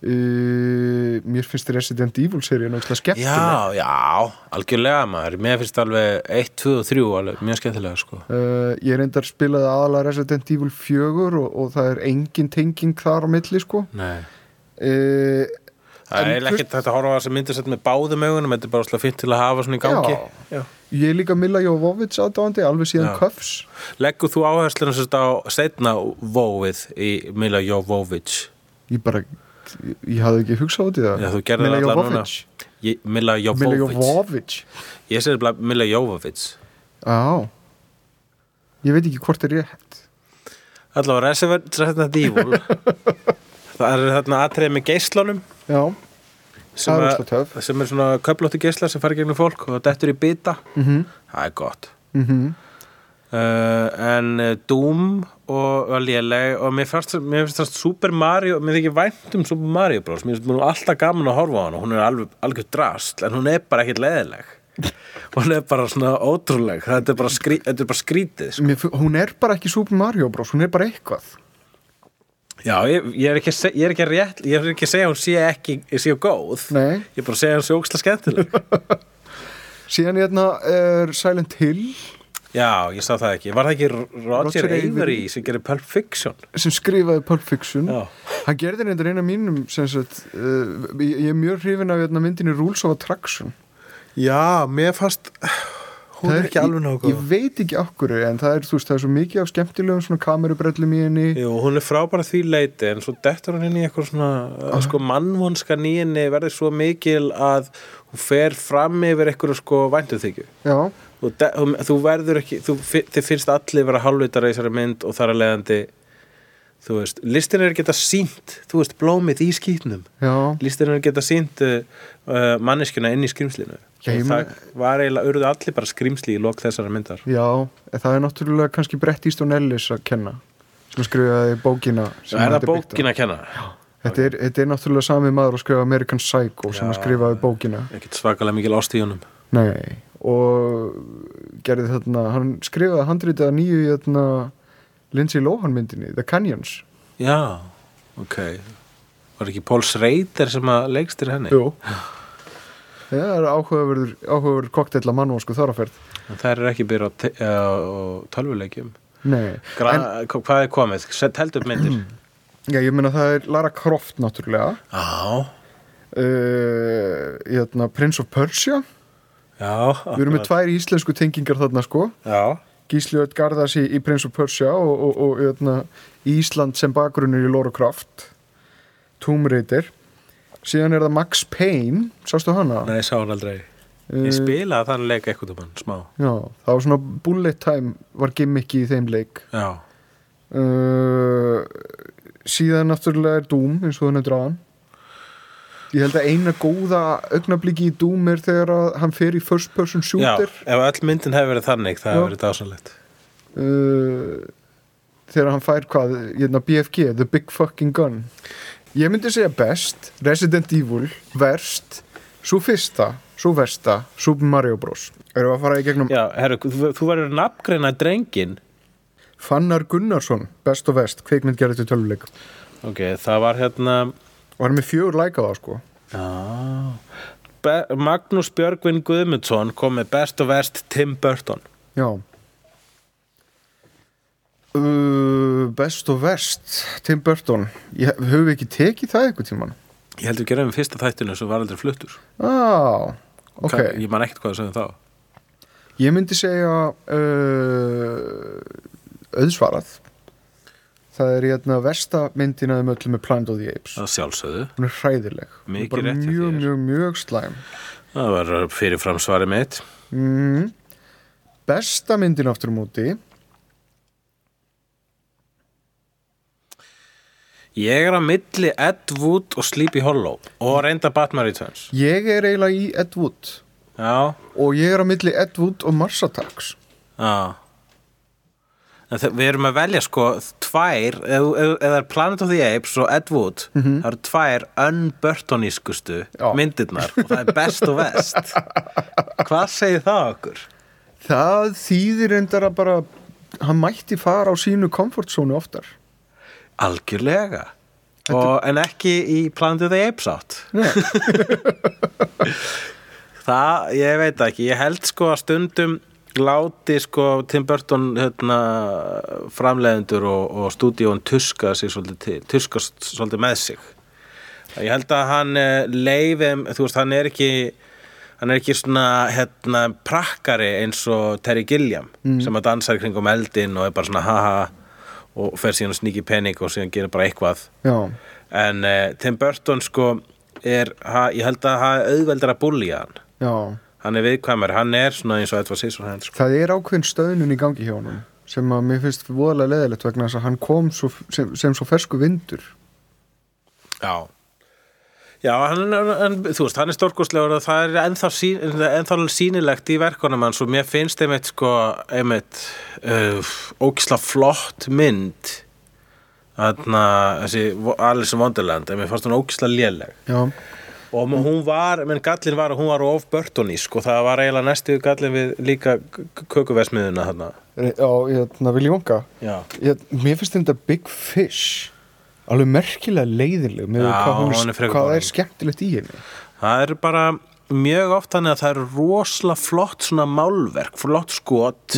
Uh, mér finnst Resident Evil seríun ógstlega skemmtileg
Já, já, algjörlega maður Mér finnst alveg 1, 2 og 3 alveg, mjög skemmtilega sko
uh, ég reyndar spilaði aðalega Resident Evil 4 og, og það er engin tenging þar á milli sko
Nei.
uh,
Það
En
er ekkert
fyrst-
þetta að horfa á þess að mynda sett með báðum augunum Þetta er bara slá fint til að hafa svona í gangi
Já. ég er líka Milla Jovovits aðdáandi alveg
Já.
síðan Cuffs
Leggur þú áherslunum sérst á setna vóið í Mila Jovovic
ég bara, ég, ég hafði ekki hugsað út í það
Já, þú gerðir
Milla
allar núna.
Jovovich.
Ég- Mila
Milla
Jovovic
Jovovich
Ég segir bara Mila Jovovic
Já Ég veit ekki hvort er rétt
Allavega Resident Evil
[laughs]
Það er þarna atriði með geislunum
Já,
sem,
Það er
að-
ósla töff.
sem er svona köflóttu geisla sem fara gegnum fólk og dettur í bita
Mhm.
það er gott
mm
uh, en uh, Doom og var léleg og mér finnst, mér finnst það Super Mario mér þykir vænt um Super Mario Bros mér finnst mér nú alltaf gaman að horfa á hana hún er alveg, alveg drast en hún er bara ekkert
[laughs]
leðileg hún er bara svona ótrúleg þetta er bara, skrí, þetta er bara skrítið sko.
Mér, fin- Hún er bara ekki Super Mario Bros Hún er bara eitthvað
já, ég, ég, er ekki, að seg- ég er ekki að rétt ég er ekki að segja að hún sé ekki sé góð
Nei.
ég er bara að segja að hún sé ógstlega
[laughs]
skemmtileg
Síðan hérna er Silent Hill
Já, ég sá það ekki. Var það ekki Roger,
Roger Avery?
Avery sem gerir Pulp Fiction?
sem skrifaði Pulp Fiction
Já.
Hann gerði reyndar eina mínum sem sagt, uh, ég, ég er mjög hrifin af hérna, myndinni Rules of Attraction
Já, mér fast hún
Það ég, ég veit ekki okkur en það er, þú veist, það er svo mikið af skemmtilegum svona kamerubrellum í henni
Jú, hún er frábæra því leiti en svo dettur hún inn í eitthvað svona að sko mannvonskan í henni verður svo mikil að hún fer fram yfir eitthvað sko væntuþykju
Já,
og de, hún- þú verður ekki þú, fi- þið finnst allir vera hálfvitar í þessari mynd og þar að leiðandi þú veist, listin er geta sínt þú veist, blómið í skýtnum
já
listirinnar geta sínt uh, uh, manneskjuna inn í skrýmslinu
Já,
og
ég
það var eiginlega, urðu allir bara skrýmsli í lok þessara myndar
Já, en það er náttúrulega kannski Brett Easton Ellis að kenna sem skrifaði bókina sem
er
þetta
það
er byggt á.
bókin að kenna?
Þetta er, þetta er náttúrulega sami maður að skrifa American Psycho sem
Já.
að skrifaði bókina
ekkert svakalega mikil ást í honum
Nei, og gerði þarna, hann skrifaði handritið að nýju í þarna Lindsay Lohan myndinni, The Canyons
já, ok var ekki Paul Schrader sem að leikstir henni?
Jú Það er áhugaverður, áhugaverður kokteill að mannvonsku þaraferð
en það er ekki byrjað á te- á á tölvuleikjum
Nei,
Gra hvað er komið? telt upp myndir
[clears throat] já, ég meina það er Lara Croft náttúrulega
já,
uh, hérna, Prince of Persia
já
Við erum með tvær íslensku tengingar þarna sko
já,
Gísli Öll Garðas í, í Prince of Persia og, og, og öðna, Ísland sem bakgrunnur í Lara Croft Tomb Raider síðan er það Max Payne sástu hana?
nei, sá hann aldrei
Eh,
ég spilaði þann leik eitthvað um hann, smá
Já, það var svona bullet time var gimmick í þeim leik
já,
uh, síðan náttúrulega er Doom eins og hann er draðan ég held að eina góða augnabliki í Doom er þegar að hann fer í first person shooter
já, ef öll myndin hefur verið þannig það hefur
Já.
verið dásalegt
uh, þegar hann fær hvað, hérna BFG, The Big Fucking Gun ég myndi segja best Resident Evil, verst svo fyrsta, svo versta Super Mario Bros. Erum við að fara í gegnum
Já, herru, þú, þú verður nafngreina drengin
Fannar Gunnarsson, best og verst kveikmynd gerði til töluleik
Ok, það var hérna
og hann er með fjögur læka það sko
Já Be Magnús Björgvin Guðmundsson kom með best og verst Tim Burton
já uh, best og verst Tim Burton, ég, höfum við ekki tekið það einhvern tíman?
Ég heldur ekki að við fyrsta þættinu sem var aldrei fluttur
á, ok
Ka- Ég man ekkert hvað það segði þá
Ég myndi segja uh, auðsvarað Það er hérna versta myndina um öllu með Planet of the Apes
Það sjálfsögðu
Hún er hræðileg Hún er
Ah. Mikið
bara
rétt hjá
mjög,
þér.
mjög, mjög slæm
Það var fyrirfram svarið mitt
mm. Besta myndin aftur á móti
Ég er á milli Ed Wood og Sleepy Hollow og reynda Batman Returns
Ég er eiginlega í Ed Wood
Já,
Og ég er á milli Ed Wood og Mars Attacks
Já En þe- Við erum að velja sko tvær, ef ef- ef það er Planet of the Apes og Ed Wood, það eru tvær unburtonískustu
Já.
myndirnar og það er best og vest Hvað segir það okkur?
Það þýðir endara bara Hann mætti fara á sínu komfortzónu oftar
Algjörlega og, en ekki í Planet of the Apes átt [laughs] það, ég veit það ekki ég held sko að stundum láti sko Tim Burton hérna, framleiðendur og, og stúdíón tuska sig svolítið til tuska s- svolítið með sig ég held að hann leifum þú veist, hann er ekki hann er ekki svona hérna, prakkari eins og Terry Gilliam sem að dansar kringum eldin og er bara svona haha og fer síðan sníki pening og síðan gerir bara eitthvað
já,
en uh, Tim Burton sko er, ha, ég held að hafa auðveldur að búlja hann
já
hann er viðkvæmur, hann er svona eins og Edward Scissorhands sko.
það er ákveðin stöðnun í gangi hjá honum sem að mér finnst voðalega leðilegt vegna þess að hann kom svo, sem, sem svo fersku vindur
já Já, hann, er- hann, þú veist, hann er stórkostlegur og það er ennþá, sín, ennþá sýnilegt í verkunum hans og mér finnst einmitt sko, einmitt uh, ókisla flott mynd þarna, þessi Vo- Alice in Wonderland, en mér fannst hún ókisla léleg
já,
og m- hún var, menn gallin var að hún var of börtunísk og það var eiginlega næstu gallin við líka kökuversmiðuna þarna
já, hérna vil ég vonka
Já,
ég, mér finnst þetta Big Fish alveg merkilega leiðileg með
Já,
hvað,
hún
hún,
er frekar
hvað
boring.
er skemmtilegt í henni
Það er bara mjög oft þannig að það er rosalega flott svona málverk, flott skot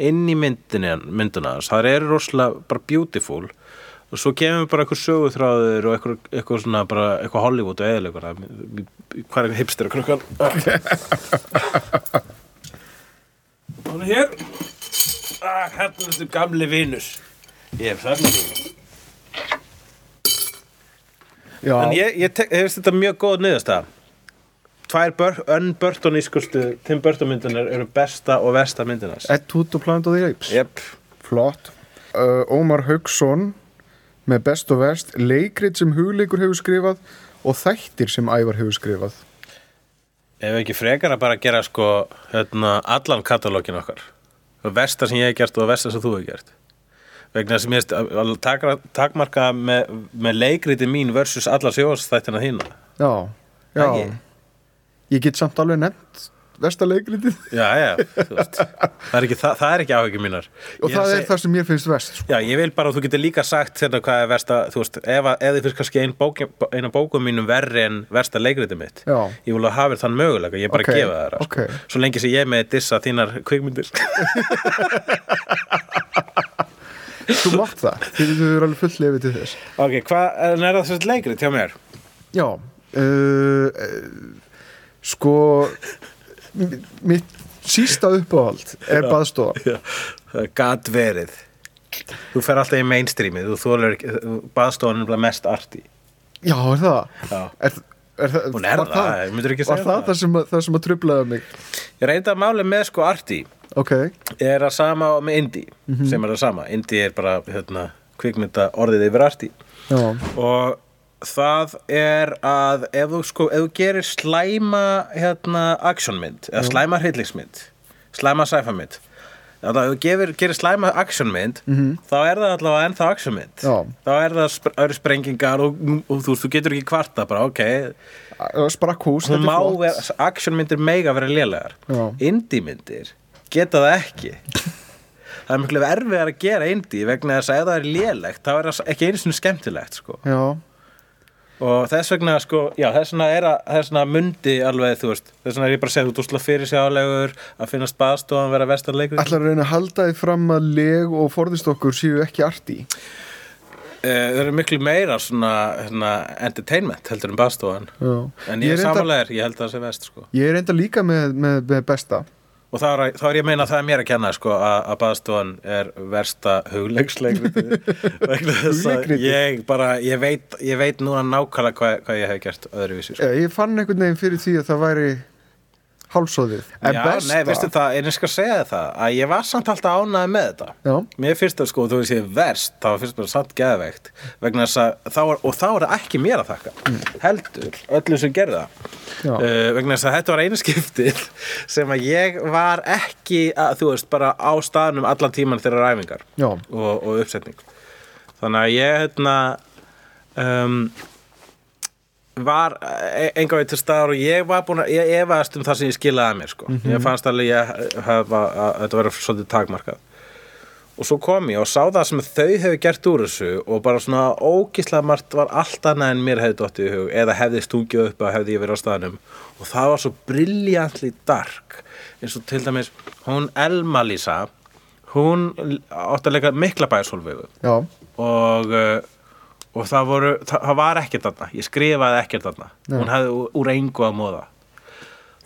inn í myndinu, mynduna hans. það er rosalega bara beautiful og svo kemur bara eitthvað sögutráður og eitthvað, eitthvað svona bara eitthvað Hollywood og eðilegur hvað er hipster og krukkan hann er hér ah, hérna þetta gamli vinur ég hef þarna vinur
já,
En ég, ég tek- ég veist þetta mjög góð niðurstaða Tvær bör, önn Burtonískustu Tim Burton myndunar eru besta og versta myndunars
Ed Wood og Planet of the Apes
Jep
Flott. Uh, Ómar Hauksson með best og vest, leikrit sem hugleikur hefur skrifað og þættir sem ævar hefur skrifað.
Ef ekki frekar að bara gera sko hérna, allan katalógin okkar og versta sem ég hef gert og versta sem þú hef gert vegna sem ég takra, takmarka með, með leikriti mín versus alla sjóðstættina þína
Já, já.
Ekki?
Ég get samt alveg nefnt versta leikritið
Já, já, þú veist Það er ekki, það, það er ekki áhyggjum mínar
og
Ég er að
það er
segja-
það sem mér finnst vest. Sko.
Já, ég vil bara að þú getur líka sagt hérna hvað er versta, þú veist, ef, að- ef þið finnst kannski ein bók, eina bókum mínum verri en versta leikriti mitt.
Já.
Ég vil að hafa þér þann möguleika, ég er bara
Ok,
að gefa þér það. sko.
ok.
Svo lengi sem ég er með að dissa þínar kvikmyndir.
Þú mátt það, því þú eru alveg full lefið til þess.
[laughs] ok, hvað en er það þessi leikrit hjá mér?
Já, uh, uh, sko, m- mitt sísta uppáhald er baðstofan.
Já, það er gat verið. Þú fer alltaf í mainstreamið, þú þólar ekki, baðstofan er bara mest arti.
Já, er það?
Já.
Er, er það
Hún er
var
það, myndirðu ekki
Var
segja
það
það?
það sem, að- það sem að trublaði mig?
Ég reynda að máli með sko arti
Ok,
er að sama og með indie, sem er að sama. Indie er bara, hérna, kvikmynda orðið yfir arti.
já.
og það er að ef þú, sko, ef þú gerir slæma hérna, actionmynd eða slæma hryllingsmynd slæma sci-fi-mynd Þannig að ef þú gefir, gerir slæma actionmynd þá er það allavega ennþá actionmynd
Mhm. Já.
þá er það sp eru sprengingar og, og þú, veist, þú getur ekki kvarta bara ok,
Ö, Sprakkhús,
hún
þetta
má
er flott
vera actionmyndir mega vera lélegar
Já.
indie-myndir geta það ekki það er miklu erfiðar að gera indie vegna þess að ef það er lélegt þá er það ekki einu sinni skemmtilegt sko
Já,
og þess vegna sko, já þess vegna er að þess vegna mundi alveg þú veist þess vegna er ég bara að segja þú dúsla fyrir sig álegur að finnast baðstofan vera vestan leikur
ætlar að reyna að halda því fram að leg og forðist okkur séu ekki arti
Eh, það eru miklu meira svona hérna, entertainment heldur en baðstofan
Já.
en ég er
Ég er enda-
samanlegar, ég held að það sé vest sko
Ég er enda líka með, með, með besta
og þá er, þá er ég að meina að það er mér að kenna sko, að, að baðstofan er versta hugleiksleikritið vegna þess að
Hugleikritið?
ég bara ég veit, ég veit núna nákvæmlega hvað, hvað ég hef gert öðruvísi sko.
Eh, Ég fann einhvern veginn fyrir því að það væri hálsóðið En sko.
Já,
besta
nei, veistu það, en ég skal segja þér það að ég var samt alltaf ánæði með þetta
Já.
Mér finnst það sko, þú veist ég verst þá finnst mér samt geðveikt vegna þess að þá er, og þá er það ekki mér að þakka heldur, öllum sem gerði það
Mm. Já.
uh, vegna þess að þetta var einu skiptið [laughs] sem að ég var ekki að, þú veist, bara á staðnum allan tíman þeirra ræfingar
Já.
og, og uppsetning þannig að ég hérna um, var e- enga veit til staðar og ég var búin að ég efaðast um það sem ég skilaði að mér sko. ég fannst alveg ég hafa að, að þetta verið svolítið takmarkað og svo kom ég og sá það sem þau hefur gert úr þessu og bara svona ógislega margt var allt annað en mér hefði dottið í hug eða hefði stungið upp að hefði ég verið á staðnum og það var svo briljantli dark eins og til dæmis hún Elma Lísa hún átti að leika mikla bæðsólfegu
já,
og, uh, og það, voru, það, það var ekkert þarna, ég skrifaði ekkert þarna hún hefði úr, úr engu að móða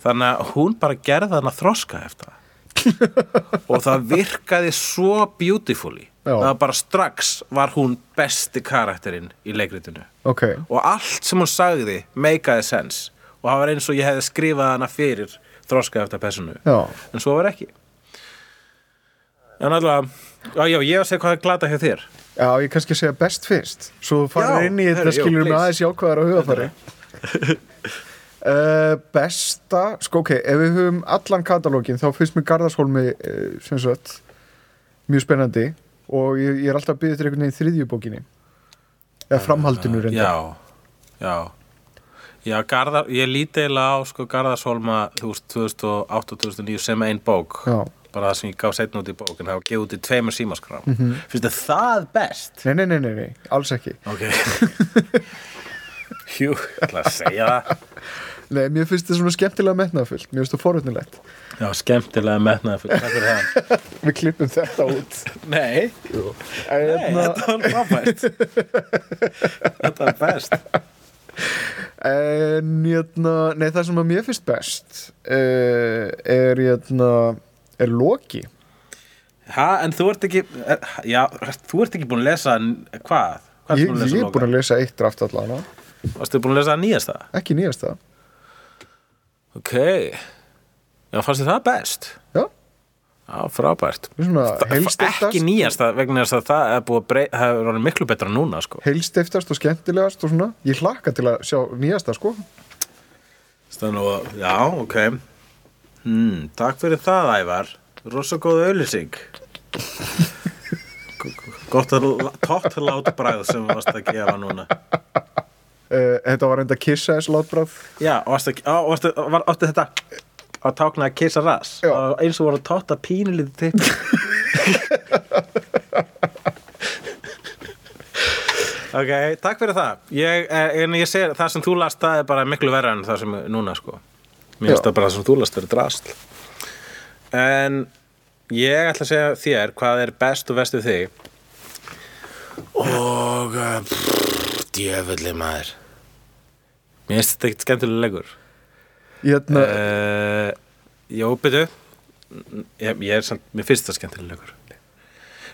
þannig að hún bara gerði þarna þroska eftir
[laughs]
það og það virkaði svo beautifully
Já.
það var bara strax var hún besti karakterinn í leikritinu
ok
og allt sem hún sagði meikaði sense og það var eins og ég hefði skrifað hana fyrir þroska eftir personu
já,
en svo var ekki en allavega já, já, ég var að segja hvað er glata hjá þér
já, ég kannski segja best fyrst svo þú
Já,
farir inn í þetta
herri, jú,
skilur með
please.
aðeins jákvæðar á hugafari uh, besta sko ok, ef við höfum allan katalógin þá finnst mér Garðarshólmi uh, sem sagt mjög spennandi og ég, ég er alltaf að byggja til einhvern veginn þriðjubókinni eða framhaldinu reynda
Ah, já, já já, Garðar, ég líti eiginlega á sko Garðarshólma, þú veist, 2008-2009 sem ein bók
Já.
bara það sem ég gaf setn út í bók en það var gefið út í tveimur símaskram mm
Mhm.
-hmm. finnst þið það best?
nei, nei, nei, nei, nei, alls ekki
ok [laughs] jú, ég ætla að segja það
nei, mér finnst þetta svona skemmtilega metnaðfullt mér finnst þetta forutnilegt
já, skemmtilega metnaði fyrir takk fyrir það
[laughs] við klippum þetta út
nei,
En
nei,
hérna-
þetta var
[laughs]
frábært þetta var best
En jötna, nei, það sem að mér finnst best uh, er jötna, er Loki
ha, en þú ert ekki eh, já, þú ert ekki búin að lesa hvað? Hvað ertu
ég,
búin að lesa
ég er
Loka?
búin að lesa eitt draft allana
Varstu búin að lesa það nýjasta?
ekki nýjast það
Ok, já, fannst þið það best?
Já.
Já, frábært.
Mér er svona
Ekki
heilstiftast,
nýjasta vegna þess að það er búið að breyta, það er orðið miklu betra núna, sko.
heilstiftast og skemmtilegast og svona ég hlakka til að sjá nýjasta sko
Stann og, já, ok. Hmm, takk fyrir það, Ævar. Rosa góð auðlýsing. Gott að tóttlát bræð sem þú varst að gefa núna.
uh, þetta var enda kissa þess látbráð
Já, og varst að, á, varst að, var, átti þetta að tákna að kissa ras.
Já.
Og eins og voru tótt að pínulítið tippi. [laughs] Ok, takk fyrir það ég, eh, En ég segir, það sem þú last það er bara miklu verra en það sem er núna sko Mér finnst
Já.
það bara það sem þú last er drast En ég ætla að segja þér hvað er best og best við þig Og eh, pff, djöfulli maður Mér finnst þetta ekkert skemmtilega leikur
jötna,
uh, Jó, byrju ég, ég er samt, mér finnst það skemmtilega leikur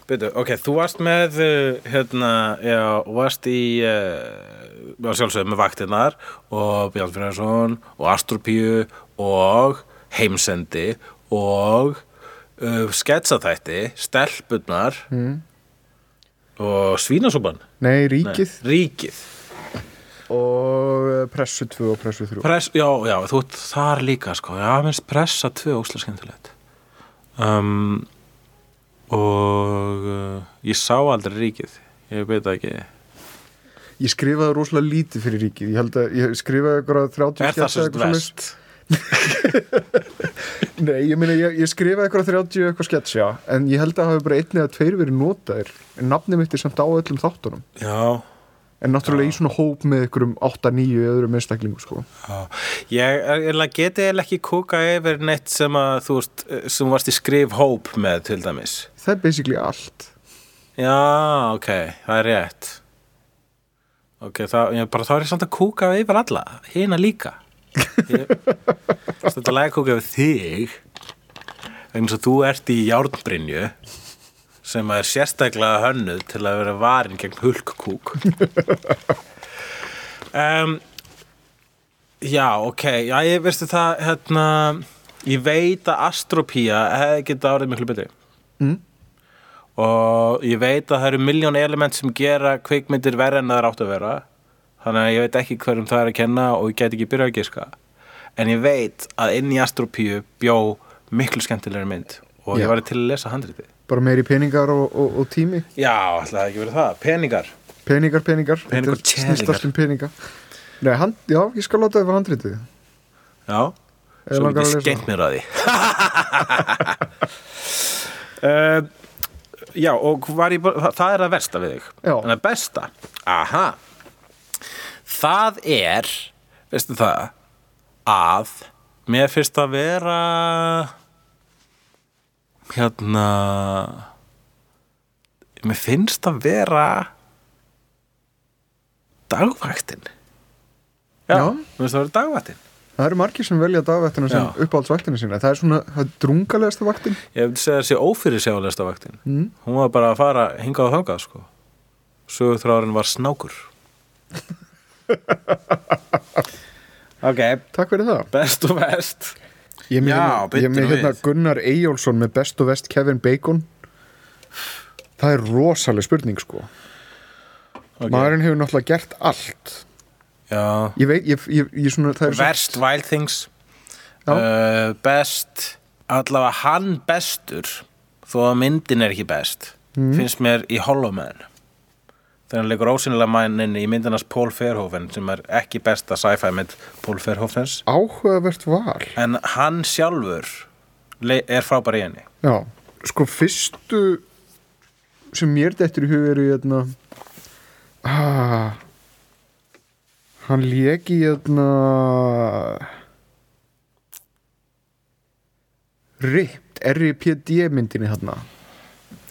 Byrju, ok, þú varst með uh, hérna, já, varst í uh, var sjálfsögð með vaktinnar og Björn Finnarsson og Astropíu og heimsendi og uh, sketsaþætti, stelpunnar mm. og svínasúpan
nei, Ríkið
Ríkið
og eh, Pressu 2 og Pressu 3
Press, já, já, þú ert þar líka sko. Já, minnst pressa tvö óslega skemmtilegt um, Og uh, ég sá aldrei ríkið Ég veit það ekki
ég skrifaði rosalega lítið fyrir Ríkið ég held að ég skrifaði ykkur að
Er
30
það
sketsa
svo
eitthvað svoleiðis.
vest?
Nei, ég meina, ég, ég skrifaði eitthvað 30 eitthvað sketsja en ég held að það hafi bara einn eða tveir verið notaðir en nafnið mitt er samt á öllum þáttunum
Já,
en náttúrulega í svona hóp með ykkur um 8-9 öðrum einstaklingum sko
já Ég er- eiginlega geti eða ekki kúka yfir neitt sem að þú veist eh, sem varst í skrif hóp með til dæmis
það er basically allt
Já, ok, það er rétt Ok, það, ég, bara þá er ég samt að kúka yfir alla Hina líka Ég- Þetta lag að kúka yfir þig vegna þess að þú ert í járnbrynju sem er sérstaklega hönnuð til að vera varin gegn hulkkúk um, Já, ok Já, ég veistu það hérna, ég veit að astropía hefði geta árið miklu betri og ég veit að það eru miljón element sem gera kvikmyndir verra en það er átt að vera þannig að ég veit ekki hverjum það er að kenna og ég get ekki byrjað að giska en ég veit að inn í Astropíu bjó miklu skemmtilegri mynd og
Já.
ég var til að lesa handritið
bara meiri peningar og, og, og tími
Já, ætlaði það ekki verið það, peningar
peningar, peningar,
Peningar,
Þetta er- snýst
tjeningar.
allt um peninga Nei, hand, já, ég skal láta þið fyrir handritið
Já,
Ef
svo
langar
getið
að lesa. [laughs]
skeitt mér að því uh, já, og var ég bara, það, það er það versta við þig
Já.
en það besta, aha það er veistu það að mér finnst að vera hérna mér finnst að vera dagvaktin já,
Já.
mér finnst að vera dagvaktin
Það eru margir sem velja dagvættina sem
Já.
uppáhaldsvættina sína Það er svona það er drungalegasta vaktin
Ég vil segja þessi ófyrirsjálegasta vaktin Hún var bara að fara hingað og þangað sko. Sögurþráðurinn var snákur [laughs] Ok,
Takk fyrir það
best og best
Ég er með,
Já,
hérna- ég er
bíddu nú
með hérna
við.
Gunnar Eyjólfsson með best og vest Kevin Bacon Það er rosaleg spurning sko
okay.
Maðurinn hefur náttúrulega gert allt
Já.
Ég veit, ég, ég, ég svona það er
Verst Wild Things
Já.
uh, Best Allavega hann bestur Þó að myndin er ekki best Finnst mér í Hollow Man Þegar hann leikur ósynilega mannin í myndinans Paul Verhoeven sem er ekki besta sci-fi mynd Paul Verhoevens
áhugavert val
en hann sjálfur le- er frábær í henni
Já, sko fyrstu sem mér dettur í hug eru hérna ah, hann lék í hérna RIPT, R.I.P.D. myndinni hérna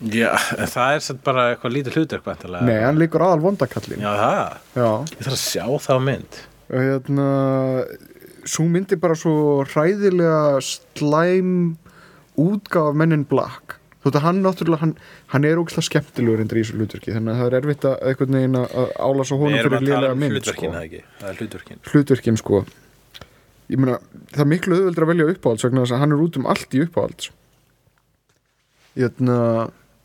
Já, það er satt bara eitthvað lítið hlutverk vantilega.
Nei, hann leikur aðal vondakallin
Já, það,
Já.
ég þarf að sjá þá mynd
og hérna svo myndi bara svo hræðilega slæm útgáf af mennin Black þótt að hann náttúrulega, hann, hann er ógislega skemmtilegur endur í þessu hlutverki, þannig að það er erfitt að einhvern veginn að að álasa
Við
honum
erum
fyrir
að tala
lélega
um
mynd sko.
hlutverkin, það ekki Það er hlutverkin
hlutverkin sko ég meina, það er miklu auðveldur að velja uppáhalds vegna þess að hann er út um allt í uppáhalds hérna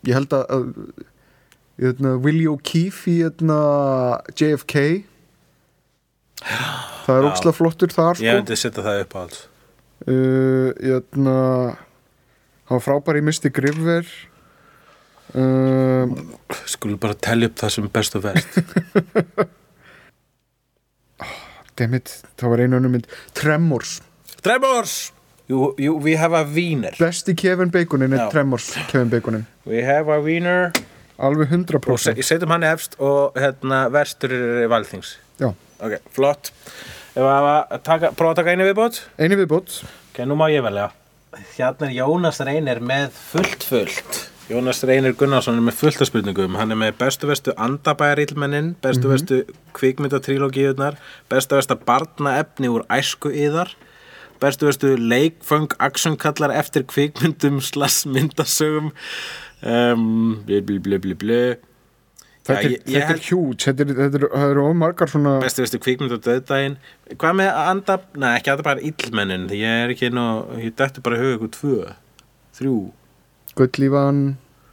ég held að- að hérna, Willie O'Keefe í hérna, JFK það er ókslega flottur þar
Ég
sko
myndi setja það upp á alls
uh, hérna hann var frábær í Mr. Grifver um,
Skulum bara telja upp það sem er best og verst
[laughs] dammit, það var einu önnum mynd Tremors,
Tremors! You, you, we have a wiener
besti Kevin Baconin er
Já.
Tremors, Kevin Baconin
We have a wiener
alveg 100%
Og se, setjum hann efst og hérna, verstur er valþings
Já.
Ok, flott Ef að taka, prófa að taka einu viðbót
einu viðbót
Ok, nú má ég velja. Hérna er Jónas Reynir með fullt fullt. Jónas Reynir Gunnarsson er með fullt af spurningum. Hann er með bestu vestu andabæjarillmennin, bestu vestu kvikmyndatrílógiðunar, bestu vestu barnaefni úr æsku yðar, bestu vestu leikföng aksjónkallar eftir kvikmyndum slassmyndasögum. Um, bli, bli, bli, bli, bli.
Þetta
Já,
er,
ég- ég
þetta er
held-
huge, þetta er, þetta er, þetta er ómargar svona
bestu veistu kvikmynd og döðdægin hvað með að anda, neða ekki anda bara illmennin því ég er ekki nú, ég dætti bara í hug ykkur tvö, þrjú
Gullífan,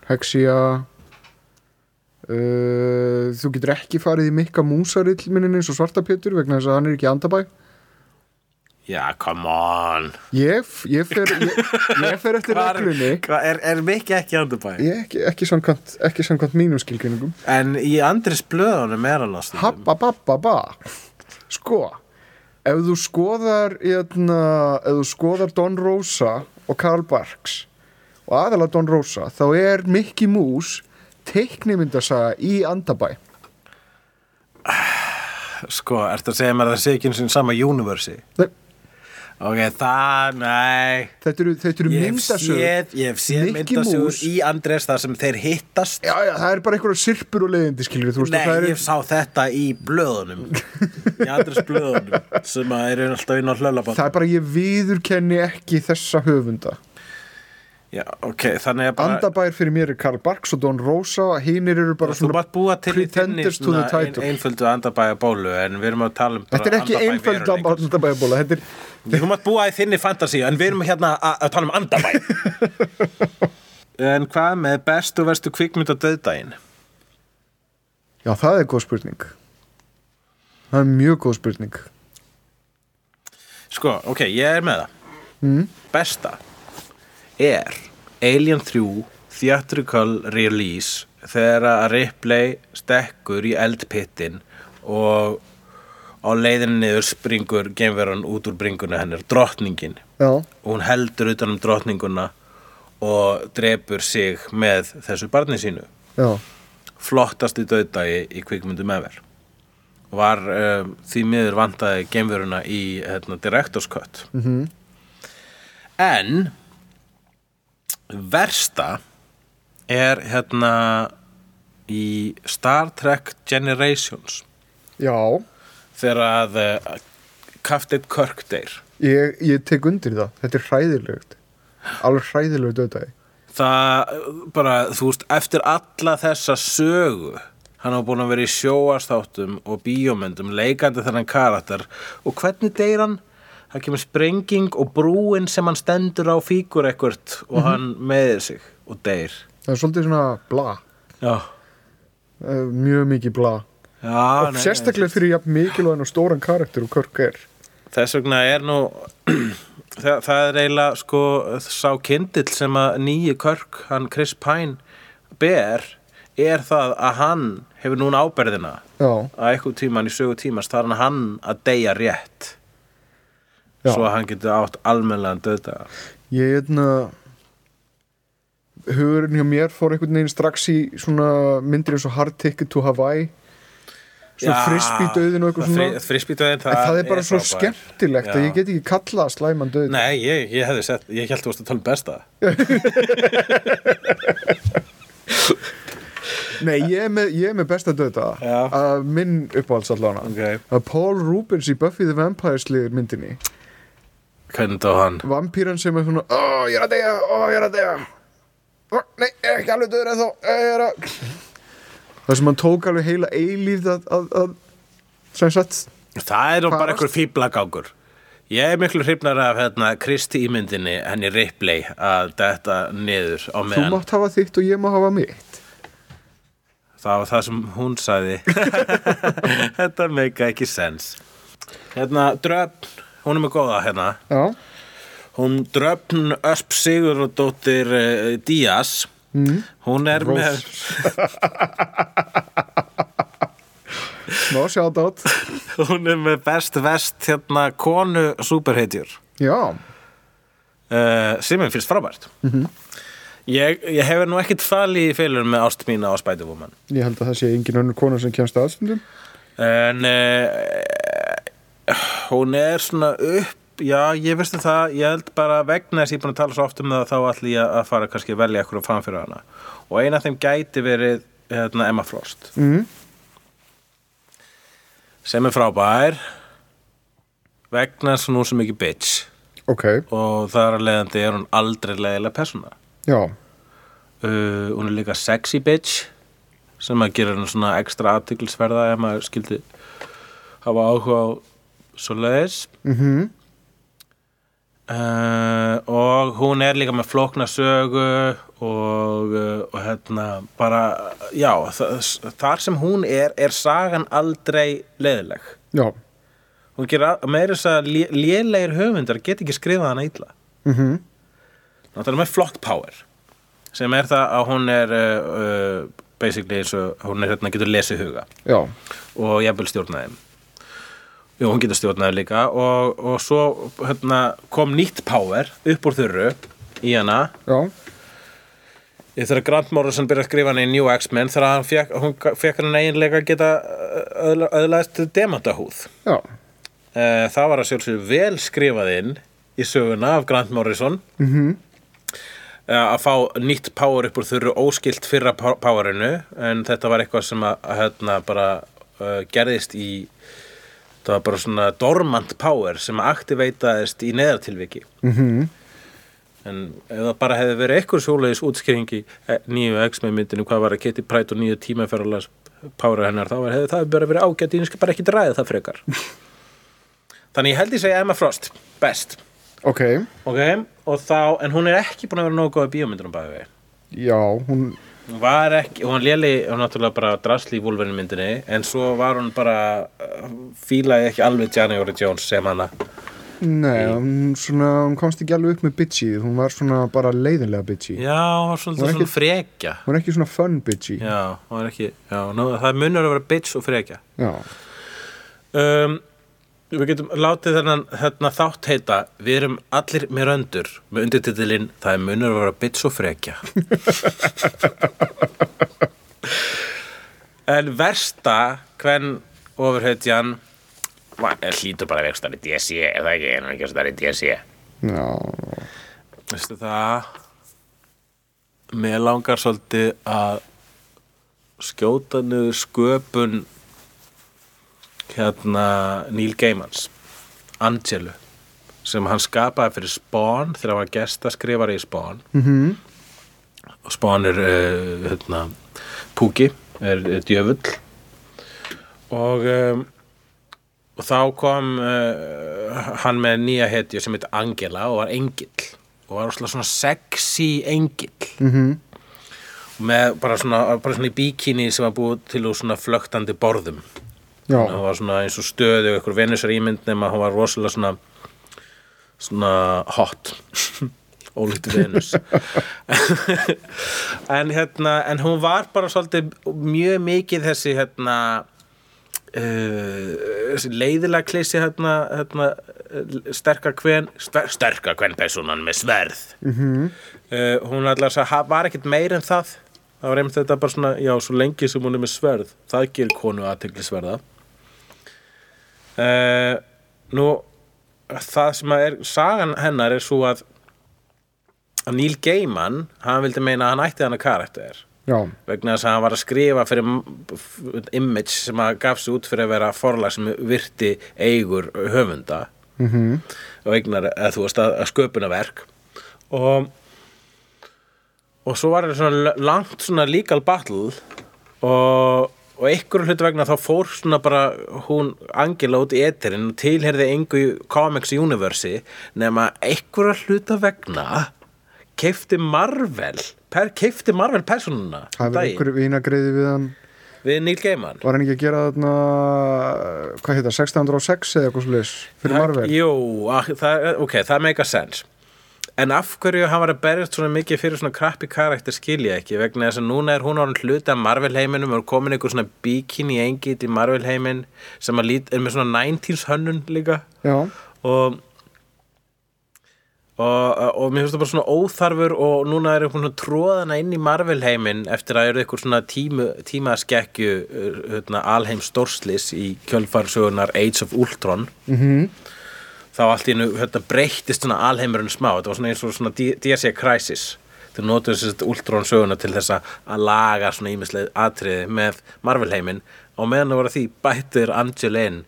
Hexia uh, Þú getur ekki farið í mikka músarill minnin eins og svartapjötur vegna þess að hann er ekki í andabæ
já, come on
Ég, ég, fer, ég, ég fer eftir
Hvar-
reglunni
hvað er, er mikið ekki andabæ
Ég ekki, ekki samkvæmt, ekki samkvæmt mínum skilgjönningum
en í andris blöðunum er hann á stundum
Habba babba ba Sko Ef þú skoðar hérna, ef þú skoðar Don Rosa og Karl Barks og aðalega Don Rosa þá er Mickey Mouse teiknimyndasaga í Andabæ
sko, ertu að segja mér að það sé ekki eins og sama universi
Nei.
ok, það, nei
Þetta eru, þetta eru
ég hef
myndasögur
séð, ég hef séð
Mickey
myndasögur
Mouse.
í andris þar sem þeir hittast
Já, já, það er bara einhverja sirpur og leiðindi skilur þú veist
Nei,
að það er
ég sá þetta í blöðunum Í andres blöðunum sem að eru alltaf inn á hlölabátt
það er bara ég viðurkenni ekki þessa höfunda
Já, ok, þannig að bara
Andabær fyrir mér er Karl Barks og Don Rosa hinnir eru bara
Þú
svona
mátt búa til í þinni
pretenders to the
svona ein,
title
einföldu andabæja bólu en við erum að tala um bara
Þetta er ekki
andabæ
einföld
veruleika.
andabæjabóla Þetta er
Þú mátt búa í þinni fantasíu en við erum hérna að að tala um andabæ
[laughs]
En hvað með bestu og verstu kvikmynd á döðdægin?
Já, það er góð spurning Það er mjög góð spurning
Sko, ok, ég er með það Besta er Alien 3 Theatrical Release þegar að Ripley stekkur í eldpittin og á leiðinni niður springur geimveran út úr bringunni hennar, drottningin
Já,
og hún heldur utan um drottninguna og drepur sig með þessu barni sínu
já,
flottasti döðdagi í kvikmyndum ever var um, því miður vantaði geimveruna í hérna, Directors Cut -hmm. en versta er hérna í Star Trek Generations
já
þegar að uh, Captain Kirk deyr
ég, ég tek undir það, þetta er hræðilegt alveg hræðilegt döðdagi
það uh, bara, þú veist, eftir alla þessa sögu hann á búin að vera í sjóastáttum og bíómyndum, leikandi þennan karakter og hvernig deyr hann? það kemur sprenging og brúin sem hann stendur á fíkur ekkert og hann meðir sig og deyr
það er svolítið svona bla
já,
eh, mjög mikið bla
já
og sérstaklega fyrir jafn mikilvæðan og stóran karakter og Kirk er
þess vegna er nú [clears throat] það, það er eiginlega sko sá kindill sem að nýju körk hann Chris Pine ber er það að hann hefur núna áberðina
já,
að eitthvað tíman í sögu tímans þar hann hann að deyja rétt
Já.
svo að hann getur átt almennlegan döðdaga
ég hefna hugurinn hjá mér fór einhvern veginn strax í svona myndir eins og Hard Ticket to Hawaii svona frisbee döðin og eitthvað svona
frisbee döðin
það, það er bara svo skemmtilegt að
Já.
ég get ekki kallað slæman döð
nei, ég, ég hefði sett, ég held þú varst að tala um besta
Nei, ég er með, ég er með besta döða
Já.
að minn uppáhalds allan
Ok.
að Paul Rubens í Buffy the Vampire Slayer myndinni
hvernig þá hann
vampýran sem er svona ó, ég er að deyja, ó, ég er að deyja ó, nei, ég er ekki alveg döður en þá ég er að það sem hann tók alveg heila eilíð að, að, að sem sagt
það er nú
Hvað
bara
varst-
einhver fíblagangur ég er miklu hrifnar af hérna Kristi ímyndinni henni Ripley að detta niður á
þú
meðan
mátt hafa þitt og ég má hafa mitt
það var það sem hún sagði þetta meika ekki sens hérna dröfn hún er með góða hérna
já,
Hún dröfn Ösp Sigurðardóttir uh, Díaz mm. Hún er
má sjátt átt
með [laughs] Hún er með best vest hérna konu superhetjur
já,
uh, sem er fyrst frábært ég, ég hefur nú ekkert falið í félur með ást mína á Spider-Woman
ég held að það sé engin önnur kona sem kemst aðstundum
en uh, hún er svona upp já, ég veistu það, ég held bara vegna þess að ég er búin að tala svo oft um það þá ætli ég að fara kannski að velja eitthvað fram fyrir hana og eina af þeim gæti verið hérna, Emma Frost
Mhm.
sem er frábær vegna þess að hún er svo mikið bitch
ok,
og þar að leiðandi er hún aldrei leiðilega persóna
já,
uh, hún er líka sexy bitch sem að gera henni svona ekstra aðtiklisverða ef maður skildi hafa áhuga á svoleiðis
mhm
uh, og hún er líka með flókna sögu og, uh, og hérna bara, já þa- þar sem hún er, er sagan aldrei leiðileg
já,
hún gerir að- meira þess að lé- lélegir höfundar get ekki skrifað hana illa
mhm
náttúrulega með flott power sem er það að hún er uh, uh, basically eins og hún er hérna getur lesið huga
já,
og jafnvel stjórnaði þeim. Jú, hún getur stjórnaði líka og, og svo hérna, kom nýtt power upp úr þurru í hana
já,
Ég þegar Grant Morrison byrjaði að skrifa hann í New X-Men þegar hann fekk, hún fekk hann eiginlega að geta uh, öðla- öðlaðist demantahúð
já
Eh, það var að sjálfsögur vel skrifað inn í söguna af Grant Morrison mm að fá nýtt power upp úr þurru óskilt fyrra pá- powerinu en þetta var eitthvað sem að, að hérna bara uh, gerðist í það var bara svona dormant power sem aktiveitaðist í neðartilviki
mhm,
en ef það bara hefði verið eitthvað svoleiðis útskýringi nýju X-Men myndinu hvað var að Kitty Pryde og nýju tímaferðalas power hennar þá var- hefði það bara verið ágætt ég skal bara ekki ræða það frekar þannig ég held ég segja Emma Frost best
ok
ok og þá en hún er ekki búin að vera nógu góð í bíómyndunum bæði við
já, hún
hún var ekki hún léli hún náttúrulega bara drasli í Wolverine myndinni en svo var hún bara uh, fílaði ekki alveg January Jones sem hana
Nei, hún, svona, hún komst ekki alveg upp með bitchy hún var svona bara leiðinlega bitchy
já hún var
Hún
svolítið
er
svona
ekki-
frekja
hún er ekki svona fun bitchy
já hún var ekki já nú, það munur að vera bitch og frekja
Já.
um, Við getum látið þennan þarna þátt heita Við erum allir mér öndur með undirtitilinn Það er munur að vera bits og frekja En versta hvern ofurhetjan va- er hlýtur bara að vera stærri DSC eða ekki, er hann ekki stærri DSC
Já,
Veistu það Mér langar svolítið að skjóta niður sköpun hérna Neil Gaimans Angelu sem hann skapaði fyrir Spawn þegar hann var gestaskrifari í Spawn -hmm. og Spawn er uh, hérna, Púki er, er djöfull og um, og þá kom uh, hann með nýja hetju sem heit Angela og var engill og var óslega svona sexy engill -hmm. með bara svona, bara svona í bíkinni sem var búið til úr svona flöktandi borðum
já,
hún var svona eins og stöðu og ykkur venusar ímynd nema hún var rosalega svona svona hot [laughs] ólíkt venus [laughs] en hérna en hún var bara svolítið mjög mikið þessi hérna uh, þessi leiðilega klísi hérna, hérna eh, sterka kven ster, sterka kvenpersonan með sverð uh, hún allar sagði, "Ha- var ekkert meir en það það var einmitt þetta bara svona, já, svo lengi sem hún er með sverð, það gerir konu aðteglisverða uh, nú það sem að er, sagan hennar er svo að að Neil Gaiman, hann vildi meina að hann ætti hann að karakter
já,
vegna þess að hann var að skrifa fyrir m- f- image sem að gaf sig út fyrir að vera forlag sem virti eigur höfunda -hmm. og eignar að þú veist að, að sköpunaverk og og svo var þetta svona l- langt svona legal battle og og einhverjum hlutu vegna þá fór svona bara hún Angela út í eterinn og tilherði engu comics universi nema einhverja hluta vegna keifti Marvel per, keifti Marvel personuna um
hafið
daginn
ykkur vínagreiði við hann
við Neil Gaiman
Var hann ekki að gera þarna hvað heita, 1606 eða eitthvað slis fyrir Marvel?
Jú, að- það, ok, það make a sense En af hverju hann var að berjast svona mikið fyrir svona krappi karakter skilja ekki vegna þess að núna er hún orðin hluti af Marvel heiminum og er komin einhver svona bikini engit í Marvel heimin sem að lít, er með svona 90s hönnun líka
Já,
og og, og mér finnst það bara svona óþarfur og núna er einhvern svona tróðana inn í Marvel heiminn eftir að eru einhver svona tíma, tíma skekkju hérna, alheim stórslis í kjölfarsögunar Age of Ultron -hmm. þá allt í einu hérna, breyttist svona alheimurinn smá þetta var svona eins og svona DSA E Crisis þeir notuðu sérst Ultron söguna til þess að að laga svona ímislega atriði með Marvel heiminn og meðan það voru að því bættir Angela inn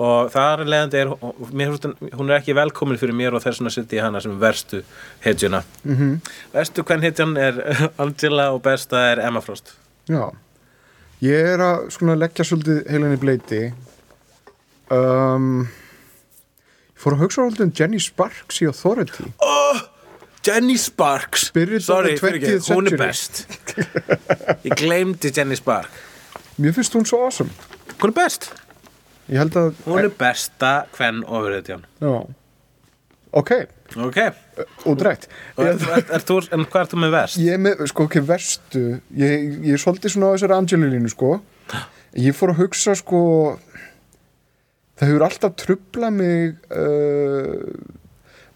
og þar leðandi er mér, finnst hún- hún er ekki velkomin fyrir mér og þess vegna setja ég hana sem verstu hetjuna mm -hmm. verstu hvern hetjan er [laughs] Angela og besta er Emma Frost
já Ég er að svona leggja svolítið heilinni bleiti um, Ég fór að hugsa svolítið um Jenny Sparks í Authority
Jenny Sparks
Spirit of
Sorry,
the 20th
fyrirgefðu, hún er
century.
best ég gleymdi Jenny Spark
Mér finnst hún svo awesome
hún er best
Ég held að,
hún er besta hvern ofur hetjan
já Ok,
ok,
útrætt
og er, er, er, þú, en hvað er þú með verst?
Ég er með, sko, ok, verstu Ég, ég er svolítið svona á þessari Angelilínu, sko Ég fór að hugsa, sko Það hefur alltaf trublað mig uh,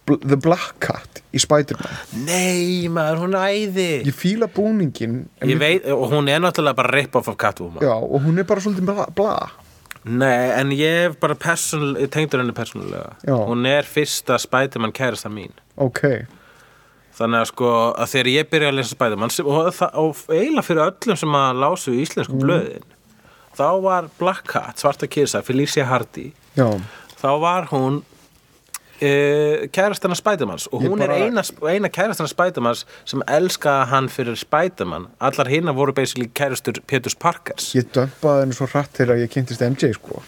Bl- The Black Cat í Spider-Man
nei maður, hún er æði ég,
Ég fíla búningin en mér-
veit, og hún er náttúrulega bara rip-off af Catwoman
Já, og hún er bara svolítið bla, bla.
Nei, en ég hef bara persónul, tengdur henni persónulega
Já.
Hún er fyrsta Spiderman kærasta mín
Ok,
Þannig að sko, að þegar ég byrja að lesa Spiderman sem- og, það- og eiginlega fyrir öllum sem að lásu í íslensku blöðin þá var Black Cat, svarta kisa Felicia Hardy,
já
þá var hún uh, kærastana Spidermans og
Ég
hún
bara-
er eina, eina kærastana Spidermans sem elskaði hann fyrir Spiderman allar hinna voru basically kærastur Peturs Parkers
Ég dömpaði henni svo hratt þegar ég kynntist MJ, sko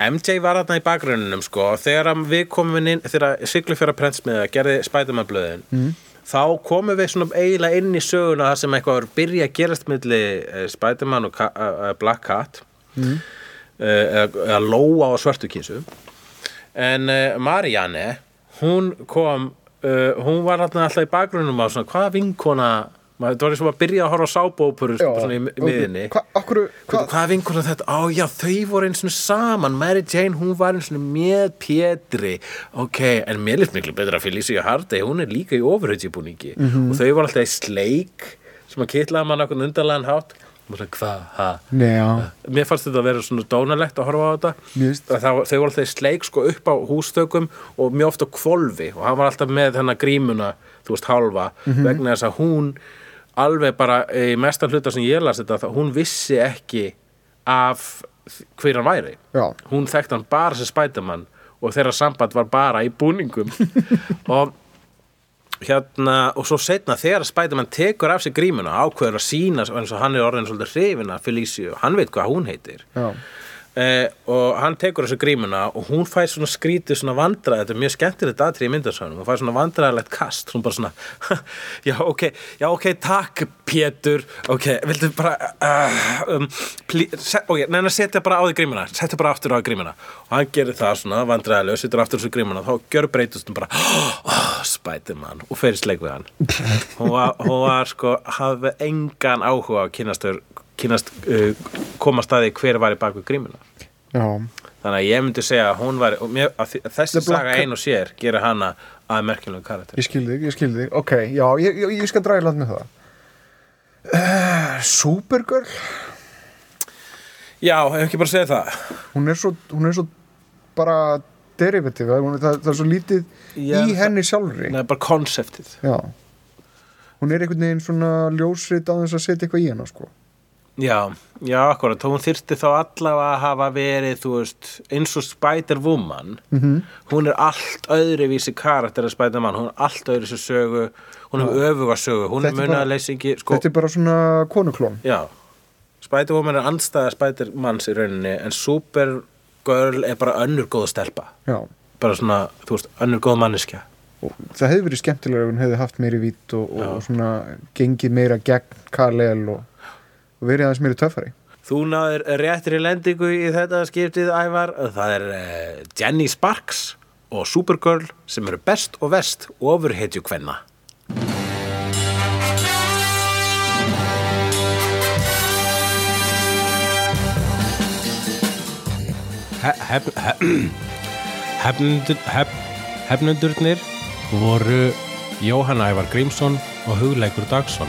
MJ var þarna í bakgrunninum sko og þegar að við komum inn, þegar Siglufjara prentsmiða gerði Spiderman blöðin
Mhm.
mm. þá komum við svona eiginlega inn í söguna það sem eitthvað var að byrja að gerast milli eh, Spiderman og Ka- eh, eh, Black Cat
Mhm.
mm. eða, eða Lóa og Svörtu kísu en uh, eh, Marianne hún kom uh, hún var þarna alltaf í bakgrunninum á svona hvaða vinkona Maður- Þetta var eins og að byrja að horfa á sábópur
Já,
svona í mi- miðinni
Hva, akkur, hva,
Hvað er vinkur þetta? Á já, þau voru eins og saman Mary Jane, hún var eins og með Pétri Ok, en mér lýst miklu betra Felicia Hardy, hún er líka í ofurhautjubúningi og þau voru alltaf í sleik sem að kitlaða mann okkur undarlegan hátt og maður sagði, hvað, ha?
Njá,
Mér fannst þetta að vera svona dónalegt að horfa á þetta
Mér finnst-
Að það, var- Þau voru alltaf í sleik sko upp á hústökum og mjög oft á kvolfi og hann var alltaf með hennar grímuna þú veist hálfa
Mhm.
vegna þess að hún alveg bara í mestan hluta sem ég las þetta þá hún vissi ekki af þ- hver hann væri
Já.
hún þekkti hann bara sem spætumann og þeirra samband var bara í búningum og hérna, og svo setna þegar Spiderman tekur af sig grímuna ákveður að sína, eins og hann er orðin svolítið hrifina Felicia, hann veit hvað hún heitir
já,
eh, og hann tekur þessu grímuna og hún fær svona skrítið svona vandræð þetta er mjög skemmtilegt aðtrið í myndarsönum hún fær svona vandræðilegt kast hún bara svona, [laughs] já ok, já ok takk Pétur, ok viltu bara uh, um, plí, se, ok, neina setja bara á því grímuna setja bara aftur á því grímuna og hann gerir það svona vandræðilega, setja aftur þessu grímuna þá gjör breytust hún bara [gasps] oh, Spiderman og fer í sleik við hann hún var, hún var sko, hafði engan áhuga á að kynnast, kynnast uh, komast að því hver var í baku grímuna
já,
Þannig að ég myndi segja að hún var og mér, að þi- að þessi
The Black
saga
Cat-
ein og sér gerir hana að merkjulegu karakter
ég skildi þig, ég skildi þig Ok, já, ég, ég, ég skal draga í land með það uh, Supergirl
Já, hefur ekki bara segið það
hún er svo, hún er svo bara derivative, það, hún- það, það er svo lítið
Já,
í
það-
henni sjálfri
Nei, bara konseptið
Já Hún er einhvern veginn svona ljósrit á þess að setja eitthvað í hana sko
Já, já, akkurat, hún þyrfti þá allavega að hafa verið, þú veist, eins og Spider-Woman, -hmm. hún er allt öðruvísi karakter að Spider-Man, hún er allt öðruvísi sögu, hún er öfuga sögu, hún
Þetta
er
er bara-
munaðleysingi, sko,
Þetta er bara svona konuklón
já, Spider-Woman er andstæða Spider-Mans í rauninni, en Supergirl er bara önnur góð stelpa,
Já
bara svona, þú veist, önnur góð manneskja.
og Það hefði verið skemmtilega ef hún hefði haft meiri vít og, og svona gengið meira gegn Karl-El og, og verið aðeins meiri töffari
Þú náður réttri lendingu í þetta skiptið, Ævar. Það er eh, Jenny Sparks og Supergirl sem eru best og vest ofur hetju kvenna. [clears throat] Hefnundurnir voru Jóhann Ævar Grímsson og Hugleikur Dagsson.